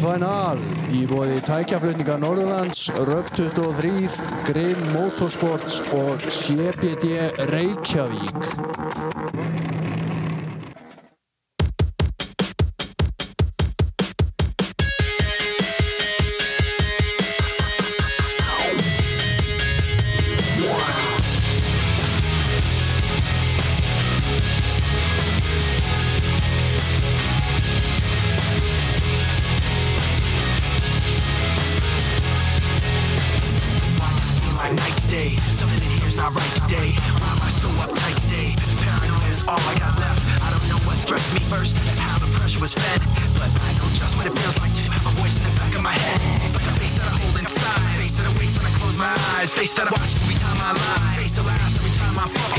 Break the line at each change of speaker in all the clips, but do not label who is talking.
Landfænal í bóði tækjaflutninga Norðurlands, Röp 23, Grim Motorsports og CBD Reykjavík.
my night today. Something in here's not right today. Why am I so uptight today? Paranoia is all I got left. I don't know what stressed me first, how the pressure was fed. But I know just what it feels like to have a voice in the back of my head. Like a face that I hold inside. Face that awakes when I close my eyes. Face that I watch every time I lie. Face that laughs every time I fall.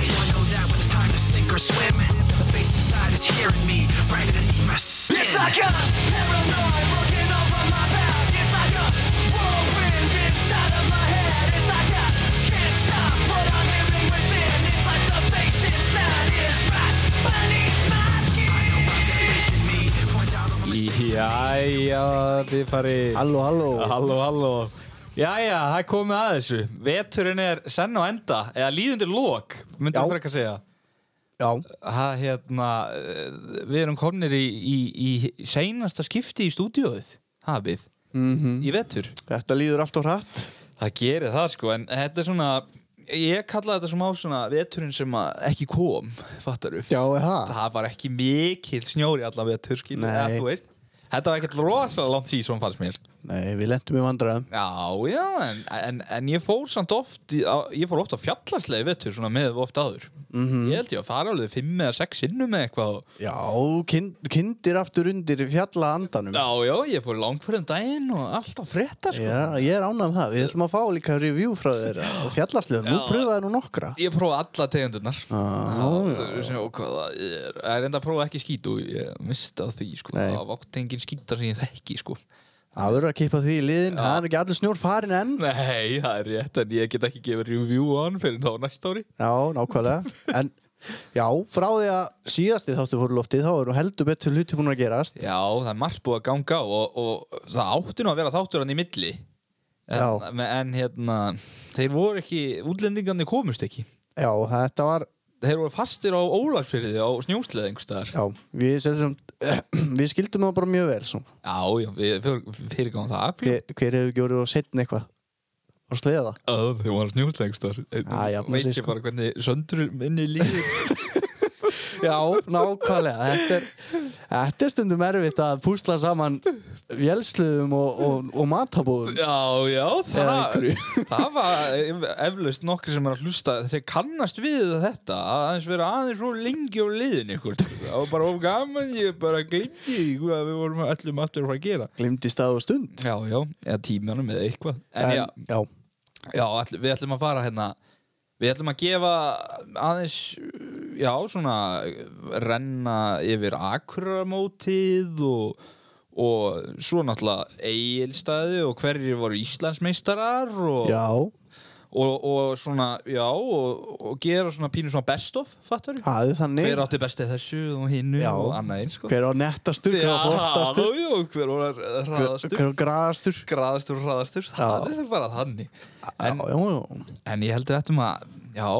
So I know that when it's time to sink or swim, the face inside is hearing me right underneath my skin. It's like a paranoid working over my back. It's like a whirlwind inside of my head. It's like I can't stop what I'm hearing within. It's like the face inside is right beneath my skin. I know what the face in me points out on my
Jæja, þið fari
Halló, halló.
Halló, halló Jæja, það er komið að þessu Veturinn er senn á enda Eða líðundir lók, myndi
Já.
ég frekar segja
Já,
Það, hérna eh, Við erum komnir í, í, í seinasta skipti í stúdíóið Hafið
Mhm.
Í vetur
þetta líður allt og hratt.
Það gerir það sko, en þetta er svona Ég kalla þetta sem á svona veturinn sem að ekki kom Fattar upp
Já, er það?
það var ekki mikill snjór í allan vetur skilur,
Nei.
eða þú veist. þetta var ekkert rosalega langt síðan fannst mér
Nei, við lendum í vandræðum.
já, já, en, en, en ég fór samt oft í- á, ég fór oft á fjallarslegi vetur svona með oft áður
Mhm.
ég held ég að fara alveg fimm eða sex sinnum með eitthvað og-
Já, kind, kindir aftur undir fjalla andanum.
já, já, ég fór langferðum daginn og allt á frétta sko.
Já, ég er ánægð með það. Við ætlum að fá líka review frá þeirra og fjallasliðum. Nú
Já.
pröfaði nú nokkra.
ég prófa alla tegundurnar
Já,
ég er enda að prófa ekki skítu ég mista því sko.
Nei.
það vátt engin skítar sem ég þekki sko.
Það verður að kippa því í liðin. Það er ekki allir snjór farin enn.
nei, það er rétt en ég get ekki gefið review á hann fyrir þá næst ári
Já, nákvæmlega En já, frá því að síðasti þáttu fóru í loftið þá eru heldur betur hluti búin að gerast
Já, það er margt búið að ganga á og, og það átti nú að vera þáttur hann í milli en,
Já.
en hérna þeir voru ekki, útlendingarnir komust ekki
Já, þetta var
þeir voru fastir á Ólagsfyrði á snjósleð einhverstaðar
Já, við, sem sagt, við skildum það bara mjög vel svo.
Já, já, við fyrirgáðum það afljú
hver, hver hefur gjórið og setn eitthvað og sleiða það
Þeir voru á snjósleð einhverstaðar
Já, já, maður
Veit
sé
ég
sko.
bara hvernig söndur minni líður
Já, nákvæmlega Þetta er, þetta er stundum erfitt að púsla saman vélsliðum og, og, og matabóðum
Já, já,
Eða
það,
einhverju.
það var eflaust nokkri sem er að hlusta þeir kannast við þetta að aðeins vera aðeins svo lengi á liðin ykkur það var bara of gaman, ég bara glemdi því hvað við vorum öllum aftur að fara að gera
Glimti stað og stund
Já, já, eða tímanum eða eitthvað En, já,
já,
já all, við ætlum að fara hérna Við ætlum að gefa aðeins, já, svona renna yfir akramótið og, og svo náttúrulega eigilstaði og hverjir voru Íslandsmeistarar og,
já,
og, og svona, já, og, og gera svona pínu svona best of, fattar við?
það er þannig
Hver átti bestið þessu og hinnu
Já.
og annað eins, sko?
Hver á nettastur, hver á
já,
flottastur
já, hver var
hver,
hraðastur,
hver á graðastur
graðastur og hraðastur, það er bara þannig.
Já,
En,
já, já
en ég held við ættum að, já,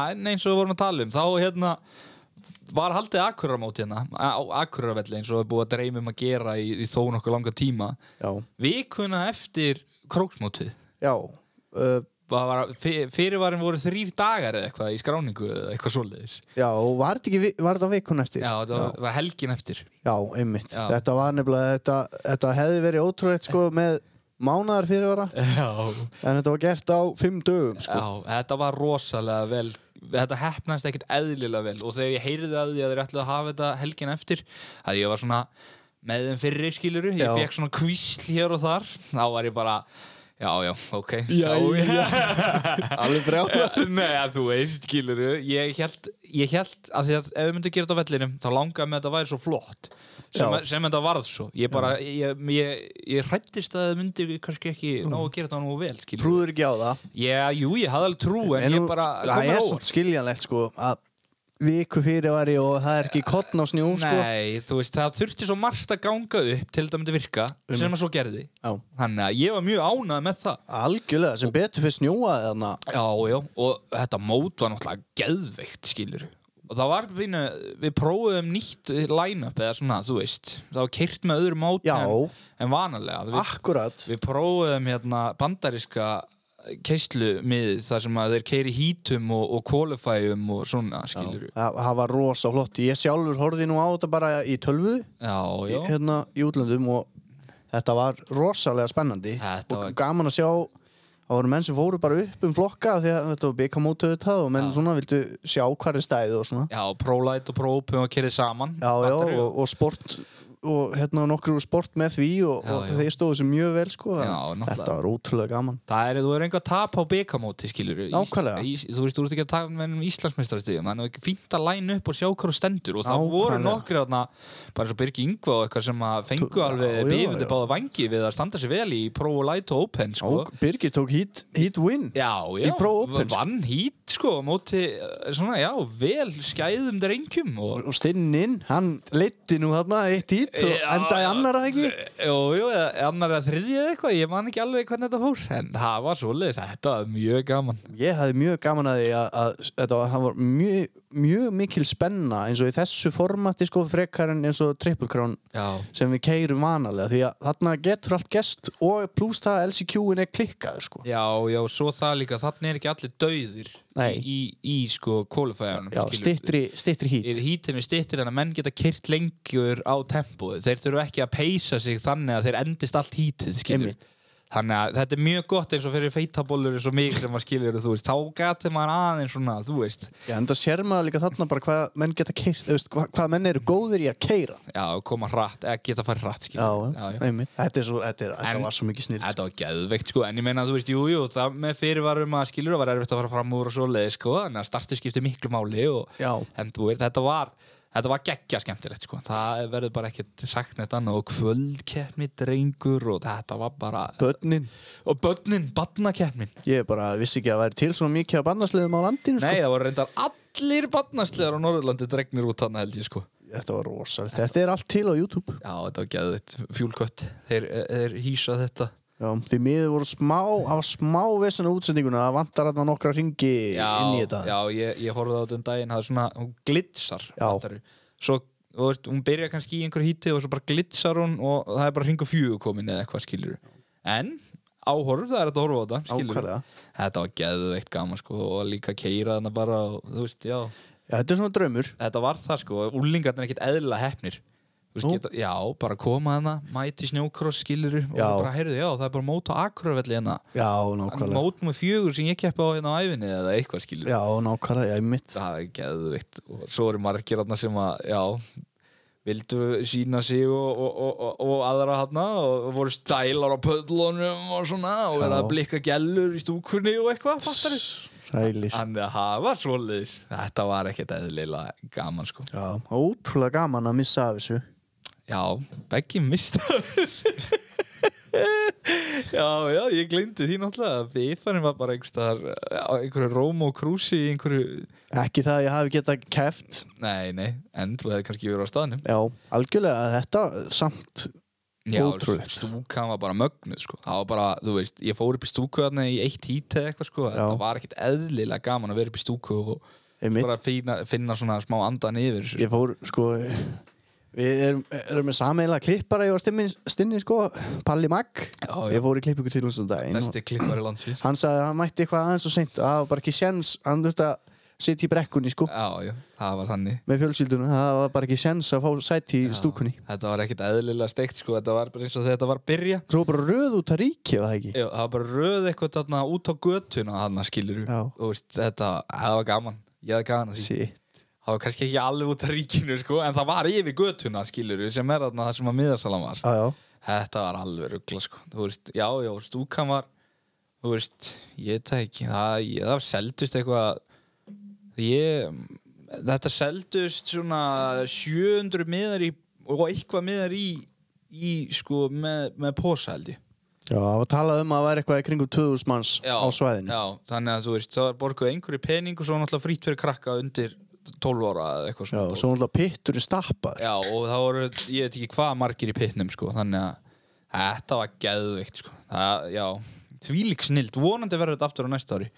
en eins og við vorum að tala um, þá hérna var haldið akkuramót hérna, á akkuravelli eins og við búið að dreyma um að gera í, í þó nokkuð langa tíma.
Já,
Vikuna eftir króksmótið,
já uh,
það var, fyr- fyrirvarin voru þrýr dagar eða eitthvað í skráningu eða eitthvað svoleiðis.
Já, og var þetta, ekki, vi- var þetta vikun eftir?
Já, það var, var helgin eftir.
já einmitt
Já.
Þetta var nefnilega, þetta, þetta hefði verið ótrúleitt sko með mánaðar fyrirvara
Já.
en þetta var gert á fimm dögum sko.
þetta var rosalega vel, þetta hefnaðist ekkert eðlilega vel og þegar ég heyrði að því að þeir ætlaði að hafa þetta helgin eftir, að ég var svona með þeim fyrri skiluru, ég
Já.
fekk svona kvísl hér og þar, þá var ég bara, já, já, ok,
já Alveg brjá
Nei, að þú veist, skiluru Ég held, ég held að því að ef við myndum gera þetta á vellinum þá langaði mig að þetta væri svo flott sem,
Já.
sem þetta varð svo Ég bara, ég, ég, ég hrættist að það myndi kannski ekki
Mm.
ná að gera þetta nú vel, skiluru
Trúður ekki á það
Já, jú, ég hafði alveg trú en,
En
ég
nú-
bara
Það
komið
er
óvart
svolítið skiljanlegt sko að viku fyrirvari og það er ekki kottn á snjó sko.
Nei, þú veist, það þurfti svo margt að ganga upp til þetta myndi virka,
Um.
sem að svo gerði
Já,
Þannig að ég var mjög ánað með það
algjörlega, sem betur fyrir snjóaði þarna
Já, já, og þetta mót var náttúrulega geðveikt, skilur Og það var, við, við prófuðum nýtt line-up eða svona, þú veist Það var keirt með öðru mót
Já. Ah.
en, en vanalega Við,
Akkurat
við prófuðum hérna bandariska keislu mið þar sem að þeir keiri hítum og, og qualifyum og svona, skilur Já,
Það það var rosa flott Ég sjálfur horfði nú á þetta bara í tölvu
já,
í- hérna í útlöndum og þetta var rosalega spennandi
Þetta
og
var-
gaman að sjá það voru menn sem fóru bara upp um flokka af því að þetta var byggamótu þetta og menn
Já.
svona vildu sjá hvað er stæðið og svona
já pro-light og pro-open og keirið saman
já, já,
Fattarðu?
og, og sport og hérna nokkur úr sport með því og,
Já,
og
já.
þeir stóðu sem mjög vel sko
Já,
en
náttúrulega.
þetta var ótrúlega gaman
Það er, þú er einhver tap á byggamóti, skilur
Nákvæmlega.
Þú veist, þú ert ekki að tapa með um Íslandsmeistarstíðum Þannig að ekki fínt að læna upp og sjá hvað þú stendur Og það
Nákvæmlega.
voru nokkri þarna, bara eins og Birgi Yngva og eitthvað sem að
Þú-
fengu
Já,
alveg
já,
bífundi
já.
báða vangi við að standa sér vel í Pro Light og Open, sko
og Birgir tók hit, hit win
Já, já,
Í Pro Open, sko.
vann hít, sko, á móti, eh, svona, já, vel skæðum drengjum og
og stinninn, hann leitti nú þarna eitt hit og
Já.
endaði annar að ekki
Jú, jú, eða annar að þriðja eða eitthvað, ég man ekki alveg hvernig þetta fór En það var svoleiðis, þetta var mjög gaman
Ég hafði mjög gaman að því að, að þetta var, það var mjög, mjög mikil spenna eins og í þessu formati sko frekar en eins og Triple Crown
Já,
sem við keirum vanalega því að þarna getur allt gest og pluss það að LCQ-in er klikkaður sko.
Já, já, svo það líka, þannig er ekki allir dauðir
Nei.
í, í, í sko kólufæðanum
Já, stittri, stittri hít.
Í hítinu stittir en að menn geta kyrt lengur á tempóið Þeir þurfu ekki að peysa sig þannig að þeir endist allt hítið, skilur
Einmitt.
Þannig að þetta er mjög gott eins og fyrir feitabollur eins og mig sem að skilur, þú veist, þá gati maður aðeins svona, þú veist
Já, en það sér maður líka þarna bara hvað menn geta keirt, þú veist, hvað, hvað menn eru góðir í að keira.
Já, koma hratt, eða geta að fara
Já,
hratt, skilur já,
einmitt. Þetta er svo, þetta er,
En-
þetta var svo mikið snýrt.
Þetta var geðveikt sko, en ég meina þú veist, jú, jú, það með fyrirvarum að skilur og var erfitt að fara fram úr og svoleiði sko, en að startið skipti miklu máli og
Já.
en þú veist, þetta var, þetta var geggja skemmtilegt sko, það verður bara ekkert sagt neitt annað og kvöldkeppni drengur og þetta var bara,
Bönnin,
og börnin, badnakeppnin.
ég bara vissi ekki að það væri til svona mikið af bannarsliðum á landinu sko.
Nei, það voru reyndar allir badnaslegar á Norðurlandi dregnir út þarna held ég sko.
Þetta var rosalegt. Þetta er allt til á YouTube.
Já, þetta var geðveikt, fjúlkött, þeir, eh, þeir hýsa þetta.
Já, því miður voru smá, það var smá vesina útsendinguna, það vantar þarna nokkra ringi inn í þetta.
já, ég, ég horfði á þetta um daginn það er svona, hún glitsar
Já.
fattarðu. svo, þú veist, hún byrja kannski í einhverju híti og svo bara glitsar hún og það er bara hringu fjögur komin eða eitthvað skilur en áhorf það er þetta að horfa á þetta skilur
Ákvarlega.
þetta var geðveikt gaman sko og líka keira þarna bara og, þú veist, já
Já, þetta er svona draumur.
þetta var það sko, úlingarnir er ekkert eðla hefnir Vist,
Nú?
geta, já, bara koma hana mæti snjókross skiluru og
Já.
bara heyrðu, já, það er bara mót á akröfelli hana
Já, nákvæmlega.
mót með fjögur sem ég keppi á hérna á æfinni eða eitthvað skilur
Já, nákvæmlega, já, mitt.
það er geðvikt og svo eru margir þarna sem að já, vildu sína sig og, og, og, og, og aðra þarna og voru stælar á pöllunum og svona og verða að
Já.
blikka gellur í stúkunni og eitthvað fattar
Sælir.
þannig að það var svoleiðis þetta var ekkert eðlilega gaman sko
Já, ótrúlega gaman að missa af þessu.
já, beggi mistaður já, já, ég glemdi því náttúrulega að vifarinn var bara einhverstaðar á einhverju róm og krúsi í einhverju,
Ekki það að ég hafi getað keft.
nei, nei en þú hefði kannski verið á staðnum
Já, algjörlega, þetta samt.
Já,
Ótrúlegt. sko.
stúkan var bara mögnuð sko. það var bara, þú veist, ég fór upp í stúku þarna í eitt hít eða eitthvað sko. þetta var ekkert eðlilega gaman að vera upp í stúku og
Einmitt.
bara finna, finna svona smá andan yfir þessu,
Ég fór, sko, við erum, erum með sameila klippara, ég var stinni, stinni sko, Palli Magg.
Já, já.
Ég fór í klippingu til hans um daginn. og-
besti klippari landsins
hann sagði að hann mætti eitthvað aðeins og seint það var bara ekki séns, hann þurfti að sitja í brekkunni sko,
Já, já, það var þannig
með fjölskyldunum það var bara ekki séns að fá sæti í stúkunni
Þetta var ekkert eðlilega steikt sko. þetta var bara eins og þetta var að byrja
svo bara röð út að ríki var það ekki
Já, það var bara röð eitthvað þarna út á götuna þarna skilur
Já.
veist, þetta, það var gaman ég hafði gaman að því
sí.
það var kannski ekki alveg út af ríkinu sko, en það var yfir götuna skilur sem er þarna það sem að miðarsalan var
já, já.
Þetta var alveg ruggla sko Þú veist, já, já, stúkan var Þú veist, ég veit það ekki Það, ég, það seldust eitthvað Ég Þetta seldust svona 700 miðar í og eitthvað miðar í í sko með, með posa held ég
já, það var talað um að það væri eitthvað í kringum 2000 manns
já,
á svæðinu
já, þannig að þú veist, það var borguð einhverju pening og svo náttúrulega frýtt fyrir krakka undir 12 ára eða eitthvað
Já,
svona
svo náttúrulega pitturinn stappar
Já, og það voru, ég veit ekki hvað margir í pitnum sko, þannig að þetta var geðveikt sko. það, já, þvílík snild, vonandi verður þetta aftur á næsta ári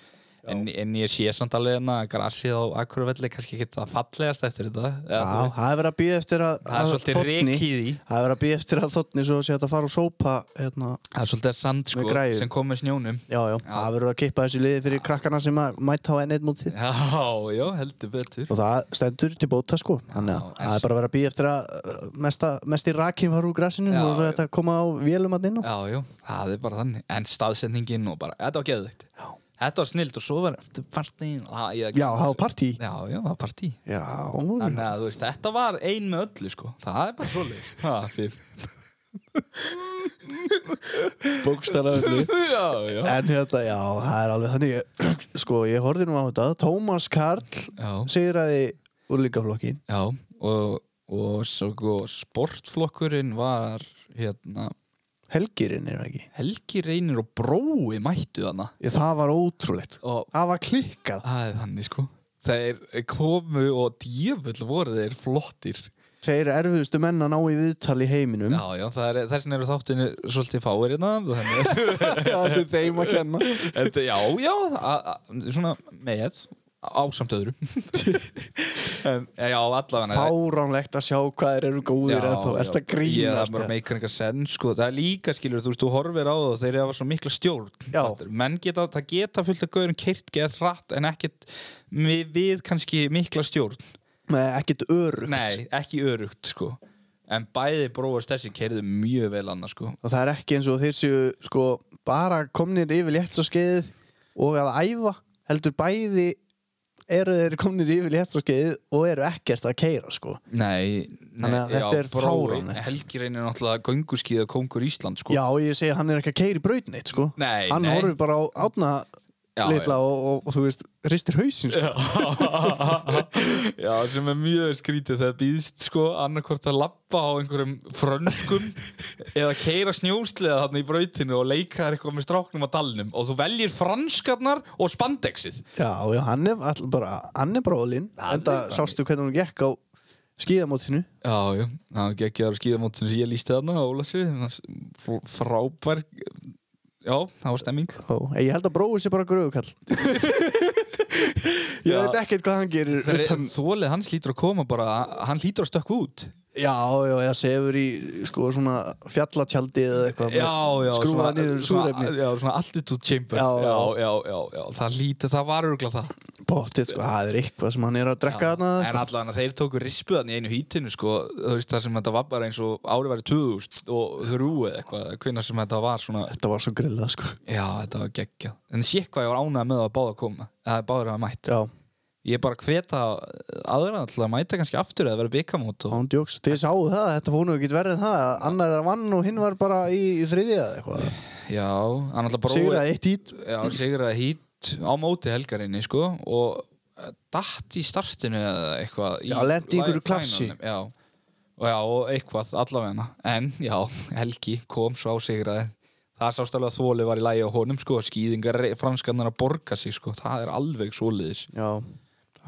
en, en ég sé samt alveg hérna að grasið á Akurvelli kannski ekki það fallegast eftir þetta eða, þú
Já,
veist.
það er verið að býja eftir að
Það er
að
svolítið
þónni-
ryk í því.
Það er verið að býja eftir að þotni svo sé hægt að fara og sópa hérna.
það er svolítið sand
Með
sko,
græju.
sem kom með snjónum
Já, já, það verður að kippa þessu liði fyrir krakkana sem að mæta á N1 mútið
Já, já, heldur betur
Og það stendur til bóta sko Þannig að
Já,
það er bara að vera að býja eftir að uh, mesta, mesti rakinn var úr grassinu
Já,
og svo
já.
þetta koma á vélum að inn á
Já, já, það er bara þannig en staðsendingin og bara, þetta var geðveikt Þetta var snild og svo var eftir partín og það- ég-
Já, það var partí
Já, já, það var partí
Já,
Þannig að þú veist, þetta var ein með öllu sko Það er bara svoleiðis Ha, fíf.
bókstala öllu
Já, já
En hérna, já, það er alveg þannig Sko, ég horfði nú á þetta Tómas Karl
Já.
sigraði úrlingaflokkin
Já, og, og svo og sportflokkurinn var hérna
Helgirinn er það ekki
Helgi Reynir og Brói mættu þarna
Ég, það var ótrúlegt
Og
Það var klikkað
það er þannig sko Þeir komu og djöfull voru þeir flottir
Segir erfiðustu menn að ná í viðtal í heiminum
Já, já, það er, þessin eru þáttinu svolítið fáir innan Þannig
Það er þeim að kenna
Þetta, já, já, a, a, svona með ásamt öðru en, Já, allavega
Fáránlegt að sjá hvað þeir eru góðir en þú ert að
Ég
grínast hérna?
það bara
eða?
meikar enga senn sko. Það er líka skilur, þú veist, þú horfir á það og þeir hafa svo mikla stjórn
Já.
Fattar? Menn geta, það geta fullt af gaurum keirt geð rætt en ekkit við, við kannski mikla stjórn
Nei, ekkert örugt
Nei, ekki örugt sko. En bæði bróðast þessi keirðu mjög vel annars sko.
og það er ekki eins og þeir séu sko bara komnir yfir léttsaskeiðið og að æfa heldur bæði eru þeir komnir yfir léttsaskeiðið og eru ekkert að keira sko
Nei, nei
Þannig að þetta er
Brói-
fáránlegt.
Helgi reynir náttúrulega gönguskíða kongur Ísland sko.
já ég segi að hann er ekki að keira í braut neitt sko
Nei,
hann
nei.
horfir bara á átna
Já,
litla og, og, og þú veist ristir hausinn sko.
Já, sem er mjög skrítið þegar býðst sko annarkvort að lappa á einhverjum frönskum eða keira snjósleða þarna í brautinu og leika þær eitthvað með stráknum á dalnum og þú veljir franskarnar og spandexið
já já hann er all, bara hann er bara ólinn
Hann er
enda
bara-
sástu hvernig hún gekk á skíðamótinu
Já, já, það geggjaður skíðamótinu sem ég lísti þarna á Ólassi frábær Já, það var stemming
og ég held að bróður sé bara gröðukall ég
Já.
veit ekkert hvað hann gerir utan
Þólið hans lítur að koma bara hann lítur að stökka út
Já, já, eða sefur í sko svona fjallatjaldi eða eitthvað
já, já,
skrúfa niður súrefni
svona, já, svona altitude chamber
Já,
já,
já.
já, já, já, það lítið, það var örgulega það
Bóttið, sko, það er eitthvað sem hann er að drekka þarna sko. eða
en
eitthvað.
allavega þeir tóku rispuðan í einu hítinu sko, þú veist það sem þetta var bara eins og árið væri 2000 og þrjú eða eitthvað hvenna sem þetta var svona
Þetta var svo grillað sko
já þetta var geggja en sé hvað ég var ánægð með að báða koma að báður að mætt
Já,
ég er bara hveta aðra alltaf að mæta kannski aftur eða vera byggamót og
án djóks Þið sáu það, þetta fór nú ekki verið en það að annar er að vann og hinn var bara í, í þriðja eða eitthvað
já, hann alltaf
Sigur
brói
að eitt ít
já, sigraði hít á móti helgarinni sko og eh, datt í startinu eða eitthvað
Já, lenti í einhverju
finalnum,
klafsi.
já. Og, já, og eitthvað allavegna en já, Helgi kom svo á sigraði það sást alveg að þóli var í lægi á honum sko, skýðingar franskarnar að borga sig sko, það er alveg svoleiðis
Já,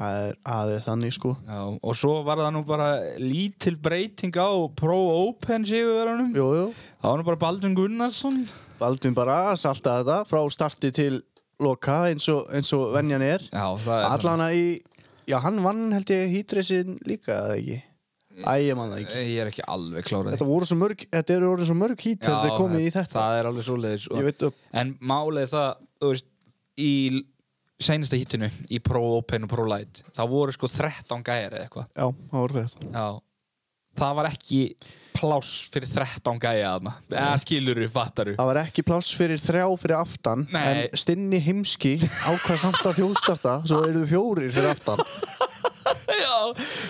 það er aðeins þannig sko
já, og svo var það nú bara lítil breyting á Pro Open sigurverunum
Jú, jú,
það var nú bara Baldvin Gunnarsson
valdum bara að salta þetta frá starti til loka eins og, eins og venjan er
já, það er
Allana í, já hann vann held ég hýtresin líka eða ekki Æ, ég man það ekki
ég er ekki alveg klárað
Þetta voru svo mörg, þetta eru orðin svo mörg hýt þegar þeir komið í þetta
hérna, það er alveg svoleiðis og-
Ég veit upp,
En málið er það, þú veist, í seinasta hittinu, í Pro Open og Pro Light, það voru sko 13 gæjar eða eitthvað.
já, það voru þetta
Já. Það var ekki pláss fyrir 13 gæja þarna. Eða skiluru, fattaru.
Það var ekki pláss fyrir þrjá fyrir aftan
Nei.
En stinni heimski ákvað samt að þjóðstarta Svo eru þau fjórir fyrir aftan
Já,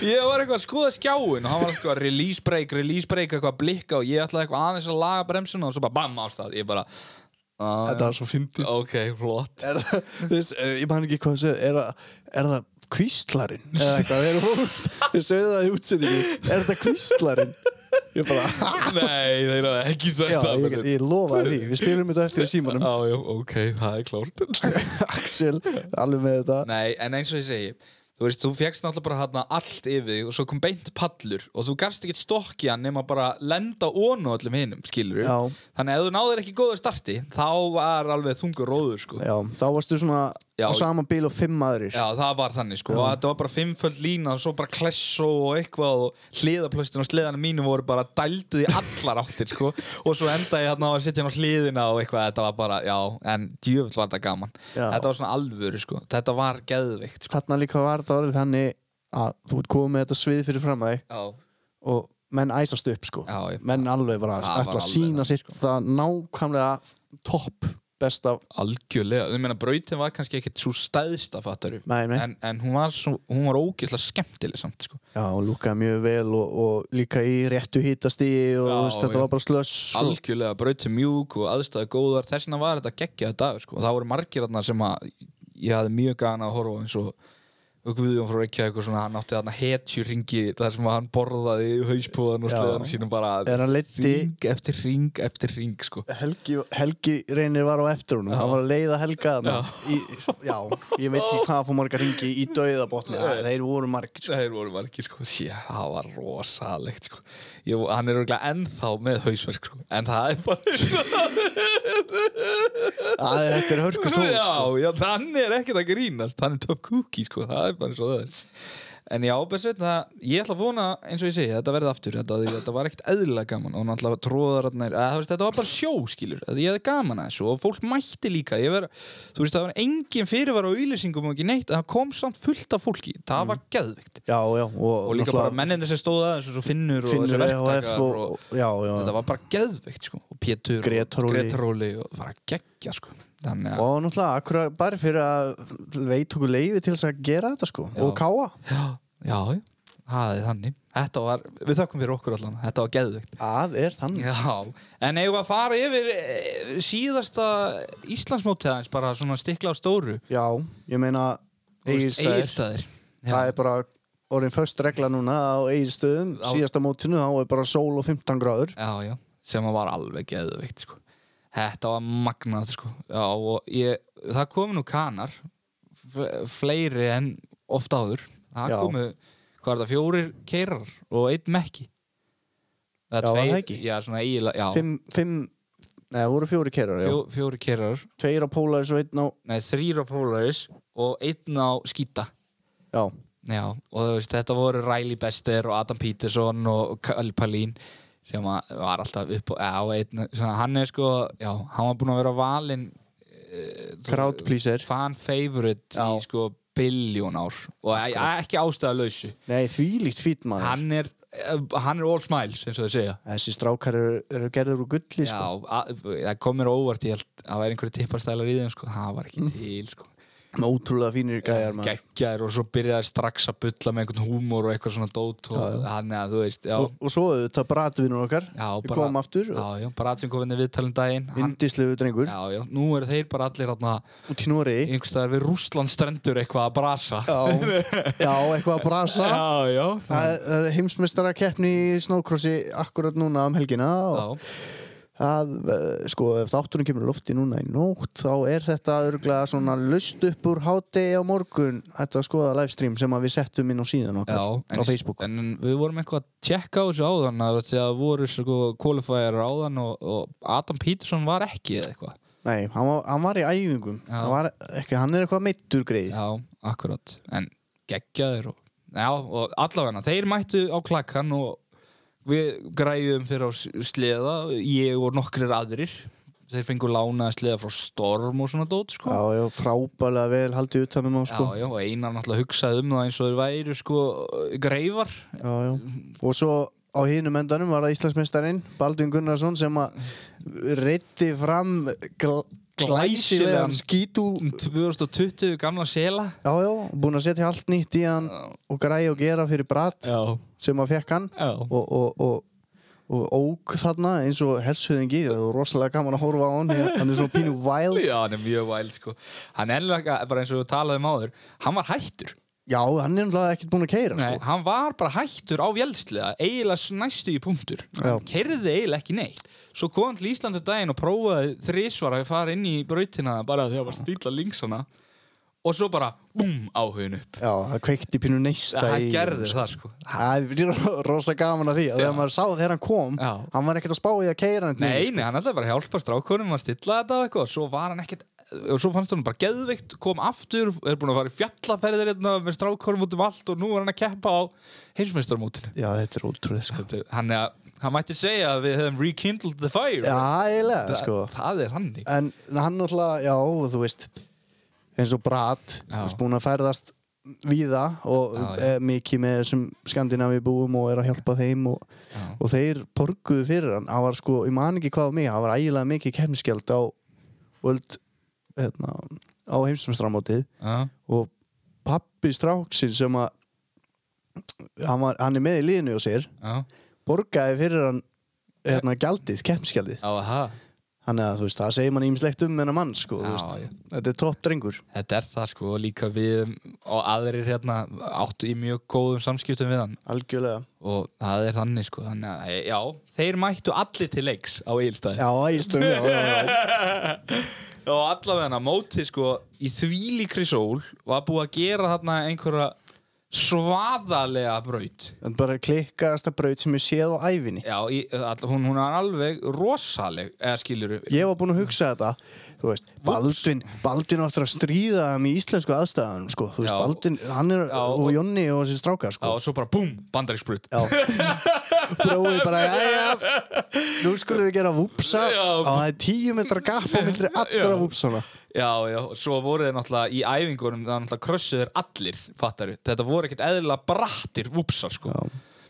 ég var eitthvað að skoða skjáin og hann var eitthvað release break, release break, eitthvað að blikka og ég ætlaði eitthvað aðeins að laga bremsuna og svo bara bam ástæð. Ég bara, "Ah,
Þetta var svo fyndið
ok, flott.
er, það- þú veist, eh, Ég man ekki hvað það segir Er, það- er það kvíslarinn? Eða eitthvað, þeir eru Þeir sögðu það í útsendingu Er þetta kvíslarinn? Ég bara,
Nei, þeir eru ekki sagt
já,
það.
ég, ég lofa því Við spilum þetta eftir í símanum
Já, já, ok, það er klárt.
Axel, alveg með þetta
Nei, en eins og ég segi þú þú veist, þú fegst náttúrulega bara hérna allt yfir þig og svo kom beint pallur og þú garst ekkert stokk í hann nema bara lenda onu öllum hinum, skilur
Já.
þannig að ef þú náðir ekki góðu starti þá var alveg þungur róður, sko
Já, þá varstu svona
Já.
á sama bíl og fimm aðrir
Já, það var þannig sko,
Já.
og þetta var bara fimmföld lína og svo bara klessó og eitthvað og hliðaplöstin og sleðana mínu voru bara dælduð í allar áttir sko og svo endaði ég hérna á að sitja hérna á hliðina og eitthvað, þetta var bara, já, en djöfull var þetta gaman
Já.
Þetta var svona alvöru sko, þetta var geðveikt sko
Þarna líka var þetta orðið þannig að þú ert komið með þetta svið fyrir fram að þig
Já,
og menn æsast upp sko
Já, ég-
menn alveg bara
Það var
ætla að
alveg
sína
þannig, sko.
sitt það nákvæmlega topp besta
algjörlega, þú meina brautin var kannski ekkit svo stæðsta fattaru
Nei, nei.
En, en hún var, svo, hún var ógeðslega skemmtileg samt sko
Já, og lúkaði mjög vel og, og líka í réttu hítastíi og
Já,
þú veist, þetta
já.
var bara slöss og-
algjörlega brautin mjúk og aðstæði góðar þess vegna var þetta geggjaði dagur sko. og það voru margir þarna sem að ég hafði mjög gana að horfa á eins og og Guðjón frá Reykjavík og svona hann átti þarna hetjuringi þar sem hann borðaði í hauspúðan og
Já.
sleðanum sínum bara
Er hann leiddi-
ring eftir ring eftir ring sko.
Helgi, Helgi reynir var á eftir húnum, hann var að leiða Helga þarna í, Já, ég veit ekki hvað fór marga ringi í dauðabotni, það- þeir voru margir sko.
þeir voru margir sko. Sjá, það var rosalegt sko. ég, hann er örgulega ennþá með hausverk sko. en það er bara
Að Þetta er hörku tóð
já,
sko.
já, hann er ekkert að grínast hann er top cookie, sko, það er bara eins og það er en já, Bersveit, það, ég ætla að vona eins og ég segi, þetta verði aftur þetta, þetta var ekkert eðlilega gaman og náttúrulega tróðararnir, eða, þú veist, þetta var bara sjó, skilur að ég hefði gaman að þessu og fólk mætti líka ég ver, þú veist, það var engin fyrirvar á ylýsingum og ekki neitt, en það kom samt fullt af fólki það var geðvikt
Já, já, Mm. og,
og líka bara mennindir sem stóðu aðeins og svo Finnur og
Finnur
þessi
EHF
verktakar
og,
og,
já, já,
þetta var bara geðvikt, sko, og Pétur
Grétar
og
Óli.
Grétar Óli og bara geggja, sko Þannig að-
og náttúrulega akkur bara fyrir að veit okkur leiði til þess að gera þetta sko
Já.
og káa
Já, já, já. það er þannig Þetta var, við þökkum fyrir okkur allan Þetta var geðveikt
að er þannig
Já, en eigum við að fara yfir eh, síðasta Íslandsmótið aðeins bara svona stikla á stóru
já, ég meina eigilstæðir,
Egilstaðir
það er bara orðin föst regla núna á eigilstöðum
Á-
síðasta mótinu, þá er bara sól og 15 gráður
já, já, sem að var alveg geðveikt sko. þetta var magnað sko. já, og ég, það komu nú kanar fle- fleiri en oft áður það
Já.
komu, hvað er það, fjórir keirar og einn mekki
Já, var það ekki?
já, svona eiginlega, já,
fimm, fimm Nei, það voru fjóri kerar, já.
fjó, fjórir keirar
Tveir á Polaris og einn á...
nei, þrýr á Polaris og einn á Skýta
Já,
já, og þú veist, þetta voru Riley Bester og Adam Peterson og Kali Palín sem að var alltaf upp á, á einn, svona, hann er sko já, hann var búinn að vera valinn
crowd pleaser.
fan favorite
Já.
í sko biljón ár og e- ekki ástæða lausu
Nei, þvílíkt fýt maður.
hann er, eh, hann er all smiles eins og þau segja
Þessi strákar eru, eru gerður úr gulli,
Já,
sko.
að- það kom mér á óvart ég held að væri einhverju tipparstælar í þeim sko. það var
Mm.
ekki til sko.
Ótrúlega fínir gæjar, maður.
geggjaður og svo byrjaði strax að bulla með einhvern húmor og eitthvað svona dót og hann eða þú veist já,
Og, og svo auðvitað bratvinur okkar.
já,
Við komum aftur.
já, já, bara allir komin í viðtalinn daginn hann,
Vindislegu drengur.
já, já, nú eru þeir bara allir hann
út í Noregi
einhverstaðar við Rússland strendur eitthvað að brasa
já, já, eitthvað að brasa
já, já,
það er- það er heimsmeistara keppni í snókrossi akkurat núna um helgina og
já.
það, eh, sko, ef þátturinn kemur í lofti núna í nótt, þá er þetta örglega svona löst upp úr hátegi á morgun, þetta að skoða livestream sem að við settum inn á síðan okkar
Já,
á Facebook
en við vorum eitthvað að tjekka á þessu áðan að það voru sko qualifier áðan og, og Adam Peterson var ekki eða eitthvað
Nei, hann var, hann var í æfingum
Já.
hann, var, ekki, hann er eitthvað meittur greið
Já, akkurat En geggjaðir og Já, og allavegna, þeir mættu á klakkan og við græjum fyrir á s- sleða, ég og nokkrir aðrir Þeir fengu lánaði sleða frá Storm og svona dót, sko
Já, já, frábælega vel haldið utanum á sko
Já, já, og einar náttúrulega hugsaði um það eins og þeir væri, sko, greifar
já, já. og svo á hinnum endanum var það Íslandsmeistarinn Baldvin Gunnarsson sem að reytti fram gl
Glæsilegan.
glæsilegan skítu
2020 gamla sela
já, já, búin að setja allt nýtt í hann og græja og gera fyrir brat
Já,
sem að fekk hann
já
og, og, og og ók þarna eins og helsuðingi það var rosalega gaman að horfa á hann hann er svona pínu wild
Já, hann er mjög væl, sko Hann er ennlega, bara eins og við talaðum áður Hann var hættur
já, hann er náttúrulega ekkert búin að keira
Nei,
sko.
hann var bara hættur á vélsliða eiginlega næstu í punktur hann
Já.
kerði eiginlega ekki neitt svo kom hann til um Íslandu daginn og prófaði þrísvar að fara inn í brautina bara því að það var stíla linksana og svo bara, búm, áhugin upp
Já, það kveikti pínu neista
það
í
gerði það sko
Það er ro- rosa gaman að því að þegar
Já.
maður sá þegar hann kom
Já.
hann var ekkert að spá í að keira hann
nei, nei, hann ætlaði bara að hjálpa strákunum að stilla þetta og eitthvað, svo var hann ekkert og svo fannst hann bara geðveikt, kom aftur er búin að fara í fjallaferðir hérna með strákunum út um allt og nú er hann að keppa á heimsmeistarmótinu
Já, þetta er ótrúlega sko
hann, er- hann mætti segja að við hefum rekindled the fire
Já, eiginlega
það,
sko
það er hann
En hann náttúrulega, já, þú veist eins og Brat
Já.
er búin að ferðast víða og
Já, já.
já, mikið með þessum Skandinavi búum og er að hjálpa þeim og,
Já.
og þeir porguðu fyrir hann hann var sko, ég man ekki hvað á mig hann var ægilega mikið kemskjald á völd, hérna, á heimsumstramótið
Já.
og pappi stráksin sem að hann, var, hann er með í liðinu og sér
Já.
borgaði fyrir hann hérna gjaldið, keppnisgjaldið
Já, aha.
þannig að þú veist, það segir mann ímislegt um hennar mann sko, þú
Já,
veist,
já.
þetta er topp drengur
Þetta er það sko, og líka við og aðrir hérna áttu í mjög góðum samskiptum við hann
algjörlega,
og það er þannig sko, þannig að já, þeir mættu allir til leiks á Egilstaði
já, æstum já, já, já.
og allavega að móti sko í þvílíkri sól var búið að gera þarna einhverja svaðalega braut
en bara klikkaðasta braut sem ég séð á æfinni
Já, í, all, hún, hún er alveg rosaleg eða skilur við
ég var búinn að hugsa þetta, þú veist Baldvin, Baldvin áttur að stríða þeim í íslensku aðstæðanum, sko, þú veist,
Já.
Baldvin hann er,
Já,
og,
og-
Jonni og þessi strákar, sko
og svo bara búm, bandaríksbrut
Já Brói bara, jæja Nú skulum við gera vupsa
Já.
Og það er tíu metra gap á myndri allra
Já.
vupsana
Já, já, og svo voru þeir náttúrulega í æfingunum það náttúrulega krössuður allir, fattar þetta voru ekkert eðlilega brattir vúpsar, sko
Já.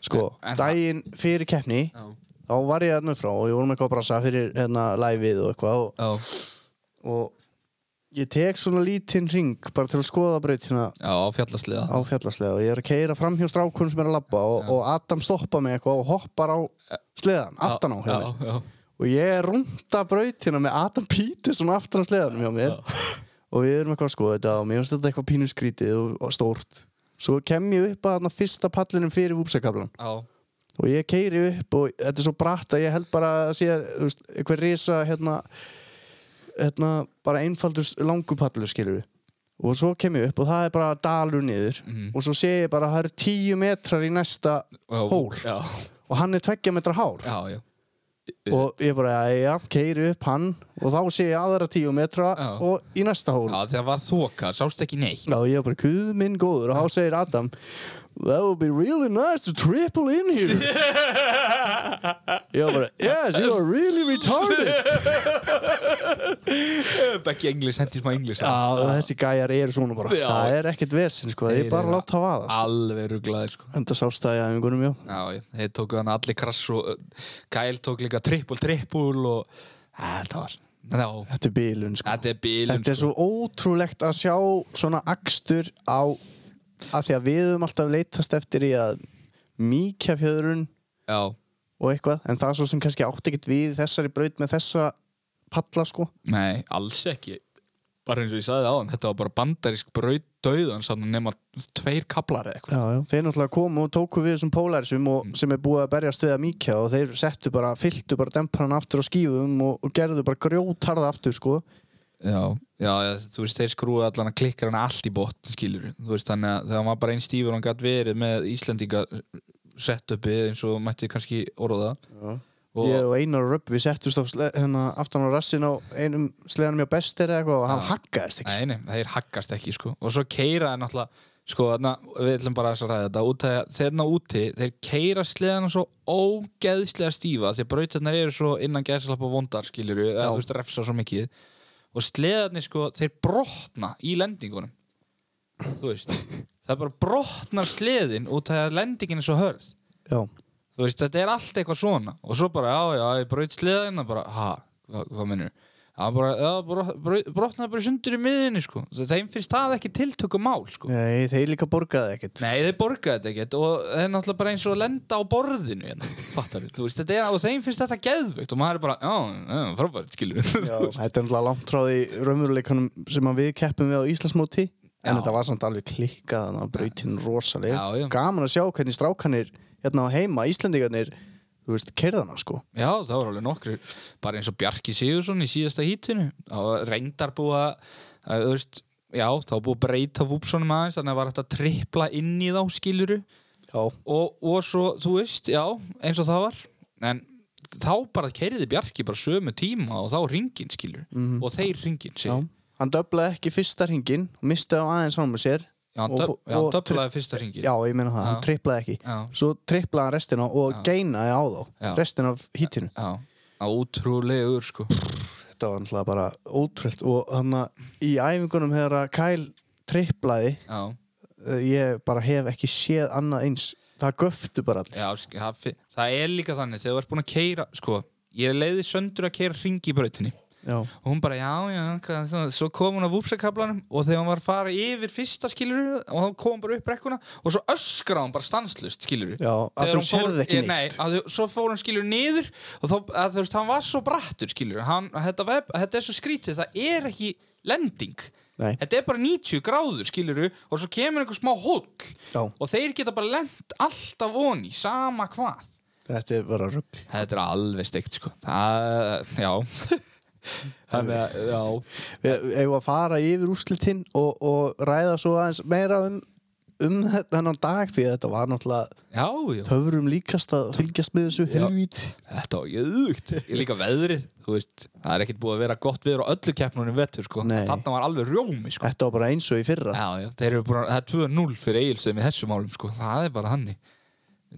Sko,
En- en það-
daginn fyrir keppni Þá var ég hérna frá og ég vorum eitthvað að brasa fyrir hérna liveið og eitthvað og,
Já,
og ég tek svona lítinn ring bara til að skoða brautina
já fjallasliða
á fjallaslega og ég er að keira fram hjá strákunum sem er að labba og, og Adam stoppa mig eitthvað og hoppar á sleðan, aftan á hjá mér
Já, já,
og ég runda brautina með Adam Peterson aftur á sleðanum hjá mér og við erum eitthvað að skoða þetta og mér finnst þetta eitthvað pínu skrítið og, og stórt svo kem ég upp að þarna fyrsta pallinum fyrir vúpsakablan
já,
og ég keiri upp og þetta er svo bratt að ég held bara að sé þú veist, eitthvað risa hérna, hérna bara einfaldur s- langur pallur skilur við og svo kem ég upp og það er bara dalur niður
Mhm.
og svo sé ég bara að það eru tíu metrar í næsta
já
hól
Já,
og hann er tveggja metra hár
já, já
og ég bara, já, keiri upp hann og þá sé ég aðra tíu metra
Já.
og í næsta hól
Já, það var þoka, sást ekki neitt
Já, ég var bara, kuð minn góður og þá segir Adam That would be really nice to triple in here Ég var bara, yes, you are really retarded
Ekki englis, hendi smá englis
Já, þessi gæjar eru svona bara
Já.
Það er ekkert vesinn, sko, það
Þeir
er bara
eru
að láta hafa það sko.
Alveg ruglaði, sko
Enda sástæði að einhvernum, já
Já, já, þeir tóku hann allir krass og Kæl tók líka trippul, trippul og Æ, Þetta var, já
Þetta er bílun, sko
Þetta er bílum,
Þetta er svo ótrúlegt að sjá svona akstur á að því að við höfum alltaf leitast eftir í að mýkja fjöðrun
Já,
og eitthvað en það er svo sem kannski átti ekkert við í þessari braut með þessa palla sko
Nei, alls ekki bara eins og ég sagði á hann, þetta var bara bandarísk braut döðan, sann nema tveir kaplar eða eitthvað
já, já. þeir náttúrulega komu og tóku við þessum pólærisum og,
Mm.
sem er búið að berjast við að mýkja og þeir settu bara, fylltu bara demparan aftur á skífum og, og gerðu bara grjótarða aftur sko
Já, já, já, þú veist, þeir skrúið allan að klikkar hann allt í botn, skilur þú veist, þannig að það var bara einn stífur hann gætt verið með Íslendinga setupið eins og mætti kannski orða
já.
og
ég og Einar Röpp við settust á sle, hérna, aftan á rassin á einum sleðanum hjá bestir eða eitthvað og hann
Já.
haggaðist ekki
Nei, nei, þeir haggast ekki, sko og svo keira þeir náttúrulega sko, þarna, við ætlum bara aðeins að ræða þetta út að þeirna úti, þeir keira sleðan svo ógeðslega stífa því að brautarnar eru svo innan geðslappa vondar skilur við, þú veist, refsa svo mikið og sleðarnir, sko, þeir brotna í lendingunum þú veist, það bara brotnar sleðin út að lendingin er svo hörð
já,
þú veist, þetta er allt eitthvað svona og svo bara, já, já, ég braut sleðina bara, ha, hvað, hvað mennur hann bara, já, brot- braut- brotnaði bara í sundur í miðinni, sko, Þe- þeim finnst það ekki tiltökum mál, sko,
nei, þeir líka borgaði ekkert
nei, þeir borgaði þetta ekkert og þeir náttúrulega bara eins og að lenda á borðinu hérna, fattar þú veist, þetta er og þeim finnst þetta geðveikt og maður er bara, já, já, frábært, skilur við
Já, þetta er náttúrulega langt frá því raunveruleikunum sem að við keppum við á Íslandsmóti en
Já.
þetta var samt alveg klikkað þannig að brautin rosaleg
Já, já.
gaman að sjá hvernig strákanir hérna á heima, Íslendingarnir þú veist, kerðana sko
Já, það var alveg nokkru bara eins og Bjarki Sigursson í síðasta hítinu það var reyndar búið að, að þú veist, já, þá var búið að breyta vúpsónum aðeins þannig að var hægt að tripla inn í þá skiluru
Já,
og, og svo, þú veist, já, eins og það var en þá bara keiriði Bjarki bara sömu tíma og þá ringin skilur
Mhm.
og þeir ringin sig
já. Hann döblaði ekki fyrsta hringin og mistaði á aðeins hann með sér
já, hann
Og-
döf- já, hann
og-
döflaði fyrsta ringin
Já, ég meina það, hann
Já.
triplaði ekki
já,
Svo triplaði hann restina og
Já.
geinaði á þá
Já.
Restina af hítinu
já. Á, ótrúlegur sko
Þetta var náttúrulega bara ótrúlegt og hann í æfingunum hefur að Kyle triplaði
já,
eh, ég bara hef ekki séð annað eins það göftu bara allir
já, sk- það, fi- það er líka þannig þegar þú ert búin að keira sko, ég leiði söndur að keira ringi í brautinni
Já.
og hún bara, já, já, hvað, svo, svo kom hún að vúpsakablanum og þegar hún var að fara yfir fyrsta skiluru og þá kom hún bara upp brekkuna og svo öskra hún bara stanslust skiluru
Já, að þú sérð ekki neitt.
Nei, að þú, svo fór hún skiluru niður og þá, að, þú veist, hann var svo brattur skiluru hann, þetta, veb, þetta er svo skrítið, það er ekki lending
Nei.
Þetta er bara 90 gráður, skiluru og svo kemur einhver smá hóll
Já.
og þeir geta bara lent alltaf voni sama hvað
þetta er bara rugg
Þetta er alveg steikt, sko Það, já Þannig að, já
við hefum að fara yfir úrslitinn og, og ræða svo aðeins meira um um þetta hennan dag því að þetta var náttúrulega
Já, já
töfurum líkast að fylgjast með þessu helvít
Þetta var jöðugt Ég líka veðrið, þú veist Það er ekkert búið að vera gott veður á öllu keppnunum vettur sko.
Nei.
Þarna var alveg rjómi sko.
þetta var bara eins og í fyrra
já, já. Þeir eru búin að, það er 2-0 fyrir eigilsum í þessum álum sko. Það er bara hannig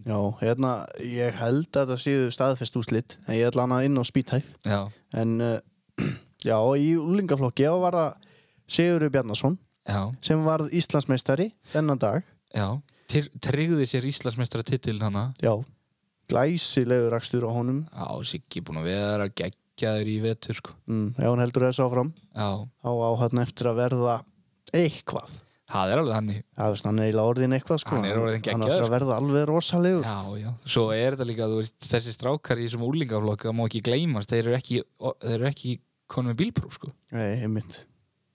Já, hérna, ég held að það séu staðfest úrslit en ég ætla hann að inn á spítæf
Já,
en uh, já, í úlingaflokki þá var það Sigurður Bjarnason
já,
sem varð Íslandsmeistari þennan dag
já Tyr, Tryggði sér Íslandsmeistara titil þannig
já, glæsilegur akstur á honum
Já, Siggi er búin að vera geggjaður í vetur sko.
mm, ef hann heldur þessu áfram
Já,
á áhættin eftir að verða eitthvað
það er alveg hann
Já, veist, hann er eiginlega orðin eitthvað sko.
Hann er orðinn
hann
geggjaður,
eftir að verða alveg rosalegur
Já, já, svo er þetta líka þú veist, þessi strákar í þessum úlingaflokk það má ekki gleymast, þeir eru ekki þeir eru ekki konum með bílpróf sko.
Nei, einmitt.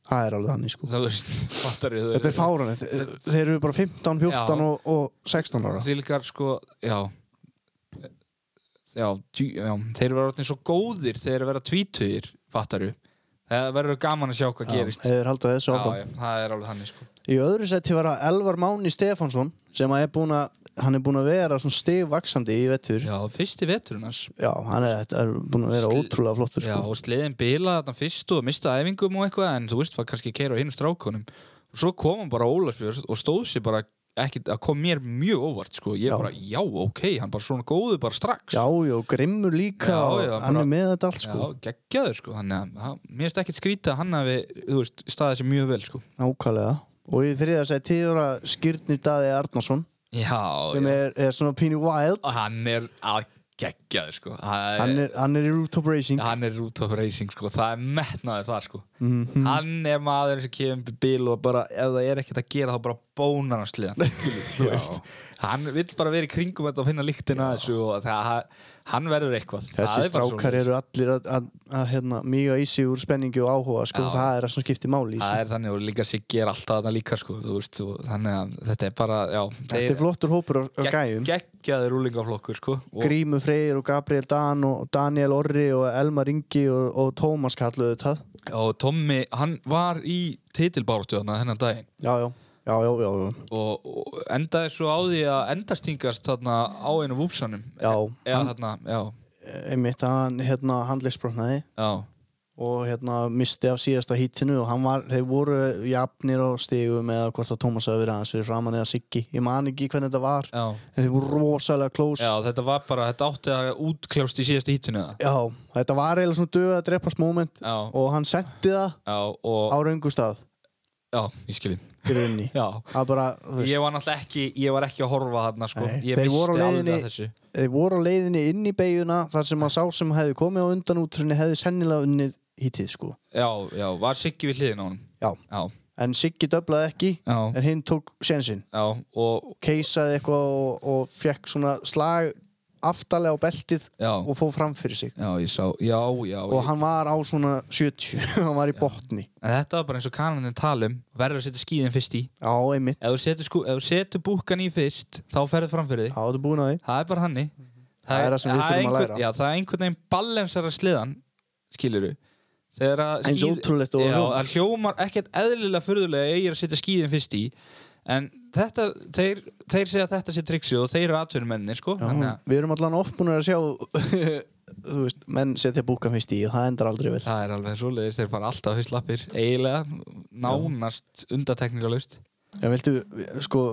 það er alveg þannig sko.
þú veist, fattar við
þetta er fáranett þeir eru bara 15, 14
Já.
og, og 16 ára
Silgar sko, já já, djú, já þeir eru orðin svo góðir þeir eru að vera tvítugir, fattar við það verður gaman að sjá hvað gerist já,
eða halda þessu áfram
já, það er alveg þannig sko.
Í öðru seti var það Elvar Máni Stefánsson sem að er búin að, hann er búin að vera svona stigvaksandi í vettur. Já,
já, fyrsti veturinn hans
hann er, þetta er búin að vera
Sli-
ótrúlega flottur
Já,
sko.
og sliðin bila þarna fyrst og mista æfingum og eitthvað en þú veist, var kannski keira á hinn strákonum og svo kom hann bara á Ólafsfjörð og stóð sér bara ekki, það kom mér mjög óvart sko, ég
Já.
bara, já, ok, hann bara svona góður bara strax,
Já, já, grimmur líka
Já,
og
já,
hann
bara-
er með þetta allt
Já,
sko.
geggjaður sko þannig að hann- mér finnst ekkert skrýta að hann hafi, þú veist, staðið sér mjög vel sko
Nákvæmlega. Og í þriða seti var það Skirnir Daði Arnason
Já,
sem
já.
er, er svona pínu wild.
og hann er að geggjaður sko hann,
Hann er, hann er í Rooftop Racing.
hann er út af racing sko, það er metnaður þar sko
Mhm.
hann er maður sem kemur upp í bíl og bara ef það er ekkert að gera þá bara bónar hann sliðan skilur, þú veist. hann vill bara vera í kringum þetta og finna líktina að þessu og það, hann verður eitthvað
Þessi strákar eru allir að, að, að hérna, mýga í sig úr spenningi og áhuga sko,
Já.
það er það sem skiptir máli í
það
sig.
er þannig og líka Siggi er alltaf þarna líka sko, þú veist, og, þannig að þetta er bara já,
Þetta er flottur hópur af, af gæjum.
geggjaður úlingaflokkur sko, og
Grímur Freyr og Gabriel Dan og Daniel Orri og Elmar Ingi og, og Tómas kalluðu þetta
og Tommi, hann var í titilbáratu þarna þennan daginn
já, já, já, já, já, já.
og, og endaði svo á því að endastingast þarna á einu vúpsanum
Já,
Eða,
hann-
þarna, Eh, já,
einmitt hann hérna hann leysbrotnaði
já
og hérna misti af síðasta hítinu og hann var, þeir voru jafnir á stigum eða hvort að Tómas hafi verið aðeins fyrir framann eða Siggi, ég man ekki hvernig þetta var
Já,
en þeir voru rosalega klós
já, þetta var bara, þetta átti að útkljást í síðasta hítinu það.
Já, þetta var eiginlega svona döð að dreppast moment
Já.
og hann sendi það
Já,
á
og,
raungu stað
já, ég skilji.
fyrir inni
Já,
það bara, þú veist,
ég var náttúrulega ekki, ég var ekki að horfa þarna, sko.
Nei,
ég
þeir voru á
misti alveg
leiðinni-
að þessu.
Þeir voru á leiðinni inn í beiguna þar sem að sá sem hefði komið á undan útrinni hefði sennilega unnið hítið sko.
Já, já, var Siggi við hliðin á honum.
Já,
Já,
en Siggi döblaði ekki
já,
en hinn tók sjensinn.
já, og,
Keisaði eitthvað og, og fekk svona slag aftalega á beltið
já,
og fóð fram fyrir sig.
já, ég sá, já, já.
Og
Ég,
hann var á svona 70, hann var í botni.
en þetta var bara eins og kananin talum, verður að setja skíðin fyrst í.
Já, einmitt.
Ef þú setur, sko, ef þú setur búkan í fyrst, þá ferðu fram fyrir þig.
Það áttu búin að því.
Það er bara hannig.
Mhm. Það er það sem við þurfum að
einhver-
læra.
Já, það er einhvern veginn ballensara sliðan, skiluru. Þegar að
Eins
skíð-
ótrúlegt og það
Já,
hljómar.
það hljómar ekkert eðlilega furðulega að ég er að setja skíðin fyrst í En þetta, þeir, þeir segja að þetta sé triksi og þeir eru atvinnumennir, sko Þannig að
Mm. Við erum allan ofbúinur að sjá þú veist, menn setja búka fyrst í og það endar aldrei vel
það er alveg svoleiðis, þeir fara alltaf fyrst lappir Eiginlega, nánast undatekningalaust
En viltu, sko,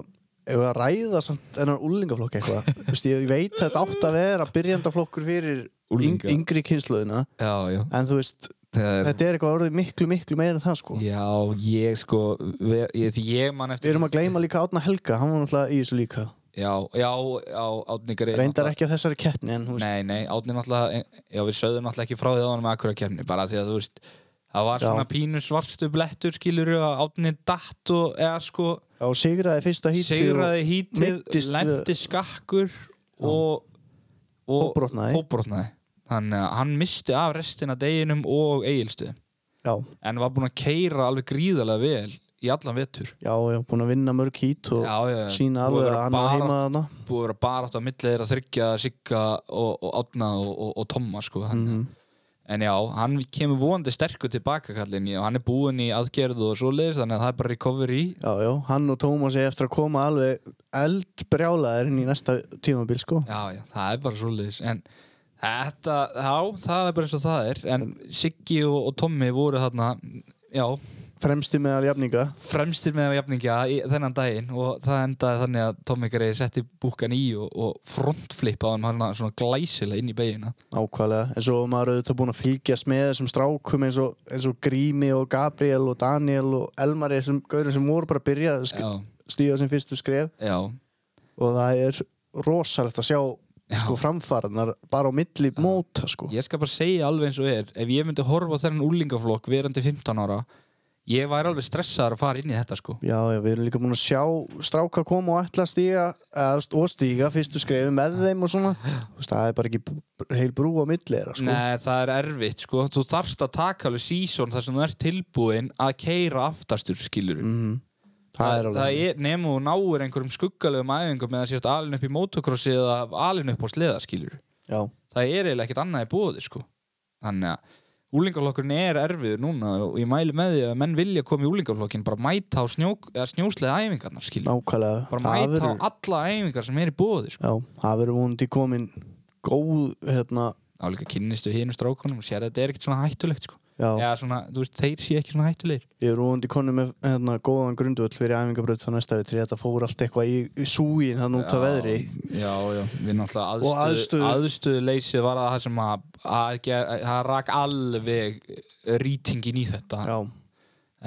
ef við að ræða samt þennan úlingaflokk eitthvað Þú veist, ég veit að þetta átt að vera byrjandaflokkur fyrir yng,
Unglinga.
yngri kynsluðina
Já, já
En þú veist,
Þegar,
þetta er eitthvað orðið miklu, miklu meira en það sko
Já, ég sko, ver, ég, því ég man
Við
eftir
erum að gleyma líka Átna Helga, hann var náttúrulega í þessu líka
Já, já, já, Átni Greif
Reyndar ekki á þessari keppni en þú veist
Nei, nei, Átni náttúrulega, e, já við sögðum náttúrulega ekki frá því áðan með akkurat kemni, bara því að þú veist, það var
Já.
svona pínu svartu blettur skilur að Átni datt og eða sko
Já, sigraði fyrsta hítið
sigraði hítið,
meiddist við-
lendi skakkur og, og
Fótbrotnaði.
fótbrotnaði. Þannig að hann misti af restina af deginum og eigilstu,
Já,
en var búinn að keira alveg gríðarlega vel í allan vetur.
já, já, búin að vinna mörg hít og
Já, já, já.
sína
Búið
alveg
að
að
vera
hann á heima
barátt-
þarna
Búið að vera barátt á millið þeirra þryggja, Sigga og, og Átna og, og, og Tomma sko. Þannig að
Mhm.
En já, hann kemur vonandi sterkur tilbaka kallinn og hann er búinn í aðgerð og svoleiðis þannig að það er bara recovery
Já, já, hann og Tómas er eftir að koma alveg eldbrjálaðir inn í næsta tímabil, sko.
Já, já, það er bara svoleiðis en þetta, já, það er bara eins og það er en Siggi og, og Tommi voru þarna já,
Fremsti meðal jafninga.
fremstir meðan jafningja í þennan daginn og það endaði þannig að Tommi greiði setti búkan í og, og frontflipa hann hann svona glæsilega inn í beginna
Ákvæðlega, en svo var maður auðvitað búin að fylgjast með þessum strákum eins og, eins og Grími og Gabriel og Daniel og Elmari þessum gaurum sem voru bara að byrja að sk-
Já,
stíga sem fyrstu skref
já,
og það er rosalegt að sjá sko framfaranar bara á milli móta sko.
Ég skal bara segja alveg eins og er Ef ég myndi horfa á þennan úlingaflokk verandi 15 ára Ég væri alveg stressaður að fara inn í þetta sko
Já, já, við erum líka búin að sjá stráka koma og ætla að stíga eða, þú veist, og stíga fyrstu skrefi með þeim og svona Þú veist, það er bara ekki b- heil brú á milli þeirra sko.
Nei, það er erfitt sko Þú þarft að taka alveg sísón þar sem þú ert tilbúin að keira aftastur skilur
Mhm. það er
það
alveg
er nema þú náir einhverjum skuggalegum æfingum með að sést alin upp í motocrossi eða alin upp á sleða skilur
já,
Það er eiginlega ekkert annað í bóði sko Þannig að úlingaflokkurinn er erfiður núna og ég mæli með því að menn vilja koma í úlingaflokkin bara mæta á snjó, snjóslega æfingarnar skilur
nákvæmlega það
bara mæta
verður-
á alla æfingar sem er í bóði sko.
já, það verður vonandi komin góð hérna,
á líka kynnistu hinu strákunum og sér að þetta er ekkert svona hættulegt sko.
já,
eða svona, þú veist, þeir sé ekki svona hættulegir
ég er vonandi komin með hérna, góðan grundvöld fyrir æfingabröð þá næsta við þetta fór allt eitthvað í, í súgin þann út af veðri
já, já, við náttúrulega
Og
aðstöðu, aðstöðu.
aðstöðu.
leysið var það sem að, að, ger, að það rak alveg rýtingin í þetta
já,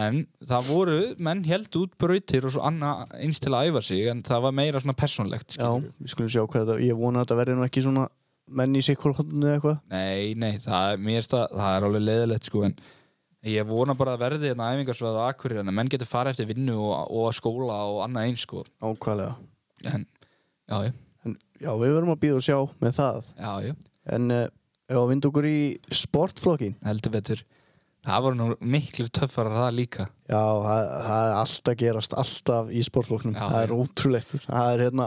en það voru, menn held út brautir og svo annað eins til að æfa sig en það var meira svona persónlegt
já,
skilurðu.
við skulum sjá hvað þetta ég vona að þetta verði nú ekki svona menn í sikkur hodinu eða eitthvað
Nei, nei, það er, mér finnst það, það er alveg leiðilegt sko en ég vona bara að verði hérna æfingarsvæða á Akureyri en að menn getur fara eftir vinnu og, og skóla og annað eins sko
ákvæðlega
en, já, já,
En, já, við verðum að býða og sjá með það.
já, já,
En uh, ef að vinda okkur í sportflokkin,
heldur betur það voru nú miklu töffar að það líka
já, það, það er alltaf gerast, alltaf í sportflokknum.
Já,
það er
já.
ótrúlegt. Það er hérna,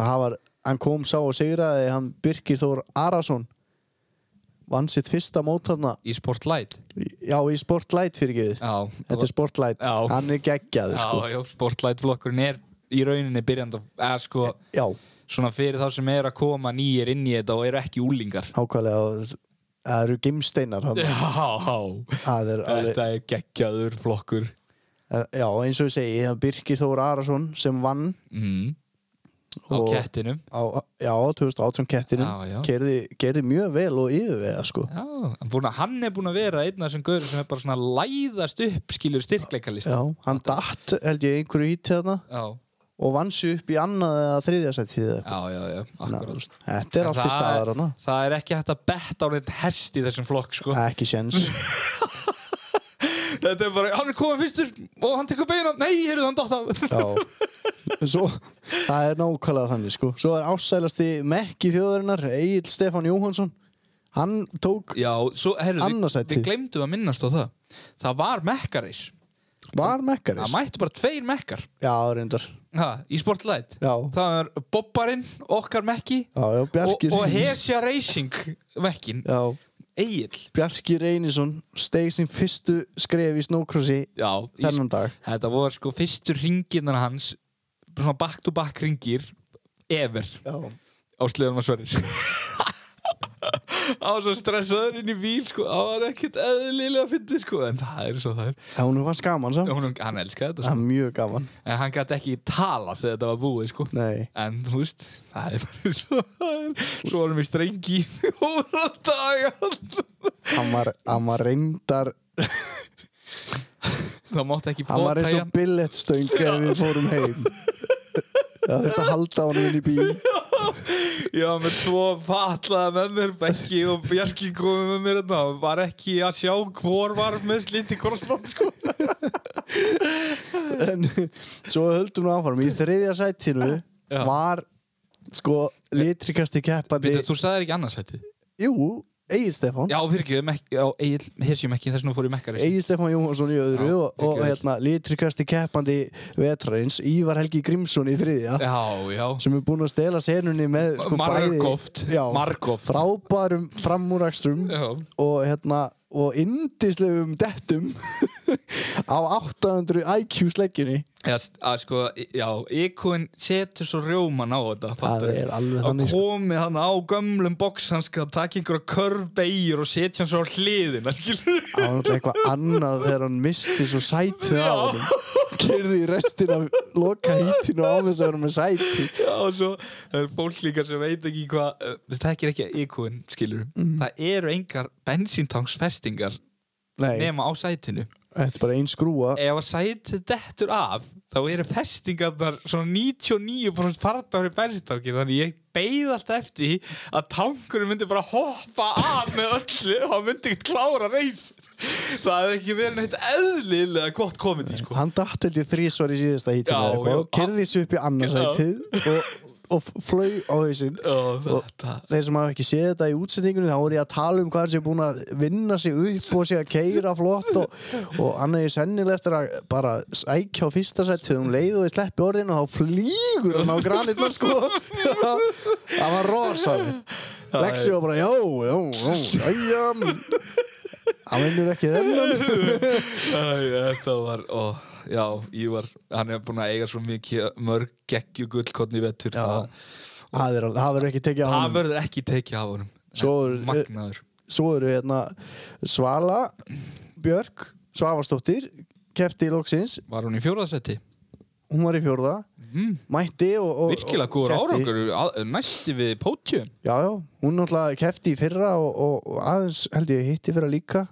það var, hann kom sá og sigraði, hann Birgir Þór Arason vann sitt fyrsta mót þarna,
í Sportlight
já, í sportlight fyrir geður.
Já,
Þetta er sportlight,
Já.
hann er geggjaður,
já,
sko.
já, Sportlight flokkurinn er í rauninni byrjandi að sko
Já,
svona fyrir þá sem er að koma nýjir inn í þetta og eru ekki úlingar
ákvæðlega, og það eru gimsteinar hann.
Já,
Það er alveg...
þetta er geggjaður flokkur
Eh, Já, eins og ég segi, það er Birgir Þór Arason sem vann
mm. á
Og-
kettinum
Mhm. á, já, á 2018
Já, já.
kettinum gerði, gerði mjög vel og yfirvega sko.
Já, hann, búin að, hann er búin að vera einn af þessum gauður sem er bara svona læðast upp skilur styrkleikalista
já, hann datt held ég einhverju hít þarna
já,
og vann sig upp í annað eða þriðja sætt hýði
já, já, já akkurat
þetta er
En
allt í
það-
staðar hana
Það er ekki hægt að betta á neitt hest í þessum flokk sko.
ekki séns
Þetta er bara, hann er komið fyrstur og hann tekur beina, nei, heyrðu hann dótt á
já Svo, það er nákvæmlega þannig sko svo er ásælasti mekki þjóðarinnar Egil Stefán Jóhansson hann tók,
Já, svo, heyrðu, við,
Annarsætið.
við glemdum að minnast á það Það var mekkareis
var
Það
mekkaris
mættu bara tveir mekkar
já, reyndar
ha, í Sportlight
já,
Það var Bobbarinn, okkar mekki
já, já,
og,
Bjarkir
og Hesja Racing mekkin
já,
Egil
Bjarki Reynisson steig sín fyrstu skref í snókrossi
Já, í,
þennan dag
þetta voru sko fyrstu ringinnar hans svona back to back ringir ever
Já.
á sleðanum að Sverris á svo stressaður inn í bíl sko, á það er ekkert eðlilega fyndið sko, en það er svo það er
Já, hún var skaman samt
Hún, hann elskaði þetta
Það
sko,
er mjög gaman
en hann gæti ekki tala þegar þetta var búið sko
Nei
En þú veist, það er bara svo það er, Svo varum við strengi í hóra daga
Hann var, hann var reyndar
Það mátti ekki
Hann var
pota
eins
í
og
hann
billettstöng Ef við fórum heim Það þurfti að halda hann inn í bíl
Já, með tvo fatlaða með mér Bekki og Bjarki komið með mér þetta Var ekki að sjá hvor var með slíti korsband sko
En svo höldum við áfram Í þriðja sætinu
Já.
var Sko litrikasti keppandi
Býtu, þú sagðir ekki annarsætti
Jú, Egil Stefán
Já, fyrirgjöðum ekki, já, Egil, hirsjum ekki þess vegna fór ég mekkar
Egil Stefán Jóhansson í öðru
Já,
og, og
fyrirgefðu.
hérna, litrikasti keppandi vetrarins Ívar Helgi Grímsson í þriðja
Já, já
sem er búinn að stela senunni með sko, bæði-
Margoft.
já,
Margoft.
frábærum framúrakstrum
Já.
og hérna og indislegum dettum á 800 IQ sleggjunni
Já, st- að sko, já, IQ-in setur svo rjóman á þetta fattar
er
þú?
alveg
Að
þannig, sko.
komi hann á gömlum boks hann skal taka einhverja körfbeigir og setja hann svo á hliðina, skilur
það var náttúrulega eitthvað annað þegar hann misti svo sætið á
Já.
hann kyrði í restina loka hítinu á þess að vera með sæti
Já, og svo það er fólk líka sem veit ekki hvað eh, það tekir ekki IQ-in, skilur Það eru engar bensíntangsfestingar
Mm. nei,
nema á sætinu
þetta er bara ein skrúa
Ef að sætið dettur af þá eru festingarnar svona 99% farðar í bensíntangi þannig ég beið alltaf eftir því að tankurinn myndi bara hoppa af með öllu og hann myndi ekkert klára reys Það hefði ekki verið neitt eðlilega gott komedi sko
hann datt held ég þrísvar í síðasta hítinu
Já,
eða eitthvað
já.
og kyrði sér upp í
Já.
annarsætið og, og flög á hausinn
Og þetta
þeir sem hafa ekki séð þetta í útsendingunni þá voru ég að tala um hvað hann sé búin að vinna sig upp og sé að keira flott og, og hann er sennilegt eftir að bara sækja á fyrsta sett um leið og ég sleppi orðin og þá flýgur hann á granitna sko það var rosaleg Lexi var bara já, já, já, já hann vinnur ekki þennan
Æ, Þetta var, ó, já, Ívar hann er búin að eiga svo mikið mörg geggju gullkotni vettur
Já.
það,
það verður- það verður ekki tekið á
það
hann
verður ekki tekið af honum
Svo er-
Magnaður
svo eru hérna Svala Björk Svavastóttir kefti í loksins
Var hún í fjóraðsetti?
hún var í fjórða
Mm.
mætti og, og
Virkilega
og
góður
keppti.
árangur að- næsti við pótjum
já, já, hún náttúrulega kefti í fyrra og, og, og aðeins held ég hitti fyrra líka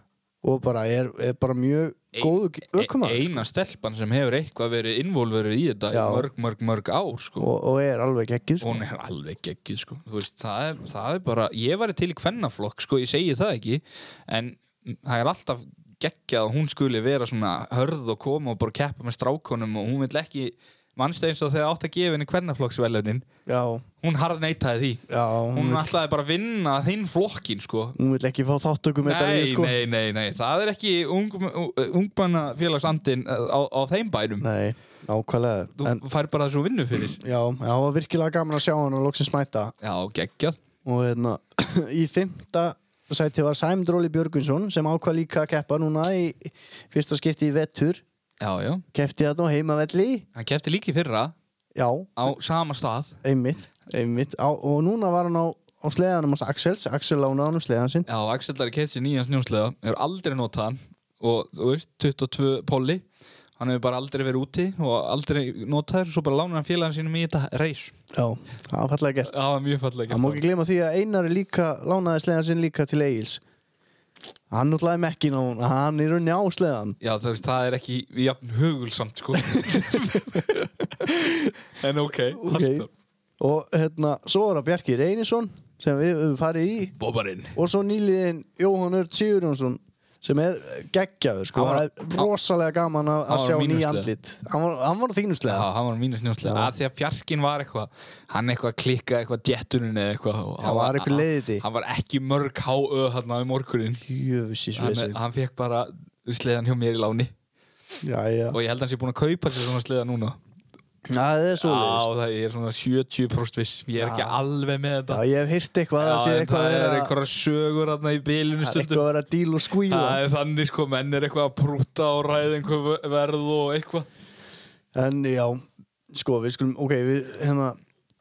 og bara er, er bara mjög góðu ökumæður
E- Eina stelpan sem hefur eitthvað verið involverið í þetta
sko. Já.
í mörg, mörg, mörg ár sko.
og, og er alveg geggjuð sko.
Hún er alveg geggjuð sko. Þú veist, það, er, það er bara, ég væri til í kvennaflokk sko, ég segi það ekki en það er alltaf geggjað að hún skuli vera svona hörð og koma og bara keppa með strákonum og hún vill ekki mannstu eins og þegar átt að gefa henni kvennaflokksvelunin
já,
hún harðneitaði því
já, hún,
hún
vill,
ætlaði bara að vinna þinn flokkin sko.
hún vill ekki fá þáttökum þetta
Nei,
við sko
nei, nei, nei, það er ekki ung, ungbannafélagsandin á, á þeim bænum
Nei, nákvæmlega
Þú
en,
fær bara þessu vinnu fyrir
já, það var virkilega gaman að sjá hann og loksins mæta
Já, geggjað
og hérna í fymta sæti var Sæmdróli Björgunsson sem ákvað líka að keppa núna í fyrsta skipti í vettur
Já, já
kefti þarna á heimavelli
Hann kefti líki fyrra
já,
á sama stað
einmitt, einmitt. Á, og núna var hann á, á sleðanum hans Axels, Axel lánaði hann um sleðan sinn
Já, Axelari kefti sér nýjan snjónslega Hefur aldrei notað hann Og, þú veist, 22 polli Hann hefur bara aldrei verið úti og aldrei notaður Svo bara lánaði hann félagin sínum í þetta reis
já, það var fallega gert
Það var mjög fallega
það má ekki glema því að Einari líka lánaði sleðan sinn líka til Egils hann náttúrulega er mekkin á hún hann er unni á sleðan
Já, þú veist, það er ekki jafn hugulsamt, sko En ok,
okay. og hérna, svo var það Bjarki Reynisson sem við höfum farið í
Bóbarinn
og svo nýliðin Jóhann Örd Sigurjónsson sem er geggjaður sko,
Hann var-
það er rosalega gaman að,
Hann
að
var
sjá
á mínu
nýja
sleða.
andlit hann var, hann var þínuslega
Já, hann var mínu snjóslega að því að fjarkinn var eitthvað hann eitthvað klikkaði eitthvað jettunin eða eitthvað og hann
var eitthvað leiðindi.
hann var ekki mörg háöð hann á morgunin
jöfisís
hann, hann fekk bara sleðan hjá mér í láni
já, já.
og ég held að hann sé búin að kaupa sér svona sleða núna
það er
Já,
svo
það ég er svona 70% viss Ég er ekki alveg með
Já,
þetta
ég hef heyrt eitthvað að
Já,
sé
en
eitthvað
það
að
er
vera
eitthvað sögur þarna í bilinu
það er
stundum
eitthvað að vera díl og skvíla
Það er þannig sko, menn er eitthvað að prúta og ræða einhver verð og eitthvað
En já, sko við skulum, ok, við hérna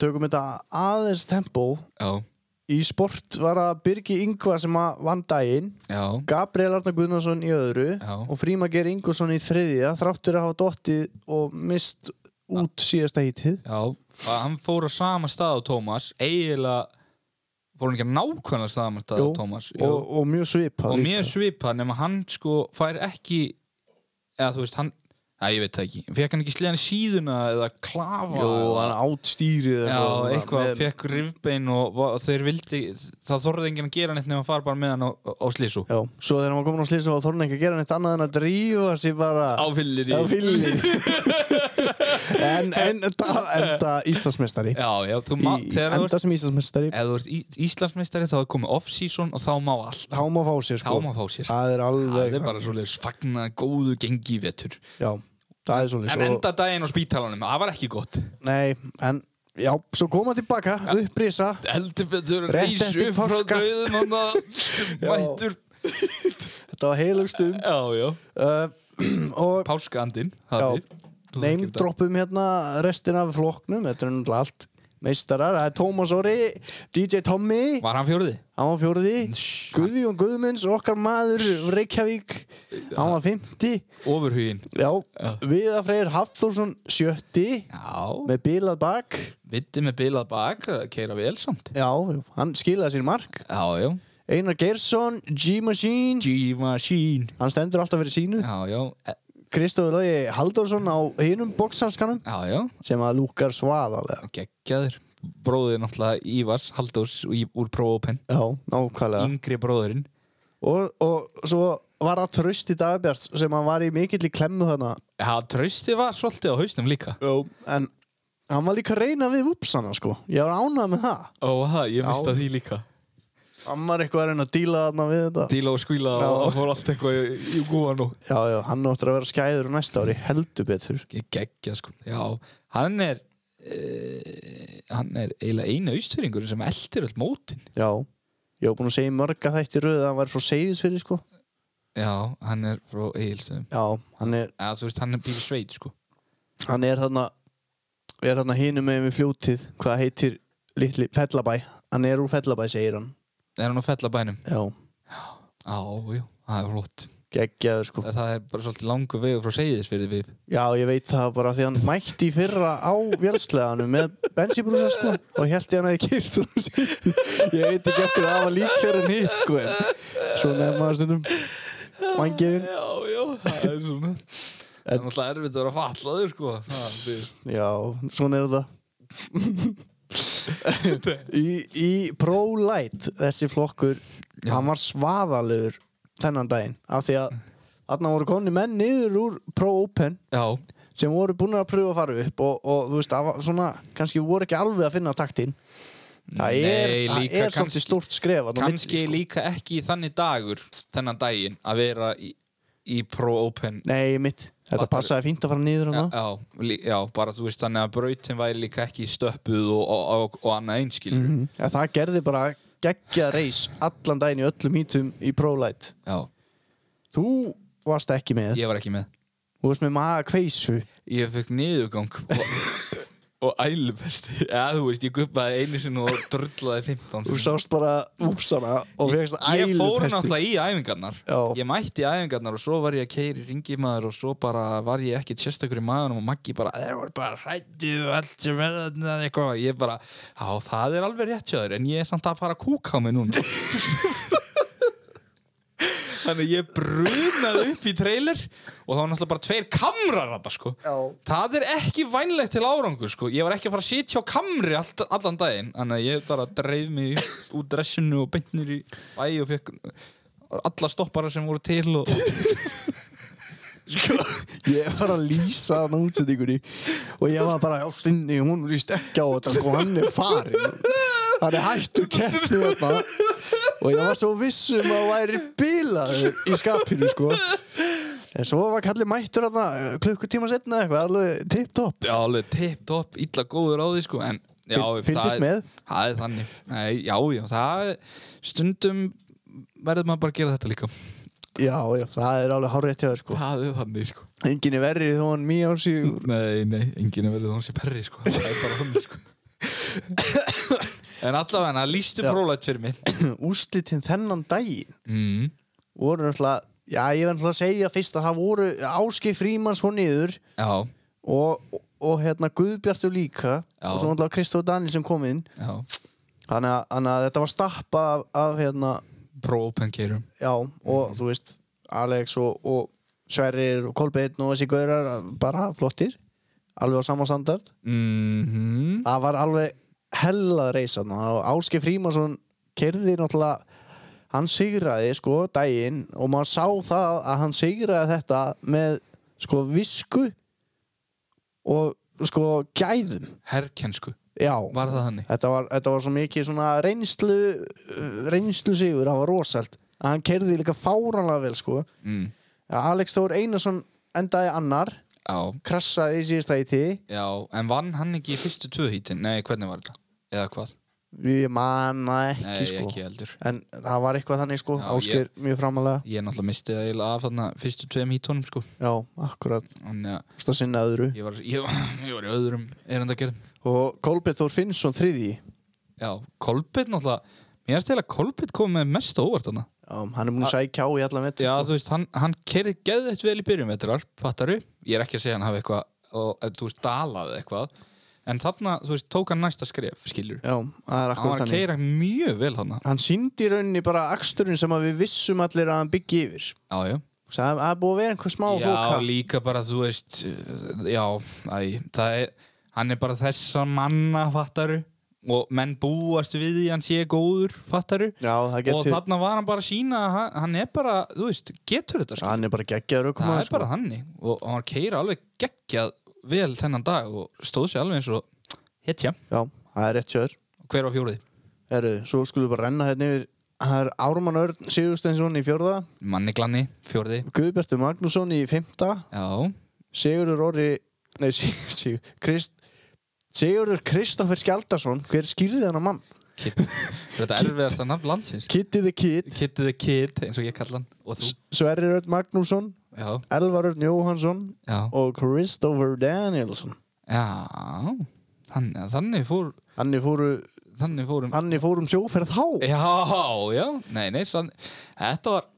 tökum þetta aðeins tempo
Já,
Í sport var að Birgi Ingva sem að vann daginn
já,
Gabriel Arnar Guðnason í öðru
Já.
og Frímager Ingvarsson í þriðja þráttur að hafa dottið og mist út síðasta hítið
já Að Hann fór á sama stað á Tómas eiginlega fór hann ekki að nákvæmlega sama stað á
Jú,
Tómas Jú.
og, og mjög svipað
og
líka.
mjög svipað nema hann sko fær ekki eða þú veist hann að ég veit það ekki, fekk hann ekki sleðan síðuna eða klafa
Jú,
eða-
hann átstýrið
já, eitthvað,
með,
fekk rifbein og, og þeir vildi, það þorði enginn að gera neitt nema að fara bara með hann á, á slísu
Já, svo þegar hann var komin á slýsa var Þorn ekki að gera neitt annað en að drífa sig bara
á fyllir
á villi En, en, enda, enda Íslandsmeistari
já, já, þú
í,
má, þegar þú
enda
ert
sem Íslandsmeistari
ef þú ert í, Íslandsmeistari þá er komið off-season og þá má allt,
þá má fá sér sko
þá má fá sér
það er
það
alveg
er bara svoleiðis fagna góðu gengi í vetur
já, það er svolítið
en enda daginn á spítalanum, það var ekki gott
nei, en já, svo koma tilbaka ja. upprisa
heldur betur
Rétt
reis
eftir
upp frá
páska.
döðum hann að mættur
þetta var heilugstund
já, já,
uh, og
páskaandinn
Já. neym droppum hérna restin af flokknum þetta er náttúrulega allt meistarar, það er Tómas Óri, DJ Tommy
var hann fjóruði?
hann var fjóruði,
Shhh.
Guðjón Guðmunds okkar maður, Reykjavík hann var 50
ofurhugin
já, Viða Freyr Hafþórsson 70
já,
með bílað bak
vitti með bilað bak keira vel samt
já, hann skilaði sér mark
já, já,
Einar Geirsson, G-Machine
G-Machine
hann stendur alltaf fyrir sínu
já, já, e-
Kristóður Lógi Halldórsson á hinum bokshanskanum
já, já
sem að lúkar svaðalega
geggjaður bróðið náttúrulega Ívars Haldós í- úr Pro Open
já, nákvæmlega
yngri bróðurinn
og, og svo var það Trausti Dagbjart sem hann var í mikill í klemmu þarna
já, trösti var svolítið á hausnum líka
já. en hann var líka að reyna við upsana sko, ég var ánað með það
ó, ha, ég
Já.
mista því líka
hann var eitthvað að reyna að díla þarna við þetta
díla og skvíla
Já.
og fór allt eitthvað í, í gúan og
já, já, hann áttur að vera skæður næsta ári heldur betur
geggja sko já, hann er uh, hann er eiginlega eina austfyrringur sem eldir öll mótin
já, ég var búin að segja í mörga þætti röð að hann var frá Seyðisfyrir sko
já, hann er frá Egilstöðum
já, hann er
eða þú veist, hann er býr í sveit sko
hann er þarna er þarna hinum með við fljótið hvað heitir litli Fellabæ hann er úr Fellabæ segir hann
er hann á fellabænum?
já,
já, já, það er flott
geggjaður sko
það það er bara svolítið langur vegur frá Seyðisfyrði við
já, ég veit það bara því hann mætti í fyrra á vélsleðanum með bensinbrúsa sko og held ég hann að ég kýrt ég veit ekki eftir að það var líklegur en hitt sko en svo nefnum maður stundum mangirinn
já, já, það er svona það er náttúrulega erfitt að vera fallaður sko það er
já, svona er það í, í ProLight þessi flokkur hann var svaðalegur þennan daginn af því að þarna voru konni menn niður úr Pro Open
já,
sem voru búin að pröfa að fara upp og, og þú veist, það var svona, kannski voru ekki alveg að finna taktinn það er,
Nei,
það er
líka kannski-
svolítið stórt skref þarna á milli, sko.
kannski líka ekki í þannig dagur þennan daginn að vera í, í Pro Open
nei, mitt, þetta
Fattar-
passaði fínt að fara niður hann
já, lí- já, bara þú veist þannig að brautin væri líka ekki stöppuð og, og, og, og annað einskilur
mm. það gerði bara geggja reis allan daginn í öllum hítum í ProLight
já,
þú varst ekki með,
ég var ekki með
þú varst með maga kveisu
ég fekk niðurgang og, og ælupesti eða þú veist, ég guppaði einu sinni og drullaði 15
þú
sinnum.
sást bara úpsana og fegst
ég
ælu
fór náttúrulega í æfingarnar
Já.
ég mætti í æfingarnar og svo var ég að keiri ringimaður og svo bara var ég ekkert sérstakur í maðurum og Maggi bara, þeir voru bara hrættið og allt sem er þarna," eitthvað ég bara, já það er alveg rétt sjöður en ég er samt að fara að kúka á mig núna þannig ég brunaði upp í trailer og það var náttúrulega bara tveir kamrar þarna sko
Já.
það er ekki vænlegt til árangur sko ég var ekki að fara að sitja á kamri allt, allan daginn þannig að ég bara dreif mig út dressinu og beinnir í bæ og fekk alla stoppara sem voru til og,
ég var að lýsa hann útsendingunni og ég var bara, já, stinni, hún líst ekki á þetta og hann er farin hann er hættur keppni þarna og ég var svo viss um að hann væri bilaður í skapinu, sko En svo var kallið mættur þarna eh, klukkutíma setna eitthvað, alveg tipptopp.
Já, alveg tipp-topp, illa góður á því sko En já,
Fylg-
það
fylgdist
er-
með?
Það er þannig Nei, Já, já, það er- Stundum verður maður bara að gera þetta líka
Já, já, það er alveg hárið til það sko.
Það er þannig sko
Engin er verrið þó hann mjög á sig
Nei, nei, enginn er verið að hún sé perri sko Það er bara þannig sko En allavega, lístu
Já.
prólætt fyrir mig
úslitinn þennan daginn.
mm.
Voru náttúrulega, já, ég verð náttúrulega að segja fyrst að það voru Áski Frímanns hún niður
Já,
og, og, og hérna Guðbjartur líka
Já.
og svo náttúrulega Kristó Daniel sem kom inn.
já,
Þannig að, þannig að þetta var stappa af, af hérna,
pró-open keirum
já, og
Mhm.
þú veist, Alex og, og Sverrir og Kolbeinn og þessi gaurar bara flottir, alveg á sama standard.
Mhm,
það var alveg hellað reysa og Áski Frímansson kerði náttúrulega hann sigraði sko daginn og maður sá það að hann sigraði þetta með sko visku og sko gæðum
Herkensku,
já,
var það þannig?
þetta var, þetta var svo mikið svona reynslu uh, reynslu sigur, það var rosalt að hann kerði líka fáranlega vel sko
Mm.
Alex Þór Einarsson endaði annar
Já,
krassaði í síðasta íti
já, en vann hann ekki í fyrstu tvö hítin? Nei, hvernig var þetta? Eða hvað?
við manna ekki
Nei,
sko
ekki heldur
En það var eitthvað þannig sko,
Já,
Ásgeir mjög framalega
Ég náttúrulega misti það eiginlega af þarna fyrstu tveim hítunum sko
Já, akkurat,
Þannig að
það sinna öðru
ég var, ég, var- ég var í öðrum erendagerð
Og Kolbjörn Þór Finnsson þriði
Já, Kolbett náttúrulega Mér erst eiginlega að Kolbett kom með mest á óvart þarna
Já, hann er búin að sækja á í allan vetur
Já,
sko.
þú veist, hann, hann kerði geðveitt vel í byrjum veturar, fattaru Ég er ekki að segja hann hafi eitthvað, og- eða, þú veist, dalaði eitthvað En þarna, þú veist, tók hann næsta skref, skilur
Já, það er
Hann var
akkurat
að
þannig
keira mjög vel hann
Hann síndi í rauninni bara aksturinn sem að við vissum allir að hann byggi yfir
Já, já
Svo Það það er búið að vera einhver smá
Já,
þóka
líka bara, þú veist uh, Já, æ, það er Hann er bara þessa manna, fattaru Og menn búast við því hann sé góður, fattaru
Já, það
Og
getur
þarna var hann bara að sína að hann- Hann er bara, þú veist, getur þetta skil
Hann er bara geggjaður sko. okkur
Það er bara þannig Og og hann keira alveg geggjað vel þennan dag Og stóð sér alveg eins og Hetja,
Já, það er rétt sjöður
hver var fjóriði?
Herru, svo skulum við bara renna hérna yfir Það er Ármann Örn Sigursteinsson í fjórða
Manni glanni, fjóriði
Guðbjartur Magnússon í fymta
Já,
Sigurður Orri Nei, Sig- Sig- Krist, Sigurður Kristoffer Skjaldarsson Hver skýrði þennan mann?
þetta er erfiðasta nafn landsins
Kitty the Kid
Kitty the Kid, eins og ég kalla hann Og þú,
Sverrir Örn Magnússon
já,
Elvar Örn Jóhansson
já
Og Kristoffer Danielsson
Já, þannig, að þannig fór
Þannig fóru,
þannig fórum
þannig fórum sjóferð þá
Eh, Já, já, nei, nei sann, þetta var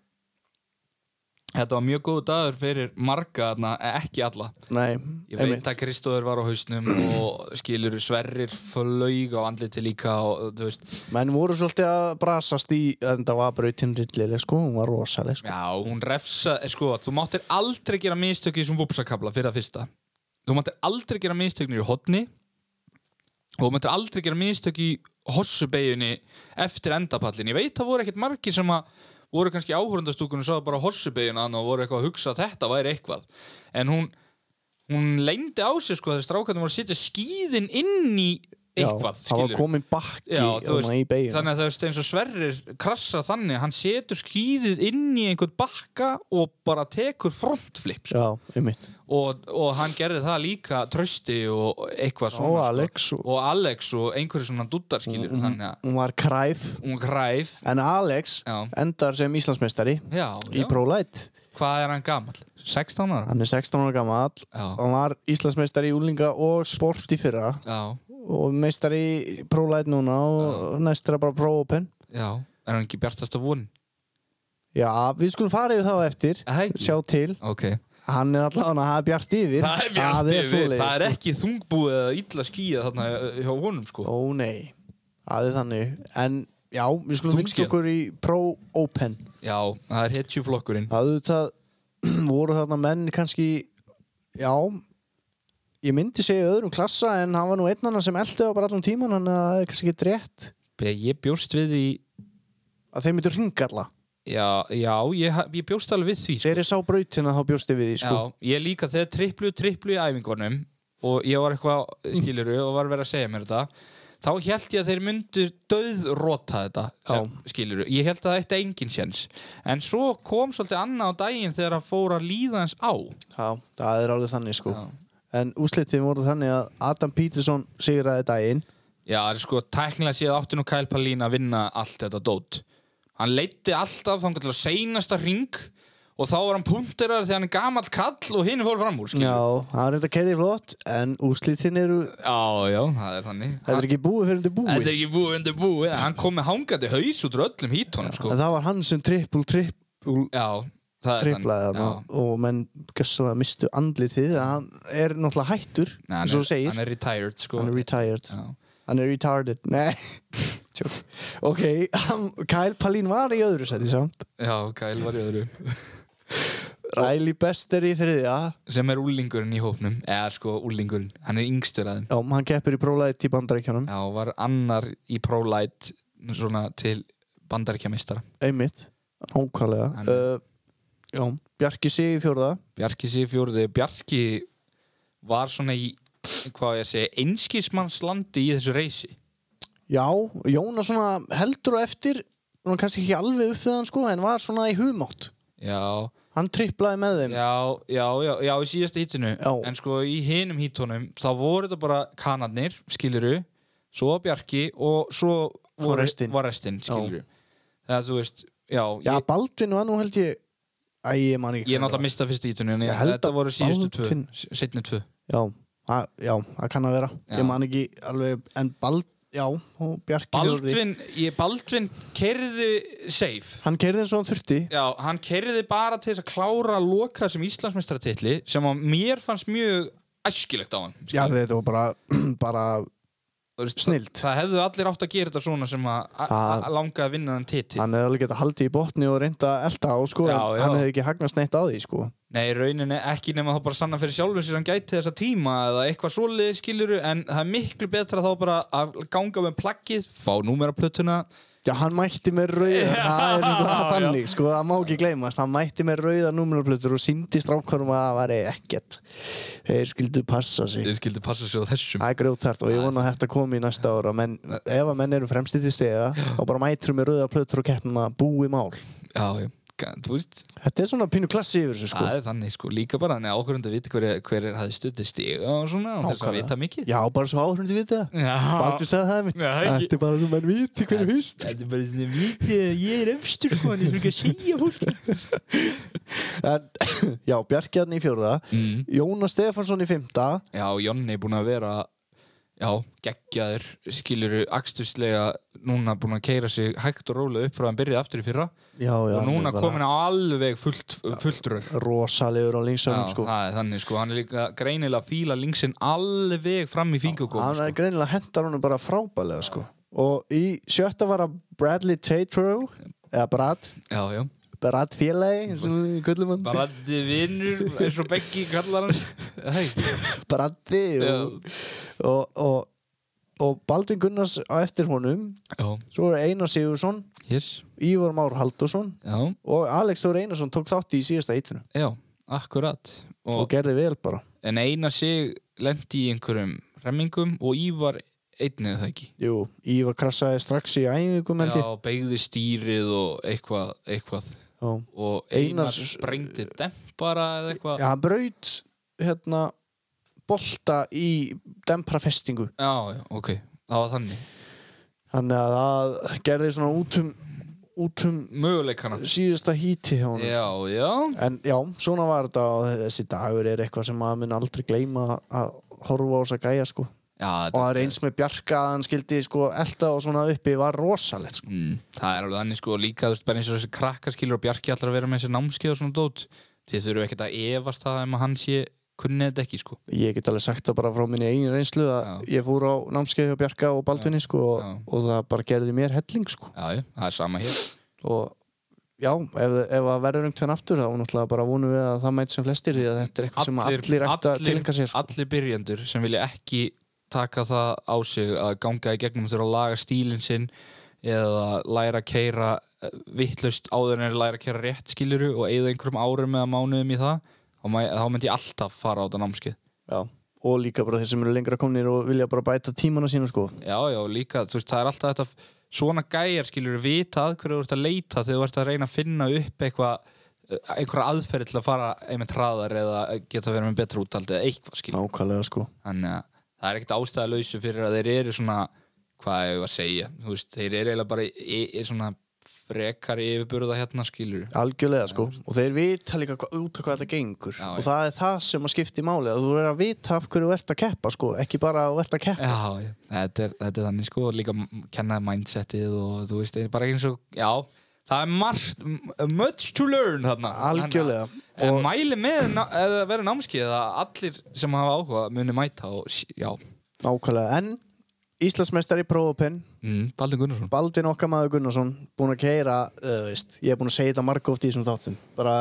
þetta var mjög góð dagur fyrir marga, na, ekki alla
Nei,
ég veit að Kristóður var á hausnum og skilur sverrir flaug á andliti líka og þú veist,
Menn voru svolítið að brasast í En það var brautin rillileg sko Hún var rosaleg sko
já, hún refsa eh, sko, þú máttir aldrei gera mistök í þessum vupsakabla fyrir að fyrsta þú máttir aldrei gera mistök nýri hotni og þú máttir aldrei gera mistök í hossubeginni eftir endapallin ég veit það voru ekkert margir sem að voru kannski áhörundastúkunum svo bara hossubegin hann og voru eitthvað að hugsa að þetta væri eitthvað en hún, hún lengdi á sig sko þegar strákarnir voru að setja skíðin inn í eitthvað
Já, Það var
skilurðu.
komin bakki
Já, þú
þarna í
veist,
beiginn
þannig að það veist eins og Sverrir krassa þannig, hann setur skýðið inn í einhvern bakka og bara tekur frontflip sko.
Já, um mitt
og, og hann gerði það líka trösti og eitthvað svona
Og Alex
sko.
og- Mhm.
og Alex og einhverju svona duttarskýlir mm, þannig að
Hún var kræf
hún græf
En Alex
Já.
endar sem Íslandsmeistari
já,
í
já.
ProLight
hvað er hann gamall? 16 ára?
hann er 16 ára gammal
Já.
hann var Íslandsmeistari í úlinga og sport í fyrra
Já,
og meistari í ProLight núna og næst er það bara ProOpen
já, er hann ekki bjartast af von?
já, við skulum fara yfir það á eftir
Æ, ekki.
sjá til,
Ok,
hann er allavega það er bjart yfir
það er bjart yfir,
svoleiðis,
það er
sko.
ekki þungbúið eða illa skýða þarna eh, hjá honum sko
ó nei, það er þannig en já, við skulum
Þungskýjað.
vikst okkur í ProOpen
Já, það er hetjuflokkurinn
það auðvitað voru þarna menn kannski já ég myndi segja í öðrum klassa en hann var nú einn annar sem eldi á bara allan tíman þannig að það er kannski ekki rétt
Ég bjóst við í
að þeir myndu ringa alla
Já, já ég, ha- ég bjóst alveg við því sko.
þegar ég sá brautina þá bjósti við því sko.
Já, ég líka þegar triplu, triplu í æfingunum og ég var eitthvað skiluru og var verið að segja mér þetta þá held ég að þeir myndu döðróta þetta sem, skilur, ég held að það eitt engin sjens en svo kom svolítið annað á daginn þegar það fór að líða hans á
Já, það er alveg þannig sko
Já.
En úslitið voru þannig að Adam Peterson sigraði daginn
já, það er sko, tæknilega séð átti nú Kyle Palin að vinna allt þetta dót hann leitti alltaf þangar til að seinasta ring og þá var hann punkterar þegar hann er gamall kall og hinn fór fram úr, skilur
Já, hann reynda að kerði flott En úslitin eru,
já, já, það er þannig
það er ekki búið fyrir undir
Þetta
búið
er ekki búið undir búið Hann kom með hangandi haus út úr öllum hítunum sko.
En það var hann sem trippul, trippul
Já, það er
triplaði hann
þannig.
og, og menn gjössalega mistu andlitið að hann er náttúrulega hættur
Já. Nei, hann
eins og þú
er-
segir,
Hann er retired sko.
hann er retired
Já.
hann er retarded, nei Tjók. ok, hann, Kyle Palin var í öðru sæti samt
Já, Kyle var í öðru
Riley Best er í þriðja
Sem er úlingurinn í hópnum Eða sko úlingurinn, hann er yngstur aðeim
já, hann keppir í prólæði í bandarækjunum
Já, var annar í ProLight Svona til bandaríkjameistara
einmitt,
Hann
nákvæmlega uh,
er-
já, Bjarki sig í fjórða
Bjarki sé fjóruði Bjarki var svona í Hvað á ég að segja, einskismannslandi í þessu reysi
já, Jónas svona heldur og eftir hann kannski ekki alveg upp við hann sko en var svona í hugmátt
Já,
hann triplaði með þeim
Já, já, já, já, í síðasta hítinu
Já.
En sko í hinum hítunum Þá voru þetta bara kanadnir, skiluru Svo Bjarki og svo
Svo restin.
var restin, skiluru Það þú veist, já,
já,
Ég,
Baldvin var nú held ég æ, ég man ekki
ég
hvað það var.
náttúrulega mista fyrsta hítinu En
Ég
ég,
held
þetta
að
voru síðustu tvö
Baldvin-
Setni tvö
Já, að, já, það kann að vera
Já.
Ég man ekki alveg, en Bald, já, og Bjarki fjórði.
Baldvin, ég, Baldvin kerði safe
Hann keirði eins og hann þurfti
Já, hann kerði bara til þess að klára að loka sem Íslandsmeistratilli sem að mér fannst mjög æskilegt á hann
Já,
skilurðu.
þetta var bara, bara
Þú veist,
snillt.
Það hefðu allir átt að gera þetta svona sem að a-
Það-
a- langa að vinna þann titil
Hann hefði alveg getað haldið í botni og reynda að elta á, sko
Já,
en
já.
Hann hefði ekki hagnast neitt á því, sko
Nei, rauninni ekki nema þá bara sanna fyrir sjálfur sér hann gæti þessa tíma eða eitthvað svoleiði skiluru en það er miklu betra þá bara að ganga með plaggið, fá númeraplötuna
Já, hann mætti með rauða, það er nefnilega
já.
þannig, sko, það má ekki gleymast, hann mætti með rauða númurplötur og síndi strákvarum að það væri ekkert. Þeir skildu passa sig.
Þeir skildi passa sig á þessum
Það er grjótart og ég vona að þetta komi í næsta ára menn, ef að menn eru fremstir til stega þá bara mætur með rauða plötur og keppnum að búi mál.
Já, já, ga- þú veist
Þetta er svona pínu klassi yfir þessu sko.
Það er þannig sko, líka bara þannig að áhverjandi viti hver, hver er hafði stöðið stiga og svona og þess að
Nákvæmlega.
vita mikið
Já, bara svo áhrundi við það.
Já.
Baldur sagði það mitt.
Já, ekki.
Þetta er bara þú menn viti hverju hust.
Þetta er bara svona viti að ég er efstur sko en ég fyrir ekki að segja fólki
En, já, Bjarkjarni í fjórða.
mm.
Jónas Stefansson í fymta.
Já, Jonni er búin að vera Já, geggjaður Skiluru akstuslega Núna búin að keira sig hægt og rólega upp frá hann byrjaði aftur í fyrra
Já, já.
Og
hann
núna
er bara
komin á alveg fullt, fullt rör
Rosalegur á linksanum sko.
það er þannig sko Hann er líka greinilega að fíla linksinn alveg fram í fingugóð
Hann
sko.
er greinilega hendar honum bara frábælega sko. Og í sjötta var að Bradley Tatro, eða Brad,
Já, já
Brad félagi, eins og við köllum hann.
Braddi vinnur, eins og Beggi kallar hann Hei,
Braddi
Já.
og, og, og, og Baldvin Gunnars á eftir honum
já,
svo er Einar Sigursson,
yes
Ívar Már Haldursson
Já,
og Alex Þóri Einarsson tók þátt í síðasta eitinu
já, akkurat
og,
og,
gerði vel bara
En eina sig lendi í einhverjum remmingum Og Ívar einnið það ekki
Jú, Ívar krassaði strax í æfingum held ég
Já, beigði stýrið og eitthvað, eitthvað.
Já.
og
Einar
Einar
s-
sprengdi dempara eða eitthvað
eh, Já, hann braut hérna bolta í dempra festingu
já, já, ok, það var þannig
þannig að það gerði svona út um, út um
möguleikana
síðasta híti hjá honum
já, já,
En já, svona var þetta og þessi dagur er eitthvað sem maður mun aldrei gleyma að horfa á þess að gæja sko.
já
Og það
þetta,
er eins með Bjarka að hann skildi sko elda og svona uppi var rosalegt sko.
mm, það er alveg þannig sko og líka, þú veist, bara eins og þessi krakkarskilur og Bjarki allra að vera með þessi námskeið og svona dót þið þurfum ekkert að efast það um að hann sé kunnið þetta ekki sko
Ég get alveg sagt það bara frá minni eigin reynslu að ég fór á námskeið hjá Bjarka og Baldvinni sko og,
Já.
og það bara gerði mér helling sko.
já, já, það er sama hér
Og já, ef, ef að verður um tvenn aftur þá náttúrulega bara vonum við að það mæti sem flestir því að þetta er eitthvað sem allir ætti að tilenga sér sko.
allir byrjendur sem vilja ekki taka það á sig að ganga í gegnum þurfa að laga stílinn sinn eða læra að keira vittlaust áður en er læra að keira rétt skiluru og eigða einhverjum árum eða mánuðum í það þá mæ- þá myndi ég alltaf fara á þetta námskið
Já. og líka bara þeir sem eru lengra komnir og vilja bara bæta tímana sína sko
Já, já, líka, þú veist, það er alltaf þetta svona gæjar skilur vita að hverju þú ert að leita þegar þú ert að reyna að finna upp eitthvað eh, einhverja aðferði til að fara einmitt hraðar eða geta verið með betra útaldi eða eitthvað skilur
nákvæmlega sko
þannig að það er ekkert ástæða lausu fyrir að þeir eru svona hvað hefur að segja, þú veist, þeir eru eiginlega bara í, í svona frekari yfirburða hérna skilur
algjörlega sko og þeir vita líka hva, út af hvað þetta gengur
Já,
og
já.
það er það sem að skipti máli að þú verður að vita af hverju þú ert að keppa sko ekki bara að þú ert að keppa
Já, já. Þetta, er, þetta er þannig sko og líka m- kenna mindsetið og þú veist, það er bara eins og, já það er margt, m- much to learn þarna.
Algjörlega.
Þannig að-
Og-
en mæli með ná- eða vera námskið að allir sem hafa áhuga muni mæta og s- já,
nákvæmlega en Íslandsmeistari í Pro-Open
mm, Baldur Gunnarsson
Baldin okkar maður Gunnarsson búin að keira, uh, veist, ég er búin að segja þetta margóft í þessum þáttum bara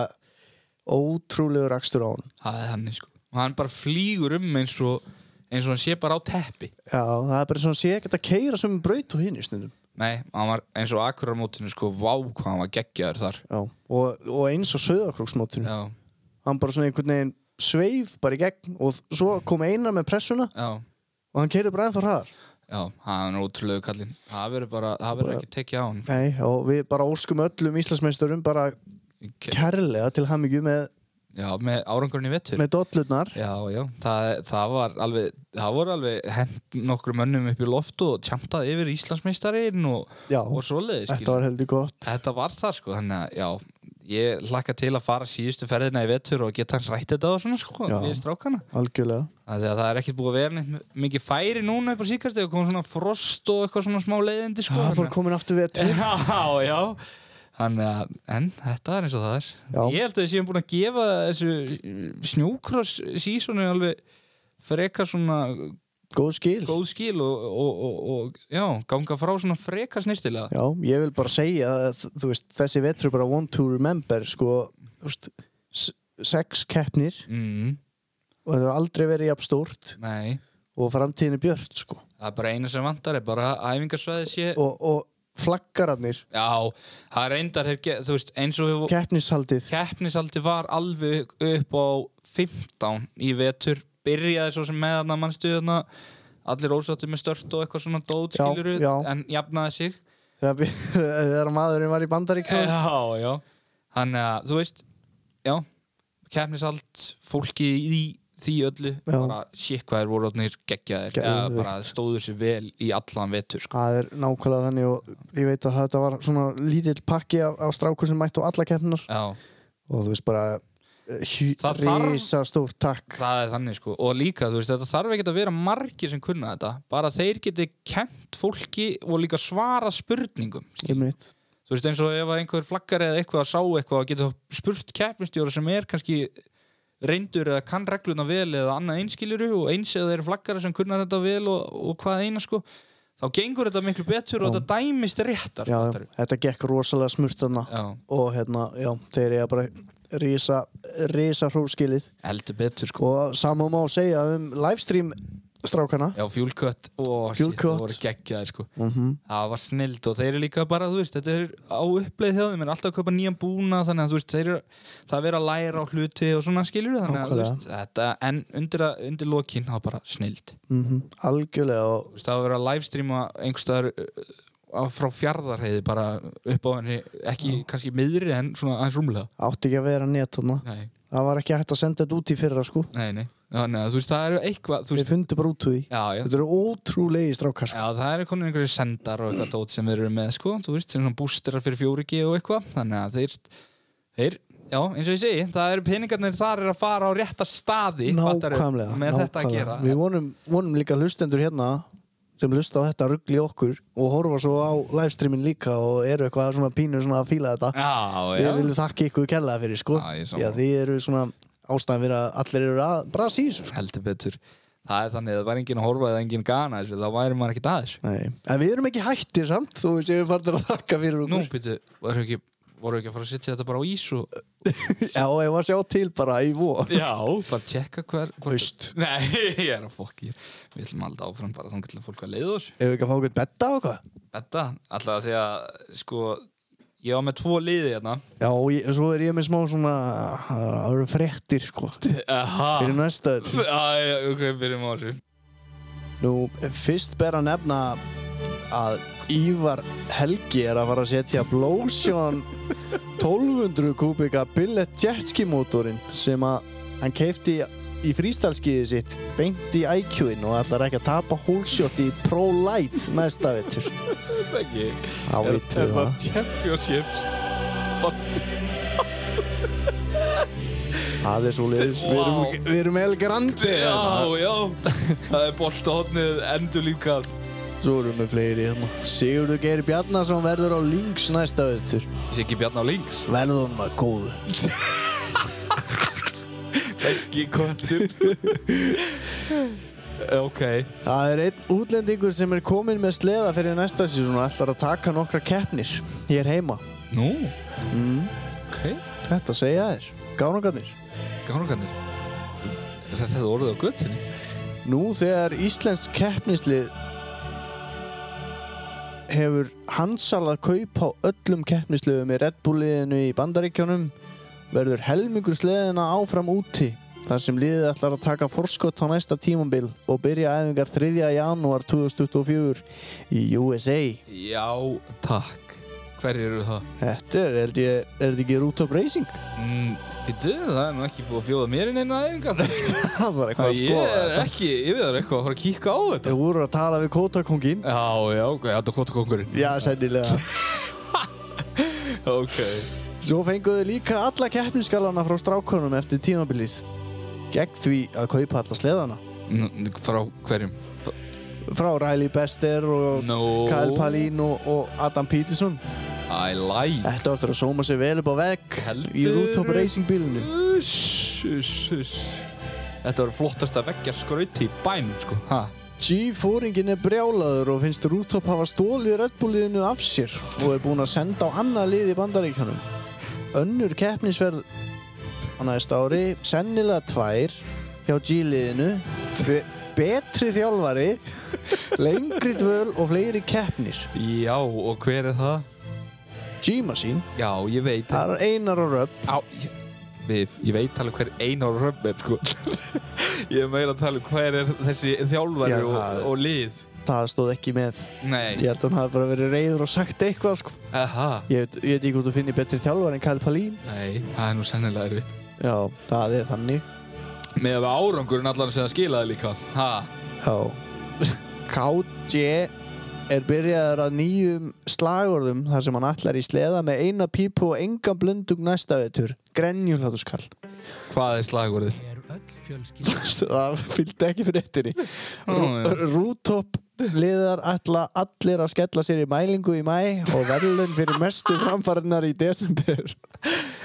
ótrúlegur akstur á hann
það er þannig sko, og hann bara flýgur um eins og, eins og hann sé bara á teppi
Já, það er bara svona að sé ekkert að keira sem braut og hinn í stundum
nei, hann var eins og akkurar mótinu sko, vá hvað hann var geggjaður þar
Já. Og, og eins og söðakróksmótinu
já,
hann bara svona einhvern veginn sveif bara í gegn og þ- svo kom einar með pressuna
já
og hann keirði bara ennþá hraðar
Já, hann er ótrúlegu kallinn. Það verður bara, það verður ekki tekið á hann.
Nei, og við bara óskum öllum Íslandsmeisturum bara
Ke-
kærlega til hamingju með,
Já, með árangurinn í vettur.
með dollurnar
Já, já, það, það var alveg, það voru alveg hent nokkur mönnum upp í loft og tjantað yfir Íslandsmeistarinn og,
Já,
og svoleiði, skil.
þetta var heldur gott
Þetta var það, sko, þannig að, já, ég hlakka til að fara síðustu ferðina í vettur og geta hans rætt þetta og svona, sko,
Já.
við strákana.
algjörlega
Af því að Það er ekkert búið að vera neitt mikið færi núna upp á síkast eða kom svona frost og eitthvað svona smá leiðindi, sko.
Það er bara komin aftur við
Eh,
að
Já, já Þannig að, en þetta er eins og það er
Já.
Ég held að við séum búin að gefa þessu snjókross sísonu alveg frekar svona
góð skil
góð skil og, og, og, og já, ganga frá svona frekar snirtilega
Já, ég vil bara segja að þú veist, þessi vetur er bara one to remember sko, þú veist, s- sex keppnir
mm,
og það hefur aldrei verið jafn stórt
Nei,
og framtíðin er björt sko.
það er bara eina sem vantar er bara að æfingarsvæði sé
og, og flaggararnir,
Já, það er eindar, þú veist, eins og við
keppnishaldið
keppnisaldi var alveg upp á 15 í vetur byrjaði svo sem með hann að mannstuðuna allir ósáttu með stört og eitthvað svona dót
Já,
skiluru
já.
en jafnaði sig
þegar við- þegar maðurinn var í bandaríkjóð
já, já þannig að þú veist já, keppnisald fólki í því öllu
Já.
bara sík hvað er voru orðnir geggjaðir eða
Geðveikt.
bara stóðu sér vel í allan vetur sko.
það er nákvæmlega þannig og ég veit að þetta var svona lítill pakki af, af strákur sem mættu á alla keppnar
já,
og þú veist bara
Það þarf-
risa stórt takk
það er þannig sko og líka þú veist þetta þarf ekki að vera margir sem kunna þetta bara þeir geti kent fólki og líka svara spurningum
einmitt,
þú veist eins og ef að einhver flaggar eða eitthvað að sá eitthvað að geta þá spurt keppinstjóra sem er kannski reyndur eða kann regluna vel eða annað einskiluru og eins eða þeir eru flaggara sem kunna þetta vel og, og hvað eina sko þá gengur þetta miklu betur og þetta dæmist réttar
já,
fattarðu?
þetta gekk rosalega smurt þarna
já,
og hérna, já, þeir eiga bara risa, risa hróskilið
heldur betur sko
og sama má segja um livestream strákana
já, fjúlkött og
Fuel Cut.
voru geggjaði sko
mm
Það var snild og þeir eru líka bara, þú veist, þetta er á uppleið hjá þeim, er alltaf að kaupa nýjan búna, þannig að þú veist, þeir eru, það er verið að læra á hluti og svona skiljur þannig að þú
Nákvæmlega.
veist, þetta, en undir, að- undir lokin, það var bara snild.
mhm, algjörlega og
Þú veist, það var verið að livestreama einhverstaðar frá fjardarheiði bara upp á henni, ekki kannski miðri en svona aðeins rúmlega.
átti ekki að vera net þarna
Nei,
það var ekki hægt að senda þetta út í fyrra sko
nei, nei, þannig að þú veist, það eru eitthvað, þú
við
veist,
fundum bara út úr því
já, já.
þetta eru ótrúlegi strákar sko.
Já, það eru komin einhverju sendar og eitthvað dót sem þeir eru með, sko, þú veist, sem svona bústerar fyrir 4G og eitthvað, þannig að þeir, þeir, já, eins og ég segi, það eru peningarnir þar er að fara á rétta staði, fattarðu,
nákvæmlega,
með þetta að
nákvæmlega.
gera.
við vonum, vonum líka hlustendur hérna sem hlusta á þetta ruggli okkur og horfa svo á livestreamin líka og eru eitthvað svona pínu svona að fíla þetta
Já,
við
já,
viljum þakka ykkur kærlega fyrir sko
Já,
því
ég er sammála.
að þið eru svona ástæðan fyrir að allir eru að brasa í þessu sko.
heldur betur. Það er þannig að það væri enginn að horfa eða enginn gana þessu, þá væri maður ekki aðeins.
Nei. en við erum ekki hættir samt þó við séum farnir að þakka fyrir
Nú,
okkur
býtu, voru ekki, voru ekki að fara að setja þetta bara á ís og...
já, ég var að sjá til bara í vor
Já. Bara tjekka hver... hver...
Haust.
Nei, ég er að fokki. Við ætlum alltaf áfram bara þannig til að fólk að leiða þessu.
ef við ekki að fá okkur betta á okkur
Þetta, alltaf því að sko Ég var með tvo liði hérna
Já, og ég, svo er ég með smá svona Það eru fréttir, sko
Aha
Fyrir næsta þetta
Æ, ok, byrjum á þessu
Nú, fyrst ber að nefna að Ívar Helgi er að fara að setja Blósjón 1200 kubika billet jetski mótorinn sem að hann keipti í frístalskiði sitt beint í IQ-in og ætlar ekki að tapa hólsjótt í Pro Light næsta vettur.
Þetta ekki
Á
Er,
vitru
er það
það.
championships
Það er svo leiðis. Við erum,
Vá.
við erum El Grandi.
Já, já Það er boltahotnið endur líkað
Svo erum við fleiri hérna. Sigurður Geir Bjarnason verður á Lynx næsta vettur.
Ég sé ekki Bjarnar Links
Verður hann að góðu.
Ekki kontur Ok
Það er einn útlendingur sem er kominn með sleða fyrir næsta sísón og ætlar að taka nokkra keppnir hér heima.
Nú,
Mm,
ok
þetta segja þér. Gánugarnir.
Gánugannir Þetta er orðið á göttinni
Nú þegar Íslensk keppnislið hefur hansalað kaup á öllum keppnisliðum í Red Bull-liðinu í Bandaríkjónum verður helmingur sleðina áfram úti þar sem liðið ætlar að taka forskott á næsta tímambil og byrja æfingar 3. janúar 2024 í USA.
Já, takk Hverjir eru það?
Þetta er, held ég, er þetta ekki Root of Racing?
Mm, Býtu, það er nú ekki búið að bjóða mér inn einn aðeinga
Það var eitthvað að
Ég
skoða
er
þetta.
ekki, ég við er eitthvað að fara að kíka á þetta
Þau voru að tala við kótakongin.
Já, já, ok, þetta er kottkongurinn
Já, sennilega.
Ok
Svo fenguðu líka alla keppnisgalana frá strákunum eftir tímabilið. Gegn því að kaupa alla sleðana.
N- Frá hverjum?
Frá Riley Bester og
No
Kyle Palin og, og Adam Peterson.
I like
Þetta áttur að sóma sig vel upp á vegg í
Heldur-
Root of Racing bílunum.
Uss, uss, uss Þetta var flottasta veggja skrauti í bænum, sko ha.
G-fóringin er brjálaður og finnst Rooftop hafa stólið Red Bull-liðinu af sér og er búinn að senda á annað lið í bandaríkjunum. Önnur keppnisverð á næsta ári, sennilega tvær hjá G-liðinu, be- betri þjálfari, lengri dvöl og fleiri keppnir.
Já, og hver er það?
G-Machine,
Já, ég veit það
það er einar og röp.
Á, ég, við, ég veit alveg hver Einar Römm er, sko Ég er meira að tala um hver er þessi þjálfari
Já,
og,
það-
og lið
Það stóð ekki með.
Nei,
Ég held að hann hafi bara verið reyður og sagt eitthvað, sko.
aha
Ég veit, ég veit ekki hvort þú finnir betri þjálfari en Kyle Palin.
Nei, það er nú sennilega erfitt
Já, það er þannig.
Með að við árangurinn allan sem það skilaði líka Ha,
Já KG er byrjaður að nýjum slagorðum þar sem hann allar í sleða með eina pípu og engan blöndung næsta vetur grenjulhátuskall
hvað er slagurðið?
það fylgdi ekki fyrir ettinni
já.
Rútopp liðar alla allir að skella sér í mælingu í mæ og verðlun fyrir mestu framfarinnar í desember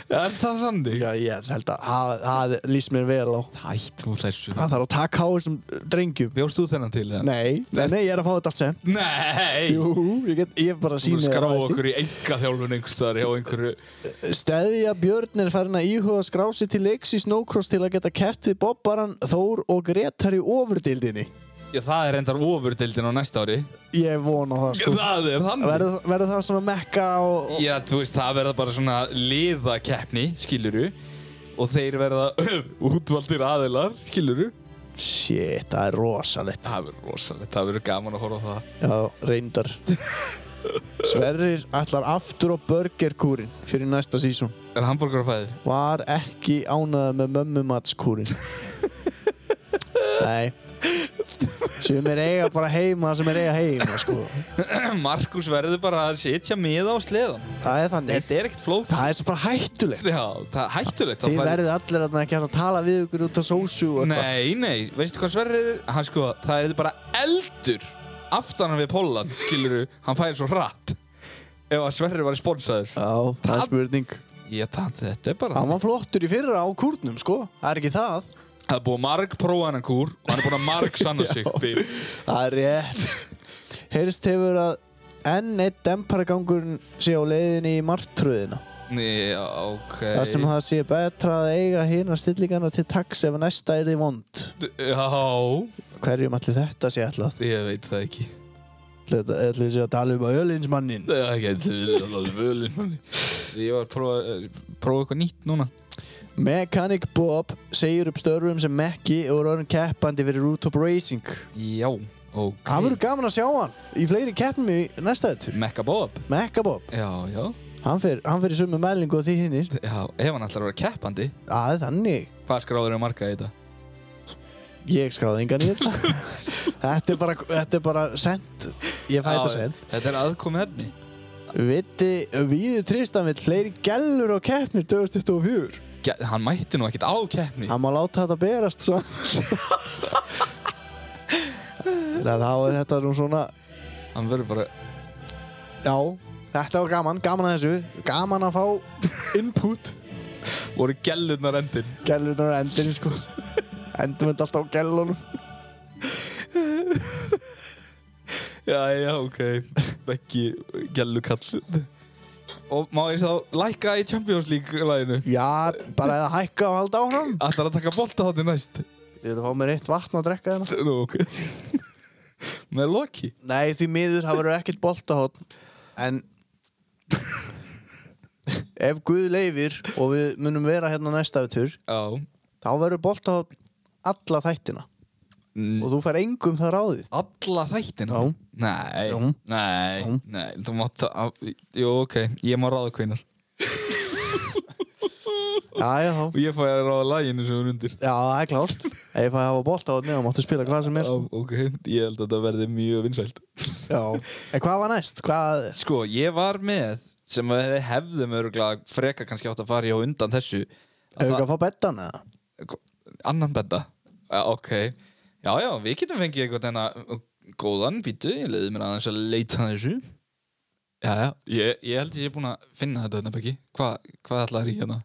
Er það sannig?
Já, ég held að það- það líst mér vel á
Hætt úr þessu
það þarf að taka á þessum drengjum
Bjóst þú þennan til það?
Nei, nei, nei, ég er að fá þetta allt sem
Nei!
Jú, ég, get, ég bara
Þú
sýni
skrá okkur í enga þjálfun einhverstaðar hjá einhverju
Steðja Björn er farin að íhuga skrási til leiks í snowcross til að geta keppt við Bobbaran, Þór og Gretar í ofurdildinni.
Já, það er endar ofurdeildin á næsta ári
Ég vona það sko.
Það er þannig
Verður verður það svona mekka og... og-
Já, þú veist, það verða bara svona liðakeppni, skiluru Og þeir verða útvaldir aðilar, skiluru
Shit, það er rosalegt.
Það verður rosalegt, það verður gaman að horfa á það
Já, reyndar. Sverrir ætlar aftur á burgerkúrin fyrir næsta sísón.
Er hambúrgar að fæði?
Var ekki ánað með mömmumatskúrin. Nei. Sem er eiga bara heima sem er eiga heima sko.
Markus verður bara að sitja miða á sleðan
Það er þannig.
Þetta er ekkert flók
Það er svo bara hættulegt.
Já, það er hættulegt það
Þið
fær-
verðið allir að ekki hægt að tala við ykkur út á sósu og eitthvað.
Nei, nei, veistu hvað Sverrir er? Hann sko, það er bara eldur aftan hann við Pollan, skiluru hann fæði svo hratt ef að Sverrir var sponsaður
Já, það er
Það-
spurning.
Ég tætti þetta er bara
Hann var flottur í fyrra á kúrnum, sko. Það er ekki það.
Það er búið marg prófa hann kúr og hann er búin að marg sanna sig Bill.
Það er rétt. Heyrst hefur að enn eitt demparagangurinn sé á leiðinni í martröðina.
Nei, já, ok
Það sem það sé betra að eiga hérna stillingarna til taks ef næsta er því vond.
Já,
Hverjum allir þetta sé ætlað?
ég veit það ekki
Þetta ætlum við sér að tala um ölinsmannin
Það er ekki eitthvað alveg völin manni. Ég var að prófa, eh, prófa eitthvað nýtt núna
Mechanic Bob segir upp störfum sem mekki og er orðin keppandi fyrir Rooftop Racing
Já, ok
Það verður gaman að sjá hann í fleiri keppnum í næsta þetta
Mekka Bob
Mekka Bob,
Já, já
hann fer, hann fer í sömu mælingu og því hinnir
Já, ef hann ætlar að vera keppandi
að þannig,
Hvað skráður er marga í þetta?
ég skráði engan í þetta Þetta er bara, þetta er bara sent Ég fæ þetta
Já,
sent
Þetta er aðkomið efni
Viti, Víður Tristan vill fleiri gellur á keppnir 2024
Ge- Hann mætti nú ekkert á keppni
Hann má láta þetta berast svo Þannig að þá er þetta nú svona
Hann verður bara
Já, þetta var gaman, gaman að þessu Gaman að fá input
Voru gellurnar endin
Gellurnar er endurinn sko Endum þetta alltaf á gellunum
Já, já, ok Ekki gellukall Og má ég þá lækka í Champions League læginu
Já, bara eða hækka og halda áfram
Ætlar að taka bolta þáttir næst
Ég vil fá mér eitt vatn að drekka hérna. þarna
Nú, ok Með Loki
Nei, því miður, það verður ekkert boltahotn En Ef Guð leifir og við munum vera hérna næsta ötur
Já
þá verður boltahotn alla þættina
Mm,
og þú fær engum það ráðið
Alla þættina?
Já.
Nei,
Jú.
nei,
Jú.
nei, þú mátt að, jú, ok, ég má ráða hvenar.
Já, já, já,
Og ég fæ að ráða laginu sem er undir.
já, það er klárt Ef ég fæ að hafa boltahotni þá máttu spila hvað sem er
Já,
sko.
ok, ég held að þetta verði mjög vinsælt.
Já En hvað var næst? Hvað,
Sko, ég var með, sem að við hefðum öruglega freka kannski átt að fara í og undan þessu. að
hefur ekki að fá bettan eða?
Annan benda. Já, ok, já, já, við getum fengið eitthvað þennan uh, góðan bítu, ég leiði mér aðeins að leita að þessu. Já, já, ég, ég held að ég er búin að finna þetta hérna, Beggi. Hvað, hvað ætlaðir í hérna?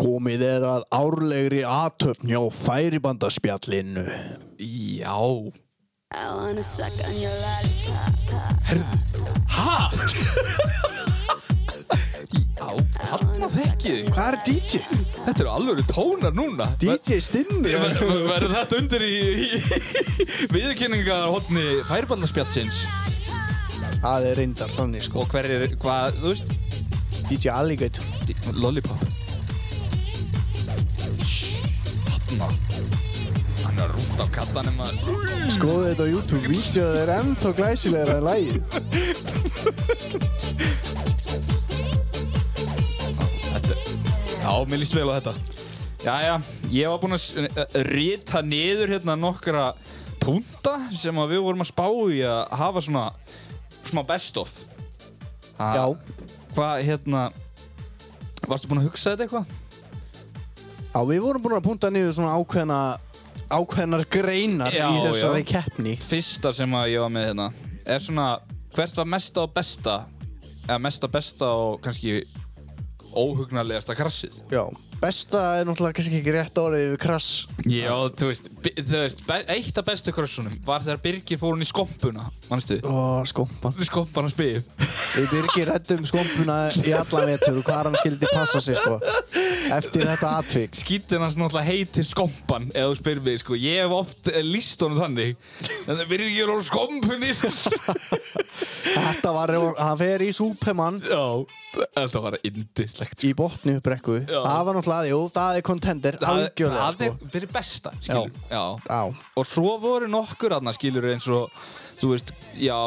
Komið er að árlegri aðtöfn hjá færibandaspjallinu
Já,
I wanna suck on your lollipop.
Ha? Já, þarna þekki ég þig.
Hvað er DJ?
Þetta eru alveg tónar núna
DJ stinni
Ver- ver- Verður þetta undir í, í viðurkynningarhotni færbandarspjallsins
Það er reyndar þannig sko
og hver er, hvað, þú veist,
DJ Alligator
di- Lollipop Shhh, Þarna Hann er rútt á kattanum að
Skoðu þetta á YouTube, vídeoð er ennþá glæsilegra en lægið
Þetta, já, mér líst vel á þetta Jæja, ég var búinn að s- eh, rita niður hérna nokkra púnta sem að við vorum að spá í að hafa svona smá best of Ha,
Já.
Hvað, hérna Varstu búinn að hugsa þetta eitthvað?
Já, við vorum búin að punta niður svona ákveðna ákveðnar greinar
Já,
í þessari
já.
keppni
Fyrsta sem að ég var með hérna er svona hvert var mesta og besta eða mesta besta og kannski óhugnarlegasta krassið
Já, besta er náttúrulega kannski ekki rétt orðið yfir krass
Já, þú veist, bi- þú veist be- eitt af bestu krössunum var þegar Birgir fór hún í skompuna, mannstu?
og skompan
Skompan að spið
Við byrgir rættum skompuna í alla vetur og hvað hann skildi passa sig sko eftir þetta atvik
Skítin hans náttúrulega heitir skompan ef þú spyrir mig, sko Ég hef oft eh, lýst honum þannig En það Birgir er á skompunni
Þetta var, hann fer í Superman
Já, þetta var indislegt,
í botni upprekku
Já.
Það var náttúrulega, jú, það er contender algjörlega
Það
sko
er fyrir besta, skilur Já,
Já,
Og svo voru nokkur aðna skilur eins og Þú veist, já,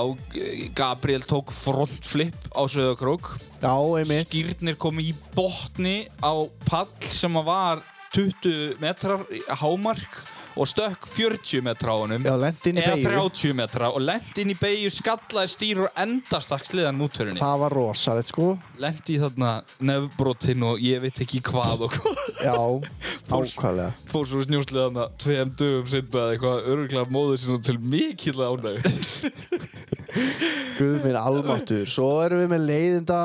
Gabriel tók frontflip á Söðakrók
já, einmitt
skýrnir komu í botni á pall sem að var 20 metrar í hámark og stökk 40 metra á honum
Já, lenti inn í
eða
beygju.
30 metra og lent inn í beigju skallaði stýr og endastakk sliðan múturinni
Það var rosalegt sko
lent í þarna nefbrotin og ég veit ekki hvað og hvað
Já, ákvæðlega
fór svo snjóslega þarna tveim dögum sinna eða eitthvað öruglega móður sinna til mikill ánæg
Guð minn almáttur Svo erum við með leiðinda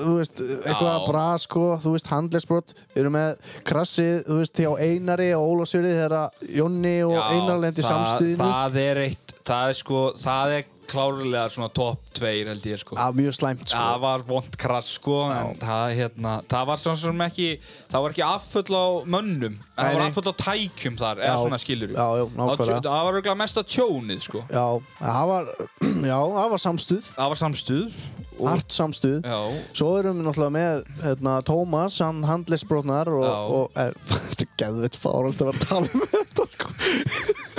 Þú veist, eitthvað
Já.
bra sko Þú veist, handlegsbrot Við erum með krassið, þú veist, hjá Einari og Ólafsjöri Þegar að Jonni og Einar lendi
það,
samstuðinu
það er eitt það er sko, það er klárlega svona top 2 held ég sko.
að mjög slæmt sko
Það var vond krass sko, en það, hérna, það var svona sem ekki, það var ekki affull á mönnum, en
Nei,
það var
nei.
affull á tækjum þar, eða
Já,
svona skilur
já, já, nákvæmlega.
Það var auðvitað mesta tjónið sko,
já, það var, já, það var samstuð
það var samstuð og,
hart samstuð
Já,
Svo erum við náttúrulega með hérna, Tómas, hann handlisbrotnar og,
Já.
og e, þetta er geðvitt fárald að vera að tala um þetta sko.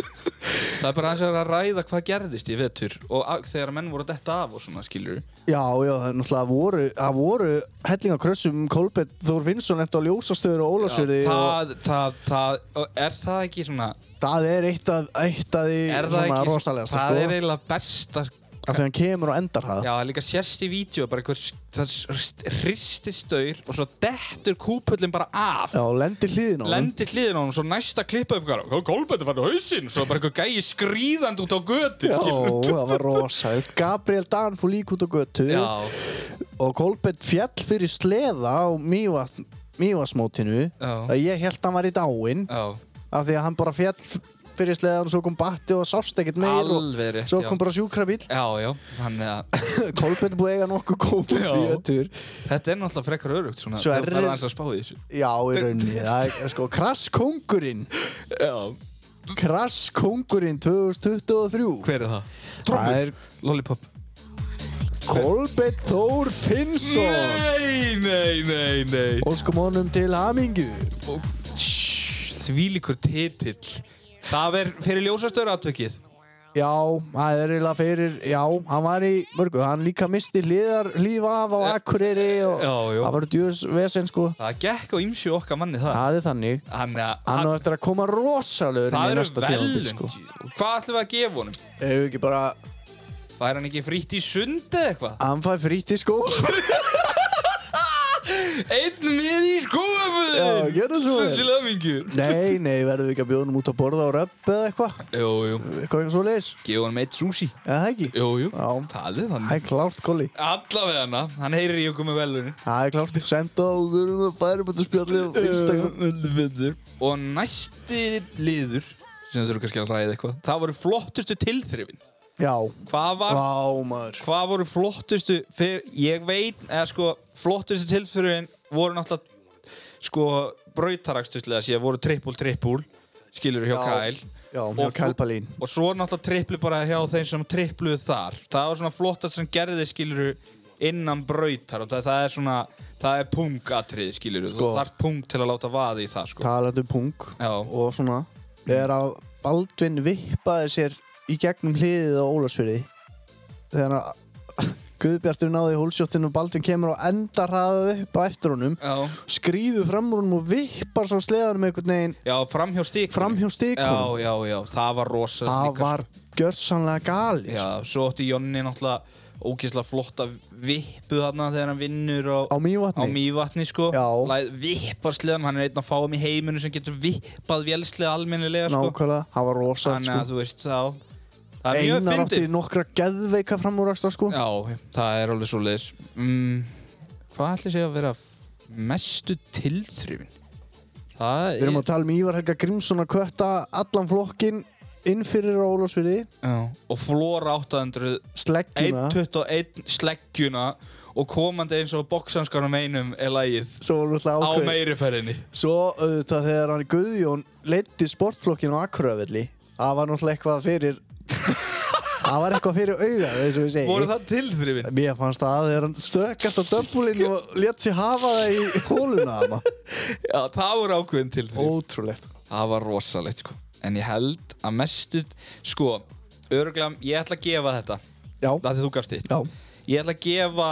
það er bara aðeins að ræða hvað gerðist í vetur og að, þegar menn voru detta af og svona skilur
Já, já, það er náttúrulega voru, það voru hellingakrössum Kolbett Þór Vinsson eftir á ljósastöður og ólasöði og
það, það, það, og er það ekki svona,
það er eitt af, eitt af því
er það
svona
ekki,
rosalegast
það er
sko,
eiginlega besta
af því hann kemur og endar það
Já, það er líka sérst í vídeo bara einhver hrististaur og svo dettur kúpullin bara af
Já, og lendir hliðin á hann
lendir hliðin á hann og svo næsta klippa upp hvað, Kolbætti fann á hausinn svo bara eitthvað gæi skríðandi út á götu
Já,
skilur.
það var rosalegt Gabriel Dan fór lík út á götu
Já,
og Kolbett fjall fyrir sleða á Mývatn- Mývatnsmótinu
Já.
að ég held hann var í dáin
já,
af því að hann bara fjall f- fyrir sleðan svo kom batti og sást ekkert meir
Alveg
og
rétt,
svo
já.
kom bara sjúkrabíl
já, já þannig að
Kolbjörn er búið að eiga nokkuð kópa
Já.
í öttur
þetta er náttúrulega frekar örugt svona,
Svo
þegar
er-
þú ferð aðeins að spá í þessu
já í rauninni það er sko krasskongurinn
Já,
krasskongurinn 2023
hver er það?
það er
Lollipop
Kolbjörn Þór Finnsson
Nei, nei, nei, nei
óskum honum til hamingu
og þvílíkur titill Það er fyrir ljósastöru atvikið
já það er eiginlega fyrir já hann var í mörgu hann líka misti hliðar líf af á Akureyri og
Já, já.
það var djurs vesen sko
Það gekk á ymsu okkar manni það
það er þannig
Hann,
Hann á
hann,
eftir að koma rosalegur
það
inn í
eru
næsta tímabil
velund
sko.
Hvað ætlum við að gefa honum?
Hefur ekki bara
Fær hann ekki frítt í sund eða eitthvað?
Hann fæ frýtt í skó
Einn mið í skóaföðin!
Já, gerðu svo vel.
Til ömingu
Nei, nei, verðum við ekki að bjóða hann út að borða á röpp eða eitthvað
Jú, jú
Eitthvað svo leis
Gefa honum eitt sushi
Eða það ekki
Jú, jú
Já.
Það er
Það
þannig
er klárt, Kolli
Allavega hana Hann heyrir í okkur með velunin
Það er klárt Senda á okkur og færum þetta spjalli á Instagram
Instagram Og næsti liður sem þurfum kannski að ræða eitthvað Það voru flottustu tilþrifin
Já
Hvað var
Vá, maður
hvað voru flottustu fyrir, ég veit, eða sko flottustu tilfyririnn voru náttúrulega sko brautaraksturslega sé voru trippul trippul skilur hjá
Já.
Kyle
Já,
Og
hjá
fl-
Kyle Palin.
og svo náttúrulega tripplu bara hjá þeim sem trippluðu þar það var svona flottast sem gerði skilur innan brautar og það, það er svona það er pungatrið skilur þú
Sko.
þarf punkt til að láta vaði í það sko
Talandi um punk
Já.
Og svona Þegar að Baldvin vippaði sér í gegnum hliðið á Ólafsfyrði Þegar að Guðbjartur náði hólsjóttinu og Baldvin kemur og endar hraðu upp á eftir honum
já,
skrýðu fram úr honum og vippar svo sleðanum einhvern veginn
já framhjá stík
Framhjá stikunum.
já, já, já, það var rosa
það
líka, sko.
var sko, gjörsanlega gali
Já, svo átti Jonni náttúrulega ógeðslega flotta vippu þarna þegar hann vinnur á,
Á Mývatni?
á Mývatni, sko.
Já.
Læð, vippar sleðan, hann er einn af fáum í heiminu sem getur vippað vélslega almennilega sko.
nákvæmlega, það var rosalegt
Þannig að
sko.
þú veist þá Það er mjög
einar átti
fyndið
nokkra geðveika framúræksla sko.
Já, það er alveg svo leiðis mm, Hvað ætli sé að vera mestu tilþrifin? Það
við erum að tala um Ívar Helga Grímsson að kötta allan flokkin inn fyrir Ólafsviði
Já, og Flóra 800
sleggjuna,
1.21 sleggjuna og komandi eins og boksanskarum einum er lagið
svo var náttúrulega
á
ákveð
meiri ferðinni
svo auðvitað þegar hann Guðjón leiddi sportflokkin á Akuröfelli það var náttúrulega eitthvað fyrir það var eitthvað fyrir auga eins og við segjum
voru það tilþrifin
Mér fannst það að þegar hann stökkast á dömbulinn og létt sér hafa það í hóluna hana.
já, það voru ákveðin tilþrif
Ótrúlegt.
það var rosalegt sko en ég held að mestu sko, örgulega, ég ætla að gefa þetta
Já,
það því þú gafst þitt
já.
ég ætla að gefa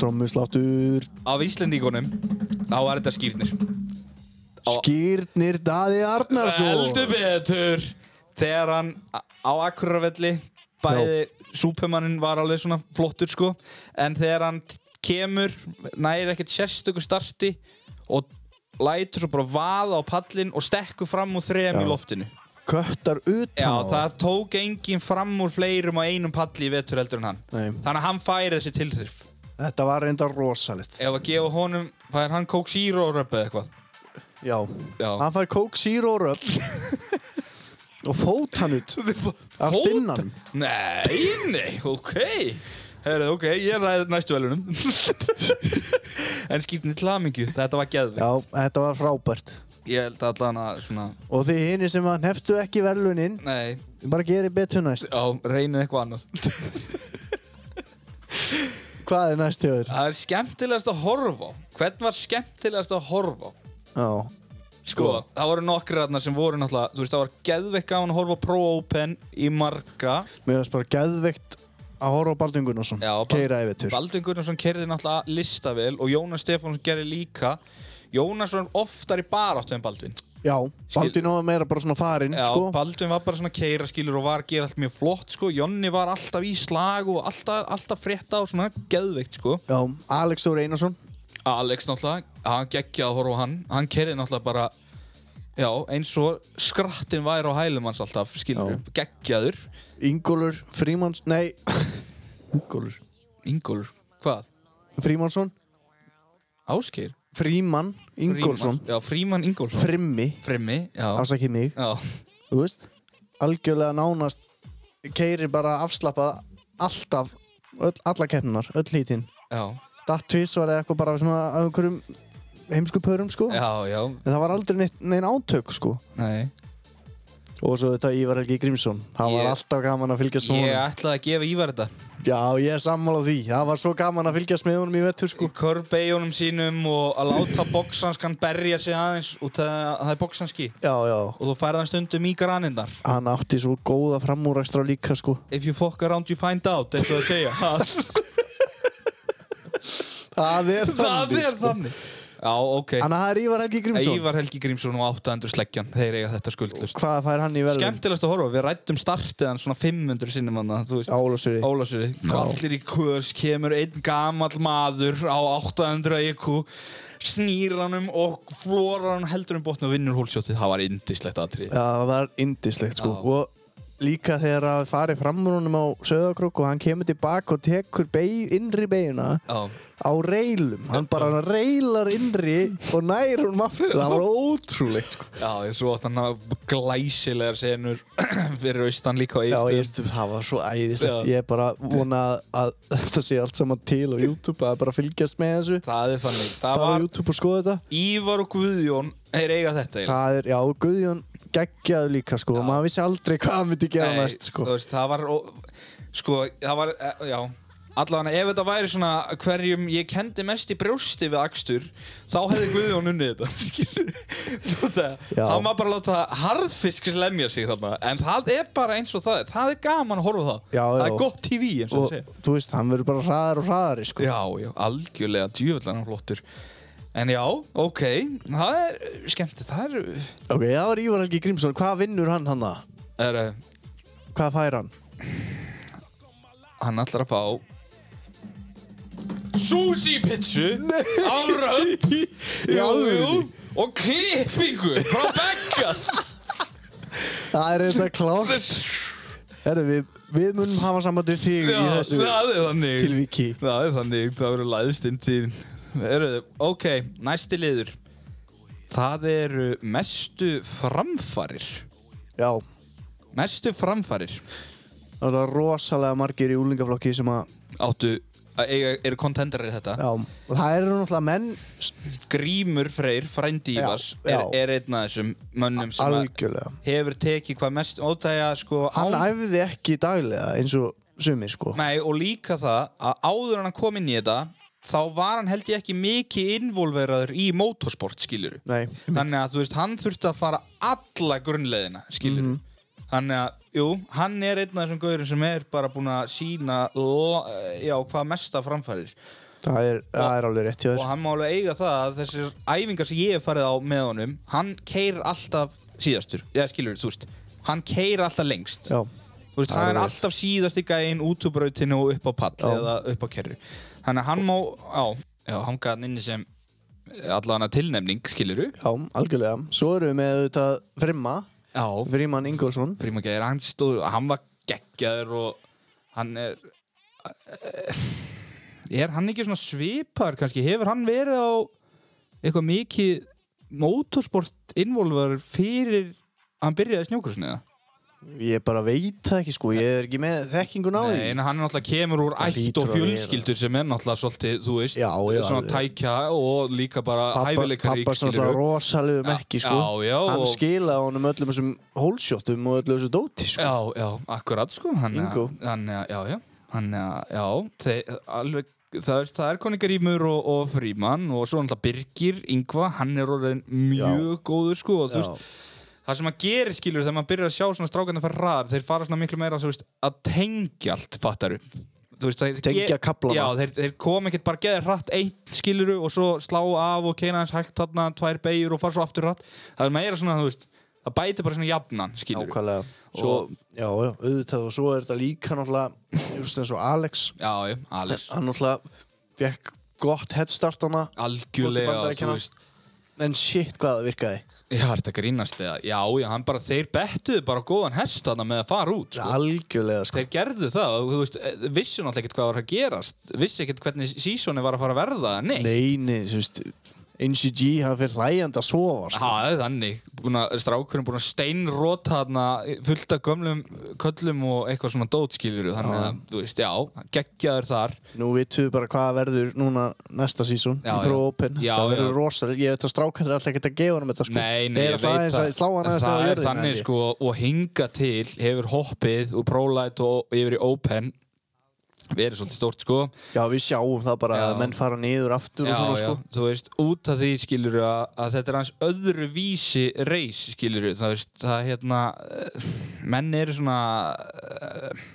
Drömmusláttur,
af Íslendingunum þá er þetta skýrnir Á-
skýrnir Daði Arnarsson.
heldur betur þegar hann á- á Akureyravelli bæði Supermanin var alveg svona flottur sko en þegar hann t- kemur næri ekkert sérstöku starti og lætur svo bara vaða á pallin og stekkur fram úr þrem í
Já.
loftinu
Köttar
Já,
utan á.
það tók enginn fram úr fleirum á einum palli í vetur heldur en hann
Nei.
þannig að hann færi þessi tilþrif
Þetta var reyndar rosalegt.
ef að gefa honum, fær hann kók síróra eða eitthvað
Já.
Já.
Hann fær Coke Zero Rub og fót hann út af stinnanum
Nei, nei, ok Herra, ok, ég ræði næstu velunum En skýtni tlamingju, þetta var geðvig
já, þetta var frábært
Ég held allan að svona
og þið hini sem að neftu ekki verðlunin
Nei,
bara gerir betur næst
á, reynið eitthvað annað
hvað er næst hjá þér?
Það er skemmtilegast að horfa á Hvern var skemmtilegast að horfa á?
já,
Sko, það voru nokkri þarna sem voru náttúrulega Þú veist, það var geðvig gaman að horfa á Pro Open í marga
mér finnst bara geðveikt að horfa á Baldur Gunnarsson
Já, Bal-
keira yfir tur
Baldur Gunnarsson kerði náttúrulega listavel og Jónas Stefánsson gerði líka Jónas var oftar í baráttu en Baldvin
já, Baldur náða meira bara svona farinn
Já,
sko.
Baldvin var bara svona keira skilur og var að gera allt mjög flott sko Jonni var alltaf í slag og alltaf, alltaf frétta og svona geðveikt sko
já, Alex Þóri Einarsson
Alex náttúrulega, hann geggjaði að horfa á hann Hann kerði náttúrulega bara Já, eins og skrattin væri á hælum hans alltaf, skilur Geggjaður
Ingólur Frímanns, nei Ingólur
Ingólfur, hvað?
Frímannsson
Ásgeir?
Frímann Ingólfsson
Frímann- Já, Fríman Ingólfsson
Frimmi,
Frimmi, já
afsakið mig
Já,
þú veist, algjörlega nánast keiri bara afslappað alltaf, öll, alla keppnunar öll hítinn
já
datt tvís var eitthvað bara svona af einhverjum heimsku pörum sko
Já, já,
en það var aldrei neitt, neinn átök sko
nei
og svo þetta Ívar Helgi Grímsson það
Ég-
var alltaf gaman að fylgjast með
Ég
honum
ætlaði að gefa Ívar þetta
já ég er sammála því, það var svo gaman að fylgjast með honum í vettur sko
Körbeigjónum sínum og að láta boksanskan berja sig aðeins út af að það er boksanski
já já,
og þú færðan stundum í granindar
hann átti svo góða framúrækstra líka sko
If you fuck around you find out, eins og það segja
það er
Það
þannig
er
sko.
þannig Já, ok
þannig að það er Ívar Helgi Grímsson
Ívar Helgi Grímsson og 800 sleggjan Þeir eiga þetta skuldlust
hvað fær hann í velum?
Skemmtilegast að horfa, við rættum startiðan svona 500 sinnum hann Þú veist,
Álasuri
Ólasöri, allir í kurs kemur einn gamall maður á 800 IQ snýr honum og flórar hann heldur um botna og vinnur hólsjótið það var indislegt aðtrið
Já, það var indislegt sko
Já.
og líka þegar að farið fram úr honum á Söðakrók og hann kemur tilbaka og tekur bey, innri beina
Já.
á reilum, hann bara reilar innri og nær hún aftur það var ótrúlegt sko
Já, ég svo átt hann að glæsilegar senur fyrir austan líka
Já,
á
ég
Egilsstöðum.
veist, það var svo æðislegt
Já.
Ég er bara vona að þetta sé allt saman til á YouTube að bara fylgjast með þessu
Það er þannig
bara
Það
á
var
YouTube og skoða þetta
Ívar og Guðjón þeir eiga þetta eiginlega.
Það er, já, Guðjón geggjaðu líka sko og maður vissi aldrei hvað hann myndi gera
Nei,
næst sko
þú veist, Það var ó- Sko, það var eh, Já Allavega, ef þetta væri svona hverjum ég kendi mest í brjósti við Akstur, þá hefði Guðjón unnið þetta, skilur. Þetta,
Já.
hann var bara að láta harðfisk lemja sig þarna, en það er bara eins og það er. Það er gaman að horfa á það.
Já,
það
já.
er gott TV, eins og
og
það segja.
þú veist, hann verður bara hraðar og hraðari sko
Já, já, algjörlega, djúvillan hann flottur. En já, ok, það er skemmt, það er,
Ok, það var Ívar Helgi Grímsson, hvað vinnur hann hann það?
er eh,
Hvað fær hann?
hann ætlar að fá Sushi pizzu á rönd Jú, jú
alvörunni?
og klippingu frá Becca
Það er þetta klátt Herru, við, við munum hafa samband við þig í
Já,
þessu
það er þannig
tilviki
það er þannig, það eru læðist inn til Eru, ok, næsti liður það eru mestu framfarir
Já,
mestu framfarir
það var rosalega margir í úlingaflokki sem að
áttu að eiga- eru kontendarir í þetta
Já, og það eru náttúrulega menn s-
Grímur Freyr, frændi Ívars
Já,
er,
já.
er einn af þessum mönnum sem að-
algjörlega
hefur tekið hvað mest ótægja sko
Hann
án-
æfði ekki daglega eins og sumir sko
Nei, og líka það að áður en hann kom inn í þetta þá var hann held ég ekki mikið involveraður í motorsport, skilur
Nei,
Þannig að þú veist, hann þurfti að fara alla grunnleðina, skilur
Mhm.
Þannig að, jú, hann er einn af þessum gauðurum sem er bara búin að sína já, hvað mesta framfærir
það er, það er alveg rétt hjá
og
þér
hann má alveg eiga það að þessir æfingar sem ég hef farið á með honum hann keyrir alltaf síðastur eða skilur þú veist, hann keyrir alltaf lengst
Já,
Þú
Það
veist, hann
er
er
rétt.
alltaf síðast í gæinn út úr brautinu og upp á pall
Já.
eða upp á kerru. Þannig að hann má, já, já hann gaf hann inni sem allan að tilnefning, skilur
já, algjörlega Svo erum við með þetta Frimma
Já.
Frimman Ingolson
Frímageir, hann stóð, hann var geggjaður og hann er, eh, er hann ekki svona svipar kannski? Hefur hann verið á eitthvað mikið mótorsport involver fyrir að hann byrjaði snjókursniða?
Ég bara veit það ekki sko, ég er ekki með þekkingun á því
Nei, en hann er náttúrulega kemur úr
Það
ætt
hlýtur
og
að
fjölskyldur sem er náttúrulega svolítið, þú veist,
Já, já,
svona
alveg.
tækja og líka bara hæfileikar
pappa sem alltaf rosalegu
Já,
mekki sko
já, já,
Hann
og-
skilaði honum öllum þessum hólsjóttum og öllu þessu dóti sko
Já, já, akkurat sko hann,
Bingo.
hann, já, já hann, já, þeir, alveg það er, það er koningarímur og, og frímann og svo náttúrulega Birgir, Ingva hann er orðin mjög góður sko og þú
Já,
veist, það sem að gera skilur þegar maður byrjar að sjá svona strákarna fara ræðar þeir fara svona miklu meira þú veist, að tengja allt fattaru veist, þeir
Tengja
ge-
kaflana.
já, þeir, þeir kom ekkert bara geða hratt eitt skiluru og svo slá af og keina hans hægt þarna tvær beigur og fara svo aftur hratt það er meira svona þú veist það bæti bara svona jafnan skiluru
nákvæmlega Svo, já, já, auðvitað og svo er þetta líka náttúrulega Just eins og Alex
já, já, Alex
Hann náttúrulega fekk gott headstart hana
algjörlega
Fótbolti Bandaríkjanna.
þú veist
En shit hvað það virkaði
já, er þetta grínast eða já, já, hann bara, þeir bettuðu bara góðan hest þarna með að fara út sko.
Algjörlega sko
þeir gerðu það, og þú veist eh, vissu náttúrulega ekkert hvað var að gerast vissu ekkert hvernig sísoni var að fara að verða nei,
Nei, nei, þú veist NCG, hann fyrir hlæjandi að sofa sko.
það er þannig búin að, strákurinn búin að steinróta þarna eh, fullt af gömlum köllum og eitthvað svona dótskilur þannig að, þú veist, já, geggjaður þar
Nú vitum við bara hvað verður núna næsta sísón í
Já, já.
Pro Open.
Já,
það verður
já.
rosal. Ég veit að strákar er alltaf ekkert að gefa hann þetta sko.
Nei, nei,
Þeir
ég
ætla
veit
aðeins að slá hann aðeins
það
niður á
er
jörðina,
þannig
held ég.
sko og hinga til hefur hoppið úr prólæt og yfir í open verið svolítið stórt sko
Já, við sjáum það bara
Já.
að menn fara niður aftur
já,
og svona sko.
já, þú veist, út af því skilur að, að þetta er hans öðru vísi reis skilur það veist, það hérna eh, menn eru svona eh,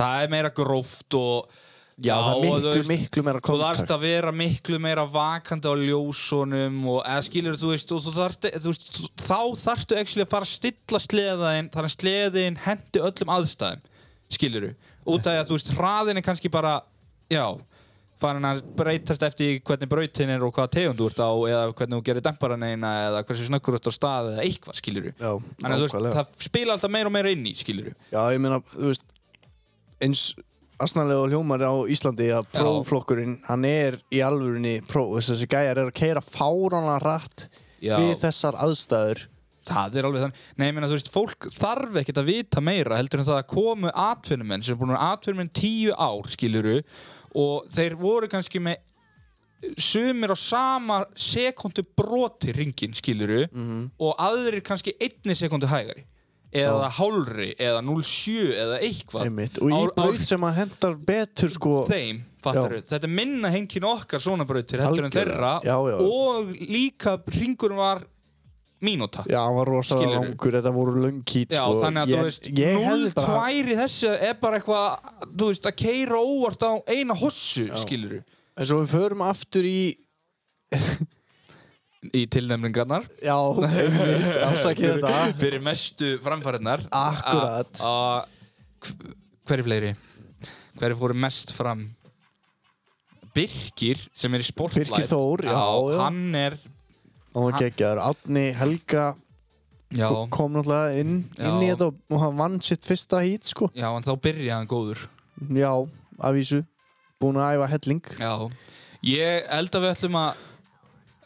það er meira gróft og
Já, það er
og þú
miklu, miklu meira
Þú þarfst
kontakt.
að vera miklu meira vakandi á ljósunum og eða skilur þú veist, og þú þarft, þú veist þú- þá þarftu actually að fara að stilla sleðaðin þannig að sleðin hendi öllum aðstæðum skilur út af því að þú veist hraðin er kannski bara já, farin að breytast eftir hvernig brautin er og hvaða tegund þú ert á eða hvernig þú gerir demparan eina eða hversu snöggur þú ert á stað eða eitthvað skilur
Já,
þannig að þú veist,
nákvæmlega.
það spila alltaf meira og meira inn í skilur
Já, ég meina, þú veist, eins asnalega hljómar á Íslandi að
Já.
próflokkurinn, hann er í alvörunni pró. Þessi gæjar er að keira fárana rætt
Já.
við þessar aðstæður.
Það er alveg þannig. Nei, ég meina, þú veist, fólk þarf ekkert að vita meira heldur en það að komu atvinnumenn sem er búin að vera atvinnumenn tíu ár, skiluru, og þeir voru kannski með sumir á sama sekundu broti ringin, skiluru,
Mhm.
og aðrir kannski einni sekundu hægari eða hálri, eða 0,7 eða eitthvað
Einmitt. Og í
Ár- ár-
braut sem að hendar betur sko
þeim, fattar við, þetta er minna henkin okkar svona brautir heldur en þeirra
Algjörlega. Já, já.
og líka ringur var mínúta
Já, hann var rosalega
Skilurðu?
langur, þetta voru löng kýt
Já,
sko.
þannig að
ég,
þú veist,
ég hefði
0-2
bara,
í þessu er bara eitthvað, þú veist, að keira óvart á eina hossu, skilur
En svo við förum aftur í
Í tilnefningarnar,
Já, einmitt, afsakið þetta
fyrir mestu framfæriðnar.
Akkúrat.
A- a- hv- Hver er fleiri? Hver er fóru mest fram? Birkir, sem er í Sportlight.
Birkir Þór, já, já.
Hann er,
Og hann geggjaður, Átni Helga
já,
kom náttúrulega inn, inn í
Já.
þetta og- og hann vann sitt fyrsta hít sko
já, en þá byrjaði hann góður.
Já, að vísu, búin að æfa helling
Já. Ég held að við ætlum að,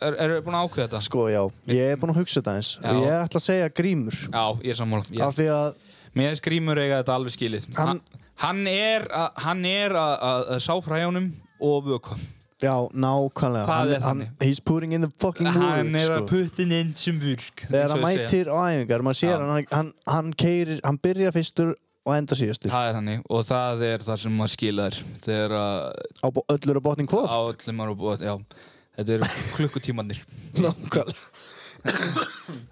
er, erum við búin að ákveða þetta?
Sko, já, ég er búin að hugsa þetta eins
Já.
Og ég ætla að segja grímur
Já, ég er sammála. Ég-
Af því að
Mér finnst Grímur eiga þetta alveg skilið Hann,
Hann-
hann er, að- hann er að, að, að sá fræjónum og vöku
Já, nákvæmlega
Það
hann,
er
hann,
þannig.
He's putting in the fucking
Hann
work
er að
sko.
puttin inn sem vörk
Þegar hann mætir á æfingar, maður sér
Já.
hann, hann, hann keirir, hann byrjar fyrstur og enda síðastur
Það er þannig og það er það sem maður skilar Þegar að
á bo- öllur og botning
á
kvot.
öllum að búa Já, þetta eru klukkutímanir
Nákvæmlega.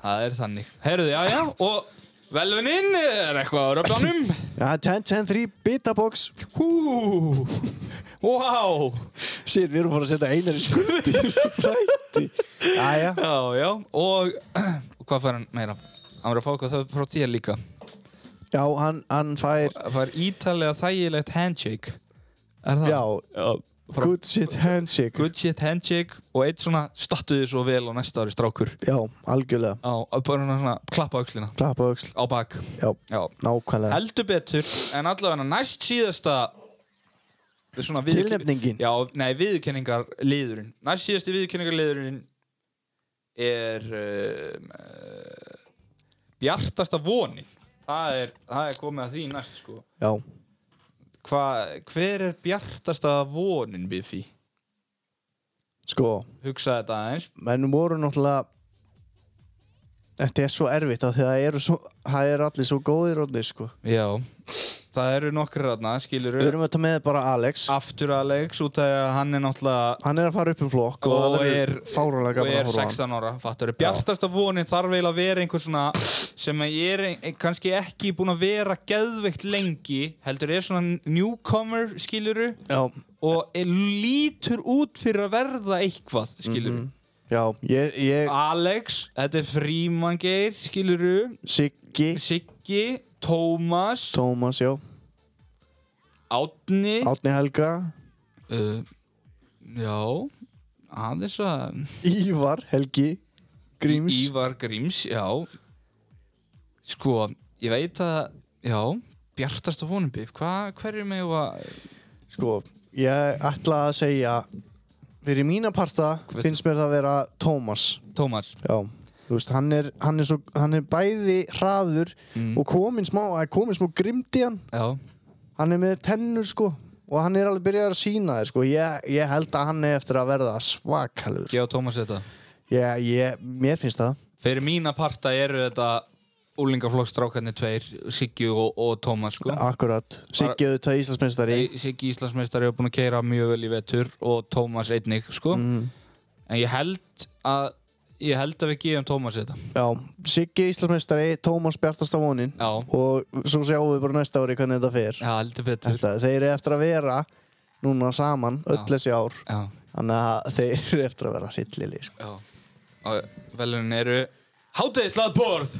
Það er þannig Herðu, já, já Og velvinin er eitthvað á röflanum
Ja, 10-10-3 bitabox.
Hú Wow
Shit, við erum bara að setja einar í skuldi. Þætti. Jæja.
Já, já Og hvað fær hann meira? Hann verður að fá eitthvað það frá þér líka
Já, hann, hann fær,
Það var ítalega þægilegt handshake Er það?
já,
frá, good.
good shit handshake.
shit handshake og eitt svona stattu þið svo vel á næsta ári strákur
Já, algjörlega.
á, á bara svona, svona klappa á öxlina
Klapp á öxl.
á bak
Já,
Já.
nákvæmlega.
heldur betur en allavega næst síðasta þetta er svona viðurken-
Tilnefningin.
Já, nei, viðurkenningar liðurinn Næst síðasti viðurkenningar liðurinn er um, uh, eh, Bjartasta vonin það er, það er komið að því næst sko.
Já,
Hva, hver er bjartasta vonin Biffi?
sko
hugsaði þetta aðeins
menn voru náttúrulega Þetta er svo erfitt af því að það eru svo, það eru allir svo góðir orðnir sko.
já, það eru nokkur þarna skilur
Við erum þetta með bara Alex
aftur að leiks út af því að hann er náttúrulega
Hann er að fara upp um flokk og, það
og er,
verður fáralega
og
gaman að
er
horfa á hann
16 ára fattur. bjartasta vonin þarf eiginlega að vera einhver svona sem að er ein- kannski ekki búin að vera geðveikt lengi heldur er svona newcomer skiluru
Já,
og er, lítur út fyrir að verða eitthvað skiluru
Mhm. já, ég, ég
Alex, þetta er Frímangeir skiluru,
Siggi,
Siggi Tómas,
Tómas, já
Átni
Átni Helga,
Uh, já, aðeins að
Ívar, Helgi Gríms,
Ívar Gríms, já. Sko, ég veit að, já, Bjartast og Vonubif, hvað, hverju með að,
sko Ég ætla að segja fyrir mína parta
Hvað-
finnst mér það að vera Tómas
Tómas,
Já, þú veist, hann er, hann er, svo, hann er bæði hraður
Mm.
og komin smá, það er komin smá grimmt í hann
já,
hann er með tennur sko og hann er alveg byrjað að sína þér sko ég, ég held að hann er eftir að verða svakalur sko.
ég og Tómas þetta.
ég, ég, mér finnst það
Fyrir mína parta eru þetta úlingaflokkstrákarnir tveir, Siggi og, og Tómas, sko.
akkurat, Siggi auðvitað Íslandsmeistari
Nei, Siggi Íslandsmeistari hefur búin að keira mjög vel í vetur og Tómas einnig, sko.
Mm.
En ég held að, ég held að við gefum Tómas þetta.
já, Siggi Íslandsmeistari, Tómas Bjartasta vonin
Já.
og svo sjáum við bara næsta ári hvernig þetta fer
Já, heldur betur.
þetta, þeir eru eftir að vera núna saman öll
Já.
þessi ár
Já.
þannig að þeir eru eftir að vera hryllili sko.
Já. Og velunin eru Hátegislaðborð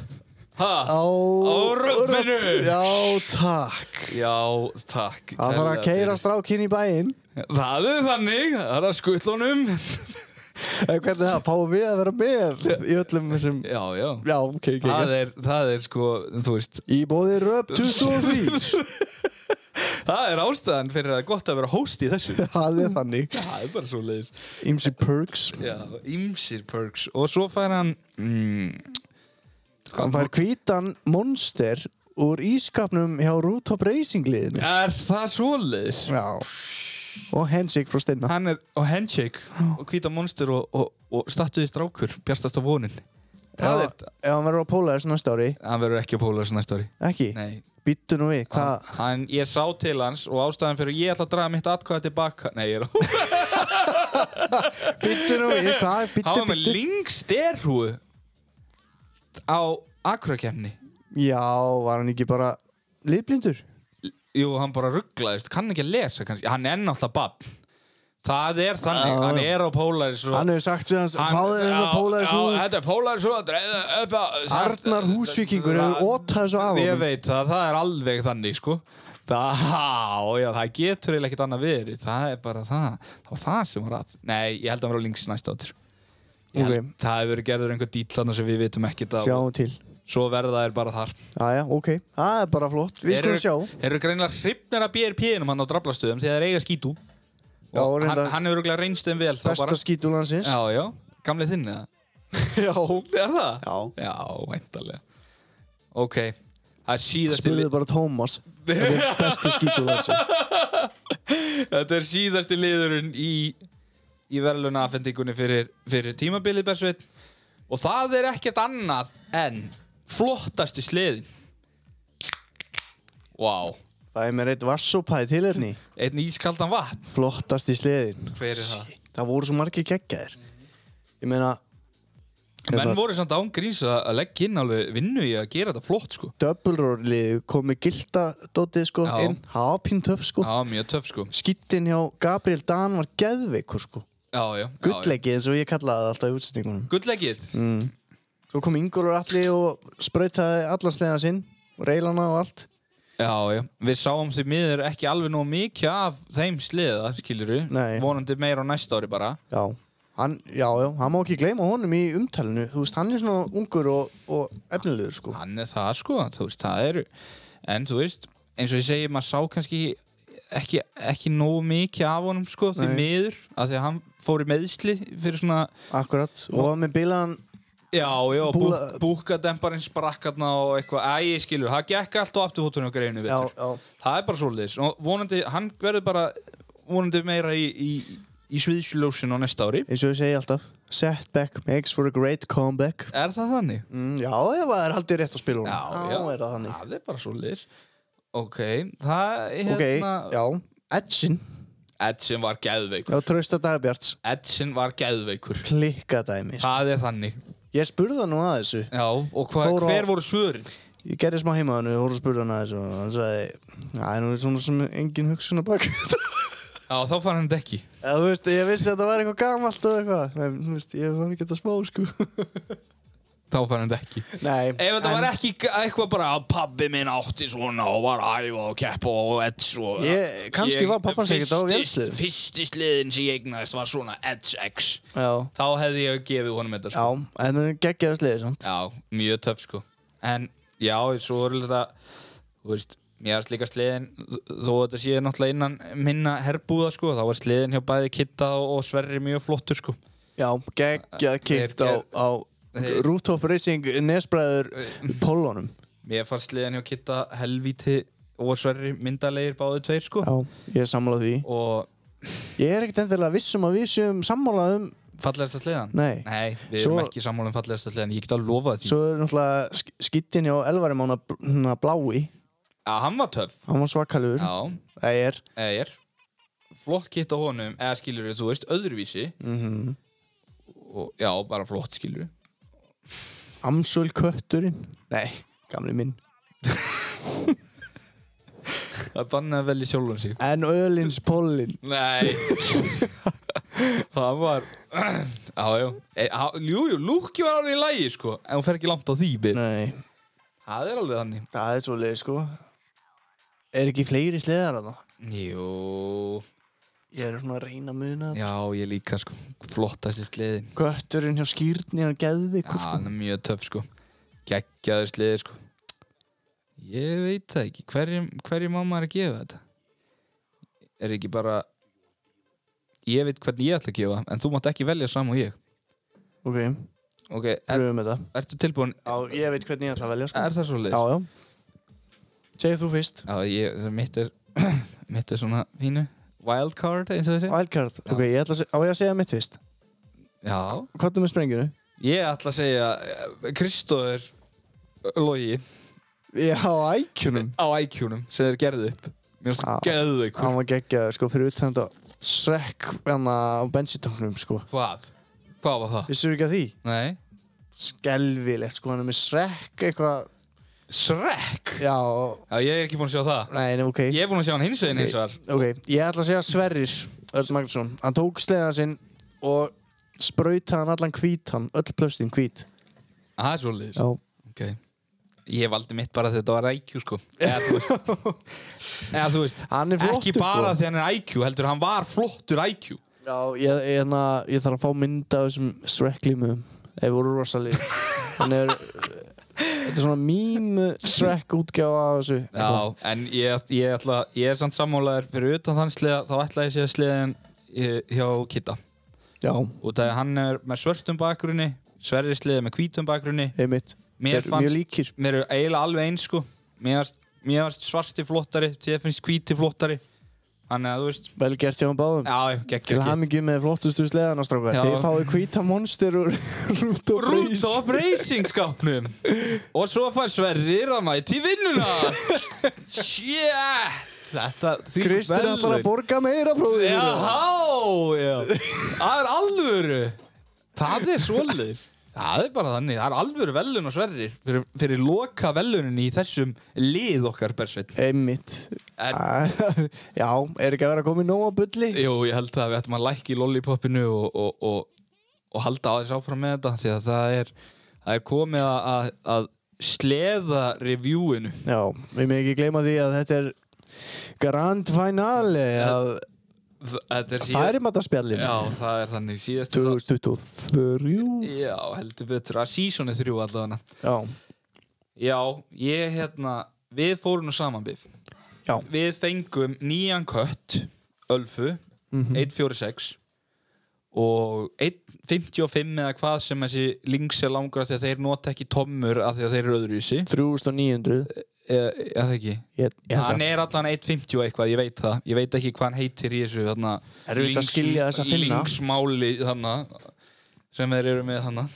Ha?
á
Á röddinu.
rödd- já, takk
Já, takk
Það þarf að
kærlega
keira
fyrir.
strákinn í bæinn
Það er þannig, það er að skuttlónum
En hvernig það, fáum við að vera með í öllum þessum
Já, já
Já, ok, ok,
Það
ok
er, það er sko, þú veist
Í bóði röp 23
Það er ástæðan fyrir að gott að vera hóst í þessu
Það er þannig
Það er bara svo leiðis
Ímsi perks
Já, ymsir perks Og svo fær hann mm,
Hann fær hvítan monster úr ískapnum hjá Rooftop Racing liðinu
Er það svo leiðis?
Já Og handshake frá Steina
Hann er á handshake og hvíta monster og, og, og statuði strákur Bjartast á vonin Það
Ef
er,
ef hann verður á Polaris næsta ári
hann verður ekki að póla þessu næsta ári
Ekki?
Nei,
Býttu nú við, hvað?
hann, ég sá til hans og ástæðan fyrir ég ætla að draga mitt atkvæða tilbaka Nei, ég er á
Býttu nú við, hvað?
Hann
Býttu,
var með
býttu
lyngsterhúu á akkurakefni
Já, var hann ekki bara liðblindur?
Jú, hann bara rugglaðist, kann ekki að lesa kannski Hann er náttúrulega bann Það er þannig,
Já,
hann
já.
er á Polaris og
Hann hefur sagt sem hans, fáðu þér hérna
já,
Polaris
já,
út
Þetta er Polaris og dreifðu upp á
Arnar Húsvíkingur hefur ótað þessu af
Ég
honum.
veit það, það er alveg þannig sko Það, já, já, það getur eiginlega ekkert annað verið Það er bara það, það var það sem var að Nei, ég held að hann var á links næst áttur
Ok.
okay. Það hefur verið gerður einhver dýll þarna sem við vitum ekkert af
Sjáum til
Svo verða þær bara þar
Jæja, ok, það er bara flott Við skulum sjá
Eru greinilega hrifnir að BRP-num hann á draflastöðum Þegar þeir eiga skítu
Já,
Og hann,
reynda
hann hefur örugglega reynst þeim vel þá
besta
bara-
skítur landsins
Já, já, gamli þinn eða
Já,
Er það?
Já.
Já, væntalega Ok, það er síðasti
Spurðu
lið
bara Tómas Þetta er besta skítur landsins
Þetta er síðasti liðurinn í í verðluna afhendingunni fyrir, fyrir tímabilið Bersveit og það er ekkert annað en flottasti sliðin Vá, wow.
Það er mér eitt vassopæði til hérni
einn ískaldan vatn
Flottast í sleðin
Hver er það?
Það voru svo margir geggjaðir Ég meina
Menn
hérna,
voru samt ángríns að að leggja inn alveg vinnu í að gera þetta flott sko
Double Roar liðið kom með gilda dótið sko
Já.
inn Það var pín töf sko
Já, mjög töff sko
Skittin hjá Gabriel Dan var geðveikur sko
Já, já já, já.
Gullleggið eins og ég kallaði það alltaf í útsetningunum
Gullleggið
Mm. Svo kom Ingólfur Alli og sprautaði allan sleðan sinn Reilana og allt
Já, já, við sáum því miður ekki alveg nóg mikið af þeim sliða, skilur við
Nei.
Vonandi meira á næsta ári bara
Já, hann, já, já, hann má ekki gleyma honum í umtalinu Þú veist, hann er svona ungur og, og efnilegur sko
Hann er það sko, þú veist, það eru En þú veist, eins og ég segi, maður sá kannski ekki, ekki nóg mikið af honum sko, því
Nei.
miður af Því að hann fór í meðsli fyrir svona
Akkurat, og hann með bilaðan
Já, já,
Búla-
bú- búkademparinn sprakkarna og eitthvað Æ, ég skilur, það gekk allt á afturfótunum og greinu
Já,
vittur
já.
Það er bara svoleiðis og vonandi, hann verður bara vonandi meira í, í, í sviðsljósin á næsta ári
eins og ég segi alltaf setback makes for a great comeback
Er það þannig?
mm, já, ef það er haldið rétt á spilunum er það þannig
Það er bara svoleiðis Ok, það er
ok,
hérna
já, Edson
Edson var geðveikur
já, trösta dagbjarts
Edson var geðveikur
klikkadæmi sko.
Það er þannig
ég spurði hann nú að þessu
Já, og hva,
Fór á-
hver voru svörin?
ég gerði smá heimaðan og voru að spurði hann að þessu og hann sagði, það er nú svona sem engin hugsun að baka þetta
Já, þá fann hann þetta ekki
Já, þú veist, ég vissi að þetta var eitthvað gamalt og eitthvað, en þú veist, ég fann ekki þetta smá, sko.
Þá fann hann þetta ekki
Nei,
Ef þetta var
en
ekki g- eitthvað bara að pabbi minn átti svona og var að æfa og keppa og eds og
Ég- kannski var pabbi hans ekkert á vélsleðum.
Fyrsti sliðin sem ég eignaðist var svona eds x
Já,
Þá hefði ég gefið honum þetta
já,
sko.
en það er geggjaðu sliðið, sant?
já, mjög töf sko En já, svo er þetta Þú veist, mér er slíka sliðin Þó að þetta sé náttúrulega innan minna herbúða sko Þá var sliðin hjá bæði Kitta og Sverri mjög flottur sko
Já, geggjað kitt á,
Þeir-
á
þeir-
Rooftop Racing nesbræður pólunum.
Mér fannst sliðin hjá Kitta helvíti og Sverri myndalegir báði tveir sko
Já, ég er sammálað því.
Og
Ég er ekkert endilega viss um að við séum sammálað um,
Fallegasta sleðan?
Nei.
við
Svo-
erum ekki sammála um fallegasta sleðan, ég get að lofa því.
svo er náttúrulega sk- skittin hjá Elvarim ána hana blái,
Já, hann var töff.
hann var svakalur,
Já,
það er,
eða ég er. Flott kitt á honum, eða skilur þú veist, öðruvísi.
mhm,
Og, já, bara flott skilur
Amsul kötturinn, nei, gamli minn,
Það bannaði vel í sjálfum sig.
en Ölins Pollin,
Nei. það var... Já, já. E, á, jú, jú, lúki var alveg í lægi, sko. En hún fer ekki langt á því, byrj.
nei,
Það er alveg þannig.
Það er svolítið sko Er ekki fleiri sleðar að það?
Jú,
Ég er svona að reyna að muna
já, ég líka, sko. Flottasti sleðin.
Götturinn hjá skýrni hann geðvikur
Já,
sko
hann er mjög töff sko Gekkjaður sliði sko Ég veit það ekki Hverjum, hverjum á maður að gefa þetta? Er ekki bara Ég veit hvernig ég ætla að gefa En þú mátt ekki velja saman og ég
Ok,
Ok, er,
pröfum þetta
ertu tilbúin?
Já, ég veit hvernig ég ætla að velja sko
Er það svo
Já, já Segðu þú fyrst
Já, ég, það- mitt er Mitt er svona fínu Wildcard eins og þessi
Wildcard, ok, ég ætla að segja Á ég að segja mitt fyrst
Já
Hvað er með sprengjunu?
Ég ætla að segja eh, Kristóður Logi
Já, á ækjunum
Á IQ-num sem þeir gerðu upp Mér finnst
Já.
það geðveikur
Hann var geggjaður sko fyrir utan þetta Srekk hann á bensintanknum sko
Hvað? Hvað var það?
Vissur ekki að því?
Nei
Skelvilegt sko, hann er með srekk eitthvað
Shrek?
Já,
Já, ég er ekki búinn að sjá það.
nei, nei, ok
Ég er búinn að sjá hann hins veginn hins vegar.
Ok, ég ætla að segja Sverrir Örn Magnússon, hann tók sleðan sinn og sprauta hann allan hvítan öll plöstin hvít
Það er svolítið.
Já,
Ok. Ég valdi mitt bara þegar þetta var IQ, sko. Eða þú veist. Eða þú veist.
Hann er flottur,
Ekki bara
sko.
því hann er IQ, heldur hann var flottur IQ.
Já ég, ég, hérna, ég þarf að fá mynda af þessum Shrek-límum Þeir voru rosalíð Hann er Þetta er svona mím Shrek útgjáfa af þessu
Já, en ég, ég ætla, ég er samt sammálaður fyrir utan þann sliða, þá ætla ég sé að sliðin eh, hjá Kitta.
Já,
Út af því að hann er með svörtum bakgrunni, Sverri sliði með hvítum bakgrunni.
einmitt
Mér
Þeir eru
fannst-
Mjög líkir
Mér eru eiginlega alveg eins sko Mér varst, mér varst svarti flottari Þið finnst hvíti flottari Þannig að þú veist
Vel gert hjá hann báðum
Já, já, gekk,
Til
gekk, gekk
hamingju með flottustu sleðana strákar
Já.
Þeir fáið hvíta monster úr Rút og
Rút of Racing skápnum Og svo fær Sverri Ramæti vinnuna Shit Þetta því
Kristinn ætlar að borga meira bróðir
Jaha, já Það er alvöru Það er svolítið Það er bara þannig, það er alvöru velun og sverri fyrir, fyrir loka velunin í þessum lið okkar bersveit
Einmitt
En-
Æ, Já, er ekki að vera að koma í nóga bulli?
Jú, ég held að við ættum að lækka í lollipopinu og, og, og, og halda aðeins áfram með þetta því að það er, það er komið að, að, að sleða reviewinu
Já, við með ekki gleyma því að þetta er Grand Finale af
Þ- Þetta er síðast
færimatarspjallinu
Já, það er þannig síðast
2023
Já, heldur betur að sísoni þrjú allavega
Já,
Já, ég hérna við fórum nú saman bif
já, Mhm.
Við fengum nýjan kött Ölfu 146 og 1.55 eða hvað sem þessi links er langur af því að þeir nota ekki tommur af því að þeir eru öðruvísi
3900
eða eða það ekki
Ég- ég held
hann
að-
er allan 1.50 og eitthvað, ég veit það ég veit ekki hvað hann heitir í þessu þarna,
Erfitt að skilja þessa Finna.
linksmáli þarna, sem þeir eru með þarna,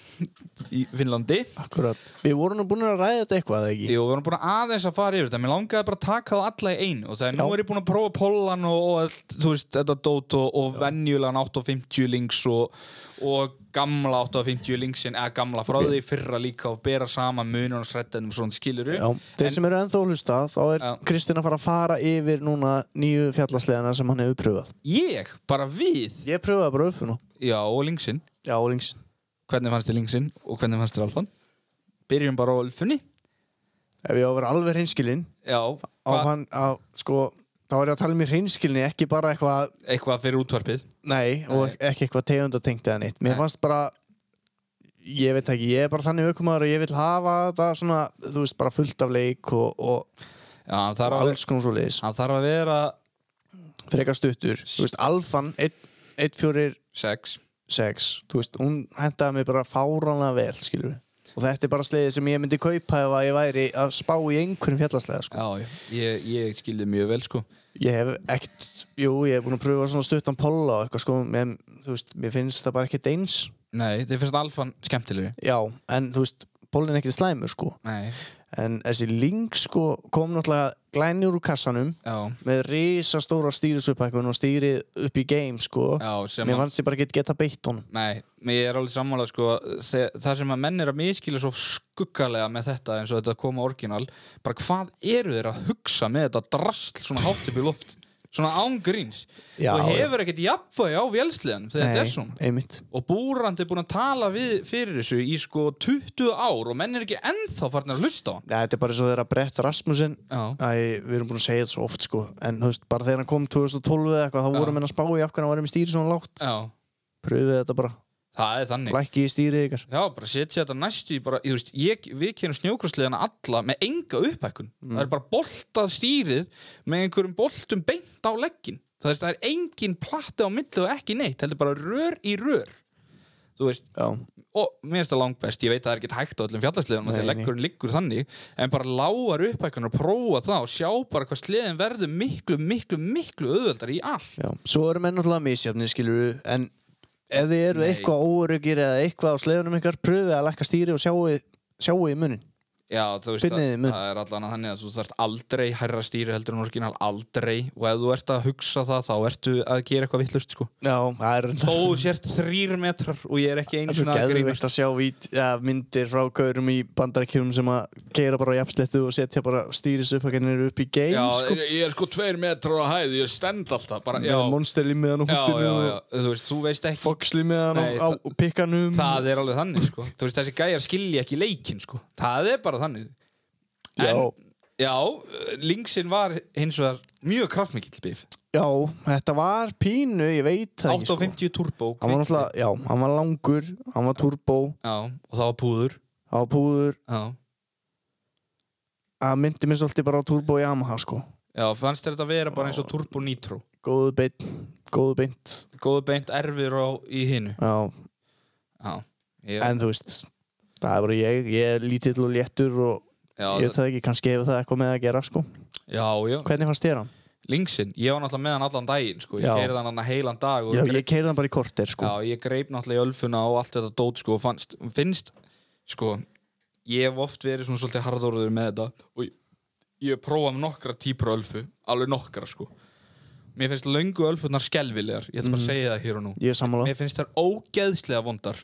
í Finnlandi
Akkurat Við vorum nú búin að ræða þetta eitthvað eða ekki
Jú, við erum búin að aðeins að fara yfir þetta Mér langaði bara að taka það alla í ein Og það er nú
Já.
er ég búin að prófa pollan og, og allt, þú veist, þetta dót og, og venjulegan 850 links og, og gamla 850 linksin eða gamla frá því fyrra líka og bera sama munur og srettinum svona skiluru
Já, þeir sem eru ennþá að hlusta þá er
Já.
Kristinn að fara að fara yfir núna nýju fjallasleðana sem hann hefur pröfað
Ég, bara við
Ég pröfaði bara upp nú
Já, og linksin
Já, links
Hvernig fannst þér linksin og hvernig fannst þér alfan Byrjum bara á alfunni
Ef ég á að vera alveg hreinskilinn
Já,
á
hva,
hann að sko þá er ég að tala um í hreinskilni ekki bara eitthvað
eitthvað fyrir útvarpið
nei og
Nei.
ekki eitthvað tegundatengt eða neitt mér
Nei.
fannst bara ég veit ekki, ég er bara þannig aukumæður og ég vil hafa þetta svona, þú veist, bara fullt af leik og, og,
Já, hann
og
þarf að,
alls konar svo leiðis
hann þarf að vera
frekar stuttur, þú veist, Alfan 146,
6
þú veist, hún hendaði mig bara fáránlega vel, skilur við og þetta er bara sleiði sem ég myndi kaupa ef að ég væri að spá í einhverjum fjallaslega sko.
Já, já, ég, ég skildi mjög vel sko
ég hef ekkert, jú, ég hef búin að pröfa svona stuttan polla og eitthvað sko en, þú veist, mér finnst það bara ekkert eins
Nei, þið finnst alfan skemmtilegri
já, en þú veist, pollin er ekkert slæmur sko
Nei,
en þessi link sko kom náttúrulega glænjur úr kassanum
já,
með risastóra stýrisupphækkun og stýri upp í game sko
já sem
mér
að
fannst ég bara ekki geta beitt honum
Nei, ég er alveg sammála sko þe- Það sem að menn er að miskila svo skuggalega með þetta eins og þetta koma orginal bara hvað eru þeir að hugsa með þetta drasl svona hátt upp í loft svona ángríns
Já,
og
já.
hefur ekkert jafnvægi á vélsliðan þegar þetta er svona
einmitt
og búrandi er búin að tala við fyrir þessu í sko 20 ár og menn er ekki ennþá farin að hlusta á hann
Nei, þetta er bara svo þeirra Brett Rasmussen
Já.
Æ, við erum búin að segja þetta svo oft sko en þú veist, bara þegar hann kom 2012 eða eitthvað þá
Já.
vorum við að spá í af hvernig hann var með stýri svona lágt
Já,
pröfið þetta bara,
það er þannig
lækki í stýri ykkar
Já, bara setja þetta næstu í bara, ég, þú veist, ég, við kynum snjókvæmsliðana alla með enga upphækkun.
Mm.
Það er bara boltað stýrið með einhverjum boltum beint á leggin. Það, veist, það er engin plati á milli og ekki neitt, heldur bara rör í rör. Þú veist,
Já,
og mér finnst það langt best, ég veit að það er ekki hægt á öllum fjallarsliðunum
Nei,
þegar
nei.
leggurinn liggur þannig, en bara lágar upphækkun og prófa það og sjá bara hvað sliðin verður miklu, miklu, miklu auðveldar í allt.
já, svo eru menn náttúrulega misjafni skilur við, en ef þið eru
Nei.
eitthvað óöryggir eða eitthvað á sleðunum ykkar pröfið að lækka stýri og sjáu, sjáu í munin
Já, þú veist,
Finnið þið
að,
mun.
það er allan að þannig að þú þarft aldrei hærra stýri heldur en orginal, aldrei og ef þú ert að hugsa það, þá ertu að gera eitthvað vittlust, sko.
Já, það er
Þó þú sért þrýr metrar og ég er ekki
Það er
einu
svo
svona að grínast.
geðvikt að sjá vít, ja, myndir frá gaurum í bandarækjum sem að gera bara jafnslettu og setja bara stýris upp að gennir upp í game
Já,
sko,
ég, ég er sko tveir metrar á hæð, ég stend alltaf, bara, já,
með monsterli meðan á
já, já,
húttinu
já,
og
þú veist, þú veist ekki,
foxli meðan á,
Nei,
á pikkanum
það er alveg þannig, sko. Þú veist, þessi gæjar skilja ekki leikinn, sko. Það er bara þannig.
Já,
Já, linksinn var hins vegar mjög kraftmikill bif.
já, þetta var pínu, ég veit það ekki sko
850 turbo.
Hann var náttúrulega, já, hann var langur, hann var turbo,
Já, og það var púður.
hann var púður,
Já.
að myndi mér svolítið bara á Turbo Yamaha sko
Já, fannst þér þetta að vera bara eins og Turbo Nitro
góðu beint, góðu beint
Góðu beint erfir á í hinu
já,
Já, ég,
en þú veist það er bara ég, ég er lítill og léttur og
já,
ég veit það ekki, kannski hefur það eitthvað með að gera sko,
já, já
hvernig fannst þér hann?
Linksinn, ég var náttúrulega með hann allan daginn sko. Ég
Já.
keirði hann hann heilan dag og
Já,
greip,
ég keirði hann bara í korter sko
já, ég greip náttúrulega í ölfuna og allt þetta dót sko, og fannst, finnst sko, ég hef oft verið svona svolítið harðorður með þetta og ég, ég hef prófað með nokkra típur af ölfu alveg nokkra sko Mér finnst löngu ölfunar skelvilegar Ég ætla
Mhm.
bara að segja það hér og nú
ég er sammála,
Mér finnst þær ógeðslega vondar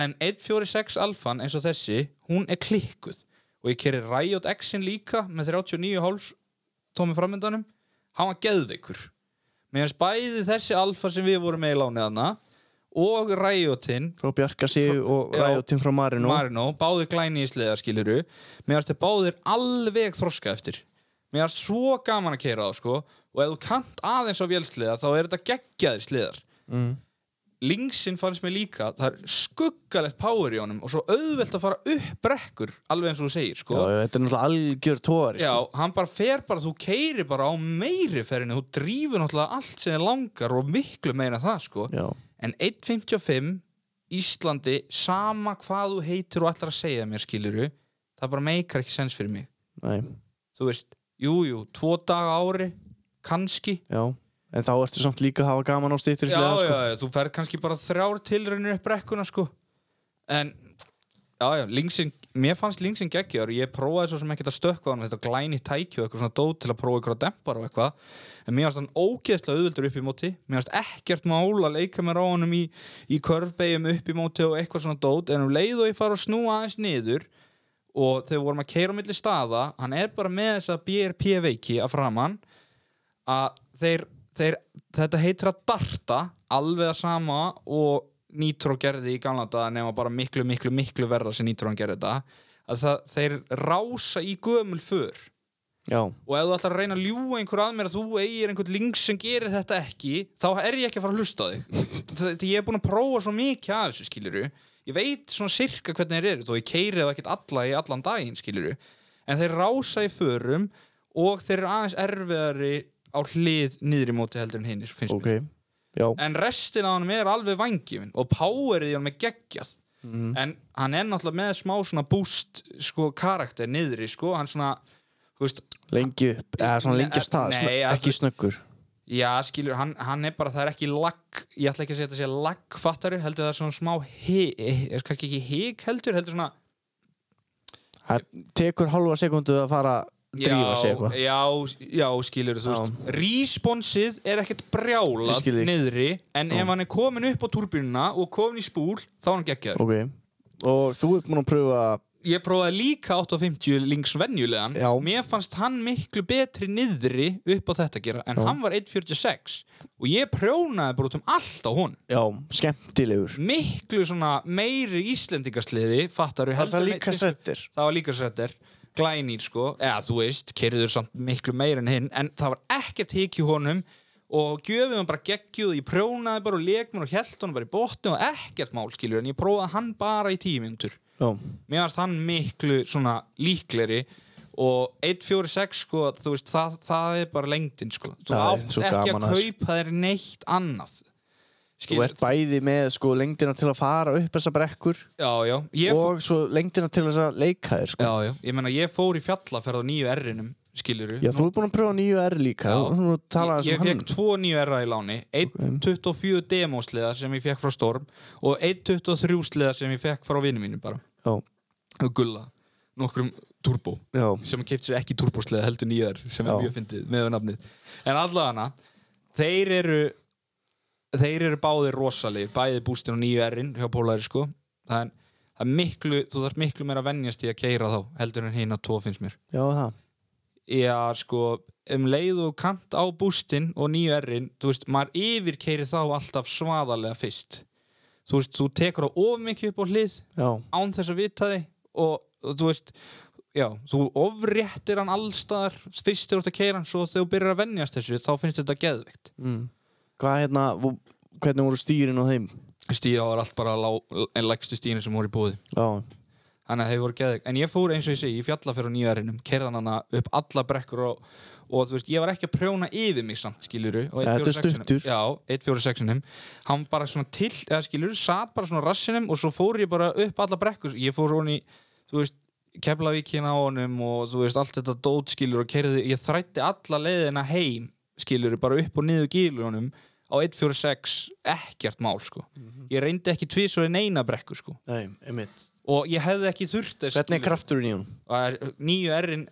En 146 alfan eins og þessi Hún er klikkuð Og ég keri Riot X-in líka Með 39,5 tómi framöndanum Hann var geðveikur Mér finnst bæði þessi alfa sem við vorum með í lánið hana Og Riotinn
frá Bjarka Sigur og
Já.
Ræjóttin frá Marino
Marino, báðir glæni í sleða skiluru Mér finnst þið báðir alveg þroska eftir Mér finnst svo gaman að keira þá sko Og ef þú kant aðeins á vélsleða Þá er þetta geggjaðir sleðar
mm.
Lingsinn fannst mér líka Það er skuggalegt power í honum Og svo auðvelt að fara upp brekkur Alveg eins og þú segir
já,
sko Já,
þetta er náttúrulega algjör tóari sko.
hann bara fer bara, þú keiri bara á meiri ferinu Þú drífur náttúrulega allt sem þið langar Og miklu meira en það sko
já,
en 1.55 Íslandi sama hvað þú heitir og allar að segja mér skiluru það bara meikar ekki sens fyrir mig
Nei,
þú veist, jú, jú, tvo daga á ári kannski
já En þá ertu samt líka að hafa gaman á stýttir
já,
sko.
já, já, þú ferð kannski bara þrjár tilraunir upp brekkuna sko en, já, já, linksin mér fannst linksin geggjör, ég prófaði svo sem ekkert að stökkva á hann, þetta glæni tæki og eitthvað svona dót til að prófa eitthvað að dempar og eitthvað en mér fannst hann ógeðslega auðvöldur upp í móti mér fannst ekkert mál að leika mér á honum í, í körfbegjum upp í móti og eitthvað svona dót, en um leið og ég fara að snúa aðeins niður og þegar við vorum að keira á milli staða, hann er bara með þessa BRP veiki að framann að þeir, þeir þetta heitir að darta alveg að sama og Nitro gerði í gamla daga nema bara miklu, miklu, miklu verra sem Nitro hann gerði þetta að það, þeir rása í gömul för
já,
og ef þú ætlar að reyna að ljúga einhver að mér að þú eigir einhvern link sem gerir þetta ekki þá er ég ekki að fara að hlusta á þig þetta ég er búin að prófa svo mikið af þessu skiluru ég veit svona sirka hvernig þeir eru þó ég keiri það ekkert alla í allan daginn skiluru en þeir rása í förum og þeir eru aðeins erfiðari á hlið niður í móti heldur en hinnir finnst
ok Já,
mér en restin af honum er alveg vangifin og powerið í honum er geggjað en hann er náttúrulega með smá svona boost sko karakter niðri sko hann svona þú veist,
lengi upp, eða svona lengi af stað,
Nei,
snö,
að-
ekki snöggur
Já, skilur, hann, hann er bara, það er ekki lag, ég ætla ekki að segja þetta sé lagfattari, heldur það er svona smá hík, kannski ekki hík heldur, heldur svona
Það tekur hálfa sekundu að fara að drífa sig eitthvað
Já, já, skilur, þú
Já.
veist, responsið er ekkert brjálað
Ég skil þig.
niðri, en ef hann er komin upp á túrbínuna og komin í spúl, þá er hann geggjaður.
Ok, og þú ert múin að pröfa
Ég prófaði líka 850 links venjulegan,
Já.
mér fannst hann miklu betri niðri upp á þetta gera, en
Já.
hann var 1.46 og ég prjónaði bara út um allt á hún.
Já, skemmtilegur
miklu svona meiri íslendingasliði fattar við
Var það líka strettir?
það var líka sættir glænýr sko, eða þú veist kerður samt miklu meir en hinn en það var ekkert hikju honum og gjöfum hann bara geggjuð, ég prjónaði bara og leik mér og held honum bara í botni og ekkert mál skilur en ég prófaði hann bara í tímindur
Já,
mér varst hann miklu svona líkleri og 146 sko, þú veist, það, það er bara lengdin sko, þú
Það er
átt
svo
ekki
gaman að
að
þessu.
kaupa þér neitt annað
þú ert bæði með sko lengdina til að fara upp þessa brekkur
já, já, ég
og svo lengdina til þess að leika þér sko.
Já, já, ég meina ég fór í fjallaferð á nýju R-inum, skiluru
Já, þú ert búin að pröfa nýju R líka
Já.
Þú talaði
Ég
sem um hann
fekk tvo nýju R-a í láni Einn 24 demósliða sem ég fekk frá Storm og einn 23 sliða sem ég fekk frá vinnu mínu bara
Já,
og gulla, nokkrum turbo
já,
sem kefti sér ekki turboslega heldur nýjar sem
Já.
er mjög fyndið með nafnið en allavega þeir eru þeir eru báðir rosalegir bæði bústin og nýju erinn hjá Pólari sko það er, það er miklu, þú þarf miklu meira að venjast í að keira þá heldur en hinn að tvo finnst mér
já, það
Já, sko, um leið og kant á bústinn og nýju errin, þú veist, maður yfirkeiri þá alltaf svaðarlega fyrst. Þú veist, þú tekur á of mikið upp á hlið
Já,
án þess að vita þig og, og þú veist, já, þú ofréttir hann allstaðar fyrst þegar þú ert að keira hann svo þegar þú byrjar að venjast þessu, þá finnst þetta geðveikt.
hvað hérna, vo- hvernig voru stýrin á þeim?
Stíða var allt bara lá, en lægstu stíðin sem voru í búið.
Já,
Þannig að þeir voru geðið. En ég fór eins og ég segi, ég fjalla fyrir á nýjarinnum, kerðan hana upp alla brekkur og, og þú veist, ég var ekki að prjóna yfir mig samt, skiluru.
Ja, þetta er stuttur.
Já, 146-num. Hann bara svona til, eða skiluru, satt bara svona á rassinum og svo fór ég bara upp alla brekkur. Ég fór honi, þú veist, Keflavíkina á honum og þú veist, allt þetta dót, skiluru, og kerði, ég þrætti alla leiðina heim, skiluru, bara upp og niður gílunum á 146, ekkert mál, sko.
Mhm.
Ég reyndi ekki tvís og eina brekku, sko
nei, einmitt
og ég hefði ekki þurft þess
Hvernig er krafturinn í hún?
kraftur? nýju errin,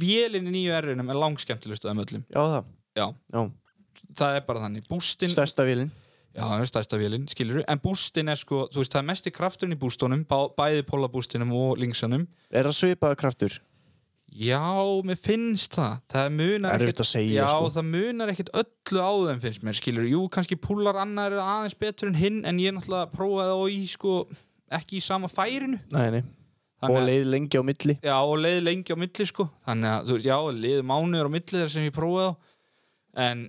vélinn í nýju errinum er langskemmtilegust af þeim öllum
Já, það,
já,
já,
það er bara þannig bústin,
stærsta vélinn
já, það er stærsta vélinn skilur en bústin er sko, þú veist, það er mesti krafturinn í bústunum, bá, bæði pólabústinum og linksanum,
Er það svipaða kraftur?
já, mér finnst það það munar
Erfitt að segja,
já,
sko.
það munar ekkit öllu á þeim finnst mér, skilur, jú, kannski púlar annar er aðeins betur en hinn, en ég náttúrulega prófaði á í, sko, ekki í sama færinu
Nei, nei,
Þannig
og
að-
leið lengi á milli
Já, og leið lengi á milli sko Þannig að, þú veist, já, leið mánuður á milli þar sem ég prófaði á En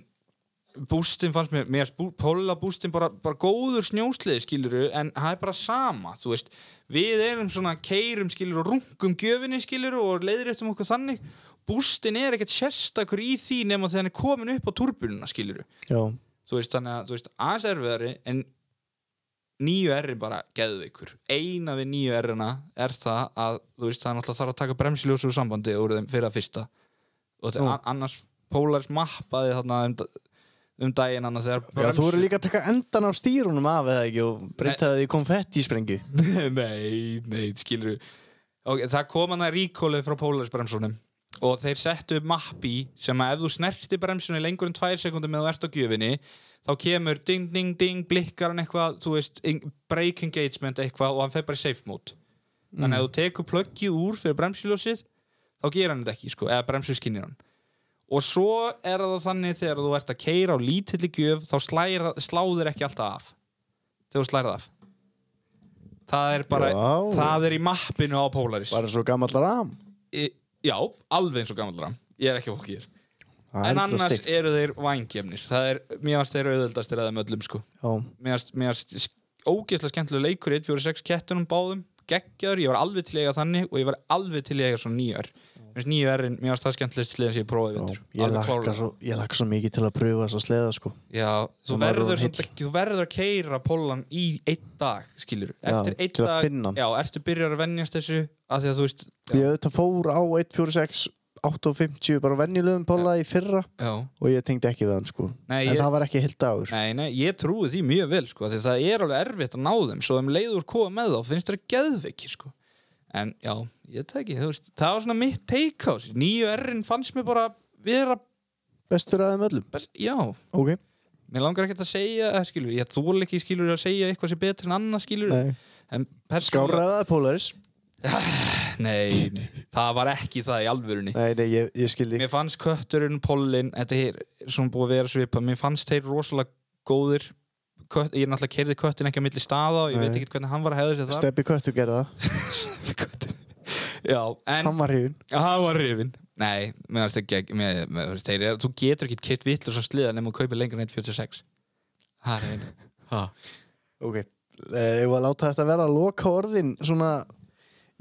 bústin fannst mér, mér bú, Póla bústin bara, bara góður snjósliði skiluru En það er bara sama, þú veist Við erum svona keirum skiluru og rungum gjöfinni skiluru Og leiðréttum okkur þannig Bústin er ekkert sérstakur í því nema þegar hann er komin upp á turbununa skiluru
Já,
Þú veist, þannig að, þú veist, aðeins erfiðari En nýju errin bara geðveikur eina við nýju errina er það að þú veist það er náttúrulega þarf að taka bremsiljósu úr sambandi úr þeim fyrir að fyrsta og þetta,
Nú.
an- annars Polaris mappaði þarna um, da- um daginn annars þegar
Já, þú
bremsu-
voru líka að taka endan á stýrunum af eða ekki og breyta það í konfettisprengju
nei, nei, skilur okay, það kom hann að ríkólið frá Polaris-bremsunum og þeir settu upp mappi sem að ef þú snerti bremsunni lengur en tvær sekundum með þú ert á gjöfinni þá kemur ding, ding, ding, blikkar hann eitthvað þú veist, in- break engagement eitthvað og hann fer bara í safe mode þannig að ef þú tekur plöggið úr fyrir bremsuljósið þá gerir hann þetta ekki, sko, eða bremsu skinnir hann og svo er það þannig þegar þú ert að keira á lítilli gjöf þá slæra, sláðir ekki alltaf af þegar þú slærið af það er bara,
Já.
það er í mappinu á Polaris
Bara svo gammal ram
Í- Já, alveg eins og gammalra Ég er ekki að fokk ég er
Það er
En
illa
annars
steikt.
eru þeir vængefnir Það er, mér varst þeir auðveldastir að þeim öllum sko
Já,
Mér varst, mér varst ógeðslega skemmtilega leikur 1, 4, 6 kettunum báðum Geggjaður, ég var alveg til í að eiga þannig Og ég var alveg til í að eiga svona nýjar Mér varst nýjarinn, mér varst það skemmtilegst sliðan sem ég prófaði í
já,
vetur.
ég
Alveg
lakka
klárlega.
svo, ég lakka svo mikið til að pröfa þess að sleða sko
Já, þú
Hann var
verður,
orðinn
samt
heill.
ekki, þú verður að keira pollan í einn dag, skilur Eftir einn
til að
dag,
finna hann.
já, ertu byrjar að venjast þessu að Því að þú veist,
Ég auðvitað fór á 146 850 bara venjulegum póla í fyrra
já
og ég tengdi ekki við hann sko
Nei,
En
ég-
það var ekki heilt dagur
Nei, nei, ég trúi því mjög vel sko, af því það er alveg erfitt að ná þeim svo um þeim leiður koma með þá, finnst þeir geðveiki sko. en já, ég teki þú veist, það var svona mitt take á þessu. nýju errin fannst mér bara vera
Bestur að þeim öllum
best, já,
Ok,
mér langar ekkert að segja eh, skilur, ég þól ekki skilur að segja eitthvað sem betur en annað skilur
Nei.
en
skáraðaði
persónulega-
pólaris
nei, nei, það var ekki það í alvörunni
Nei, nei, ég, ég skildi
Mér fannst kötturinn, pollin, þetta er svona búið að vera svipa, mér fannst þeir rosalega góðir Kött, ég náttúrulega keirði köttin ekki að milli staða og ég
Nei.
veit ekki hvernig hann var að hefða sér þar
Steppi Köttu gerði það,
Já, en
hann var hrifin
hann var rifin Nei, mér finnst ekki ekki mér, mér, finnst þeir, eru- Þú getur ekki keitt vitlu svo sliða nema að kaupa lengur en 1.46 Það er einu
Ok, ég var að láta þetta vera að loka orðin svona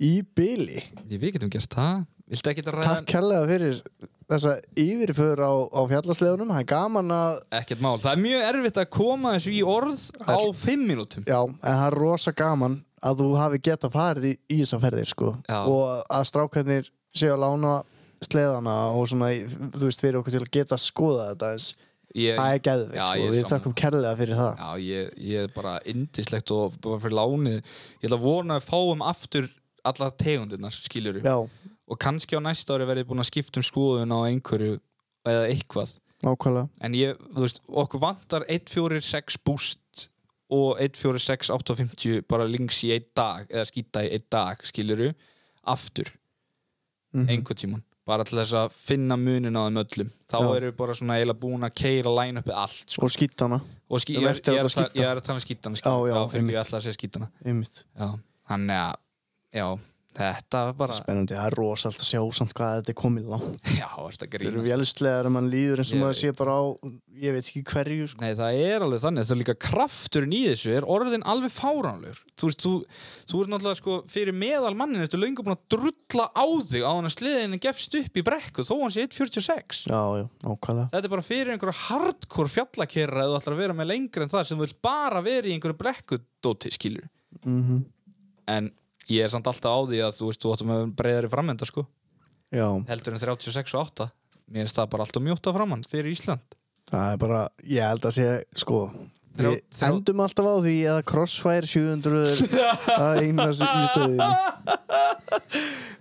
í byli
Ég við getum gert það Viltu ekki að ræða
Takk kærlega fyrir þessa yfirför á, á fjallaslegunum Það er gaman að,
Ekkert mál, það er mjög erfitt að koma þessu í orð á 5 mínútum
já, en það er rosa gaman að þú hafi geta farið í, í þessa ferðir sko
Já.
og að strákarnir séu að lána sleðana og svona, í- þú veist, fyrir okkur til að geta skoða þetta eins
Ég-
Það er geðvikt
Já,
sko,
ég
við
sammála.
þakkum kærlega fyrir það
Já, ég, ég er bara indislegt og bara fyrir lánið. Ég ætla að vona að fáum aftur alla tegundunar, skiljur
Já,
Og kannski á næsta ári verði búin að skipta um skoðun á einhverju eða eitthvað.
nákvæmlega
En ég, þú veist, okkur vantar 146 boost og 146 850 bara links í einn dag eða skýta í einn dag, skiljur aftur,
Mhm.
einhver tíman bara til þess að finna munin á þeim öllum þá
Já.
erum við bara svona eiginlega búin að keira line-upið allt, sko
Og skýtana,
og skí,
Um
ég, er,
eftir
ég, er
að
að ta-
skíta.
ég er að tala um skítana
Já, já,
þá fyrir
einmitt.
ég alltaf að segja skítana
einmitt
já. þannig að já, þetta var bara
Spennandi, það er rosalt að sjá samt hvað þetta er komið langt
já, þetta
Þeir eru
grínast
vélslegar að mann líður eins og
Ég
maður sé bara á, ég veit ekki hverju sko.
Nei, það er alveg þannig, það er líka krafturinn í þessu er orðin alveg fáránlegur þú veist, þú, þú ert náttúrulega sko fyrir meðal mannin, ertu löngu búin að drulla á þig á hann að sliðinu gefst upp í brekku þó hann sé 1.46
Já, já, nákvæmlega.
þetta er bara fyrir einhverja hardcore fjallakerra eða þú ætlar að vera með lengri en það sem þú vilt bara vera í einhverju brekkudóti skilur
Mm
en ég er samt alltaf á því að þú veist, þú áttum með breyðari framenda sko
Já,
heldur en 36 og 8 mér finnst það bara alltaf mjóta framann fyrir Ísland
það er bara, ég held að sé, sko, við
Þrjá- þrjá-
endum alltaf á því að Crossfire 700 er að eina í stöðinu.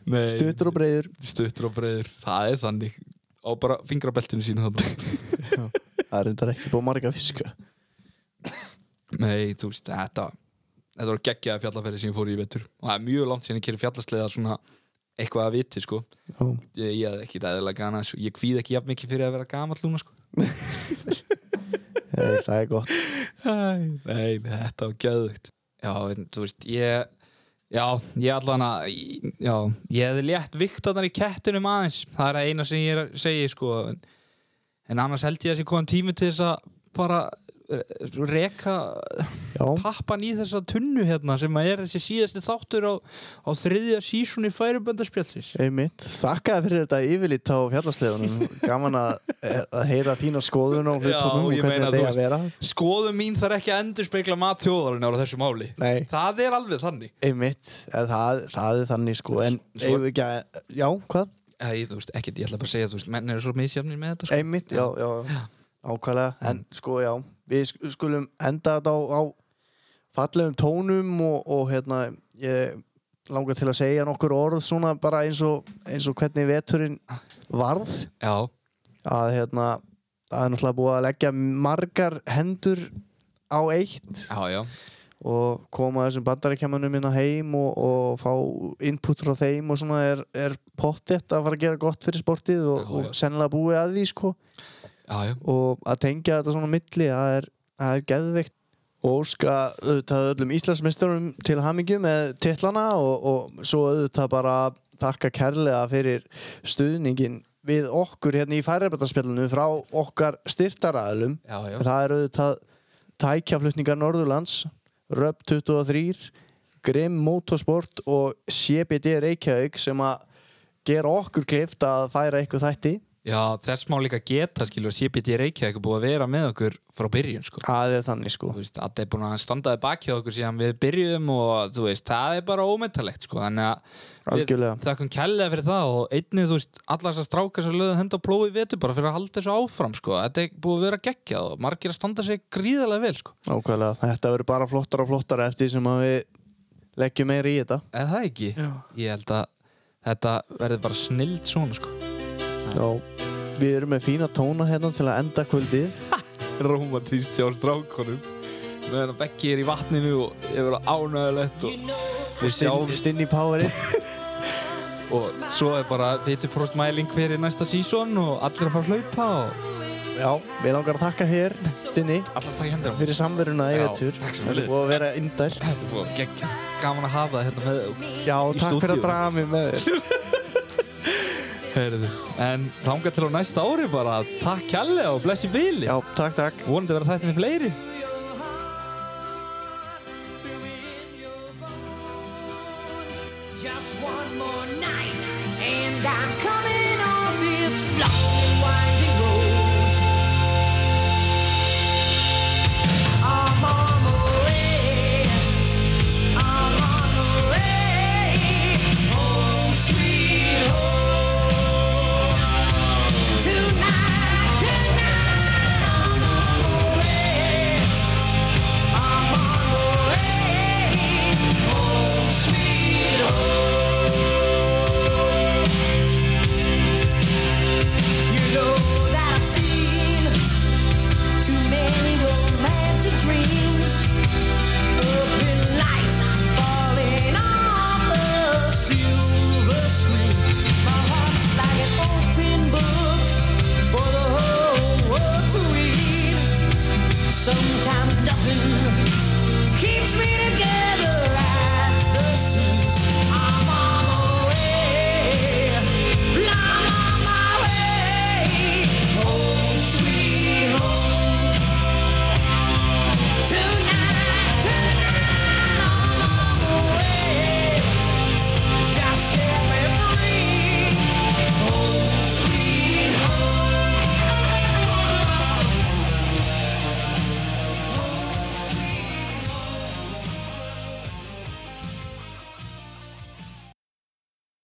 Nei,
Stuttur og breyður,
stuttur og breyður það er þannig á bara fingrabeltinu sínu þarna
það er þetta ekki búið marga fiska.
nei, þú veist, þetta þetta voru geggjaði fjallafæri sem ég fór í í vetur og það er mjög langt síðan ég kýri fjallaslega svona eitthvað að viti sko
Já,
ég, ég hafði ekki dæðilega gana þessu ég kvíð ekki jafn mikið fyrir að vera gamall núna sko
það er- það er gott.
Æ, Nei, þetta var gæðugt Já, en þú veist, ég Já, ég allan að Já, ég hefði létt viktarnar í kettinum aðeins Það er að eina sem ég er að segja sko, en, en annars held ég að sé komin tími til þess að bara reka
Já.
tappan í þessa tunnu hérna sem að er þessi síðasti þáttur á, á þriðja sísunni færiböndarspjallins
Einmitt. Þakkaði fyrir þetta yfirlít á fjallasleðunum Gaman að, eh, að heyra þína skoðun og hlutunum og
ég
hvernig
meina,
þetta
þú
er að
veist,
vera
skoðum mín þarf ekki að endur spekla mat þjóðarinnar á þessu máli
Nei.
það er alveg þannig
Einmitt, eða það, það er þannig sko En
Svo-
eigum við ekki að, já, hvað?
Æ, þú veist, ekkert, ég ætla bara að segja, þú veist, menn eru svo misjafnir með þetta sko.
Einmitt, já, já, já. ákvæðlega En sko, já, við sk- skulum enda þetta á, á fallegum tónum og, og hérna ég langar til að segja nokkur orð svona bara eins og, eins og hvernig veturinn varð
Já,
að hérna það er náttúrulega búið að leggja margar hendur á eitt
já, já
og koma þessum bandaríkjamanum minna heim og, og fá input frá þeim og svona er, er pottett að fara að gera gott fyrir sportið og,
Já, já.
og sennilega búið að því sko
Já, já,
og að tengja þetta svona á milli það er, það er geðveikt og óska auðvitað öllum Íslandsmeisturum til hamingju með titlana og, og svo auðvitað bara þakka kærlega fyrir stuðningin við okkur hérna í færðarbetarspjallinu frá okkar styrtaraðlum
já, já.
það er auðvitað tækjaflutningar Norðurlands Röp 23 Grim Motorsport og CBD Reykjavík sem að gera okkur klift að færa eitthvað þætti
já þess má líka geta, skilur, CBT Reykjavík er búið að vera með okkur frá byrjun, sko
það er þannig sko
Þú veist, Adda er búin að standaði baki á okkur síðan við byrjuðum og þú veist, það er bara ómetalegt, sko, þannig að
Algjörlega.
við þakkum kærlega fyrir það og einnig, þú veist, allar þessar strákar sem löðu henda á plói vetur bara fyrir að halda þessu áfram, sko þetta er búið að vera geggjað og margir að standa sig gríðarlega vel, sko,
Ákveðlega, þetta verður bara flottar og flottar eftir því sem að við leggjum meira í þetta
eða það ekki ég held að þetta verði bara snild svona, sko
Já, við erum með fína tóna hérna til að enda kvöldið
romantíst hjá strákonum meðan að Beggi er í vatninu og ég verið ánægilegt og við sjáum
Stinn- Stinn í poweri
og svo er bara 40% mæling fyrir næsta sísón og allir að fara að hlaupa og
Já, við langar að þakka þér, Stinni
allir að taka hendur á
fyrir samveruna í
Já,
vetur
takk sem fyrir.
og að vera indæl
Þetta var geggja gaman að hafa það hérna með þér.
Já,
Í
takk fyrir
stúdíói.
að draga mig með þér
Heyrðu. en þángar til á næsta ári bara takk kjallega og blessi bíli
Já, takk, takk
vonandi verða þættinni fleiri
Just one more night, and I'm coming on this block.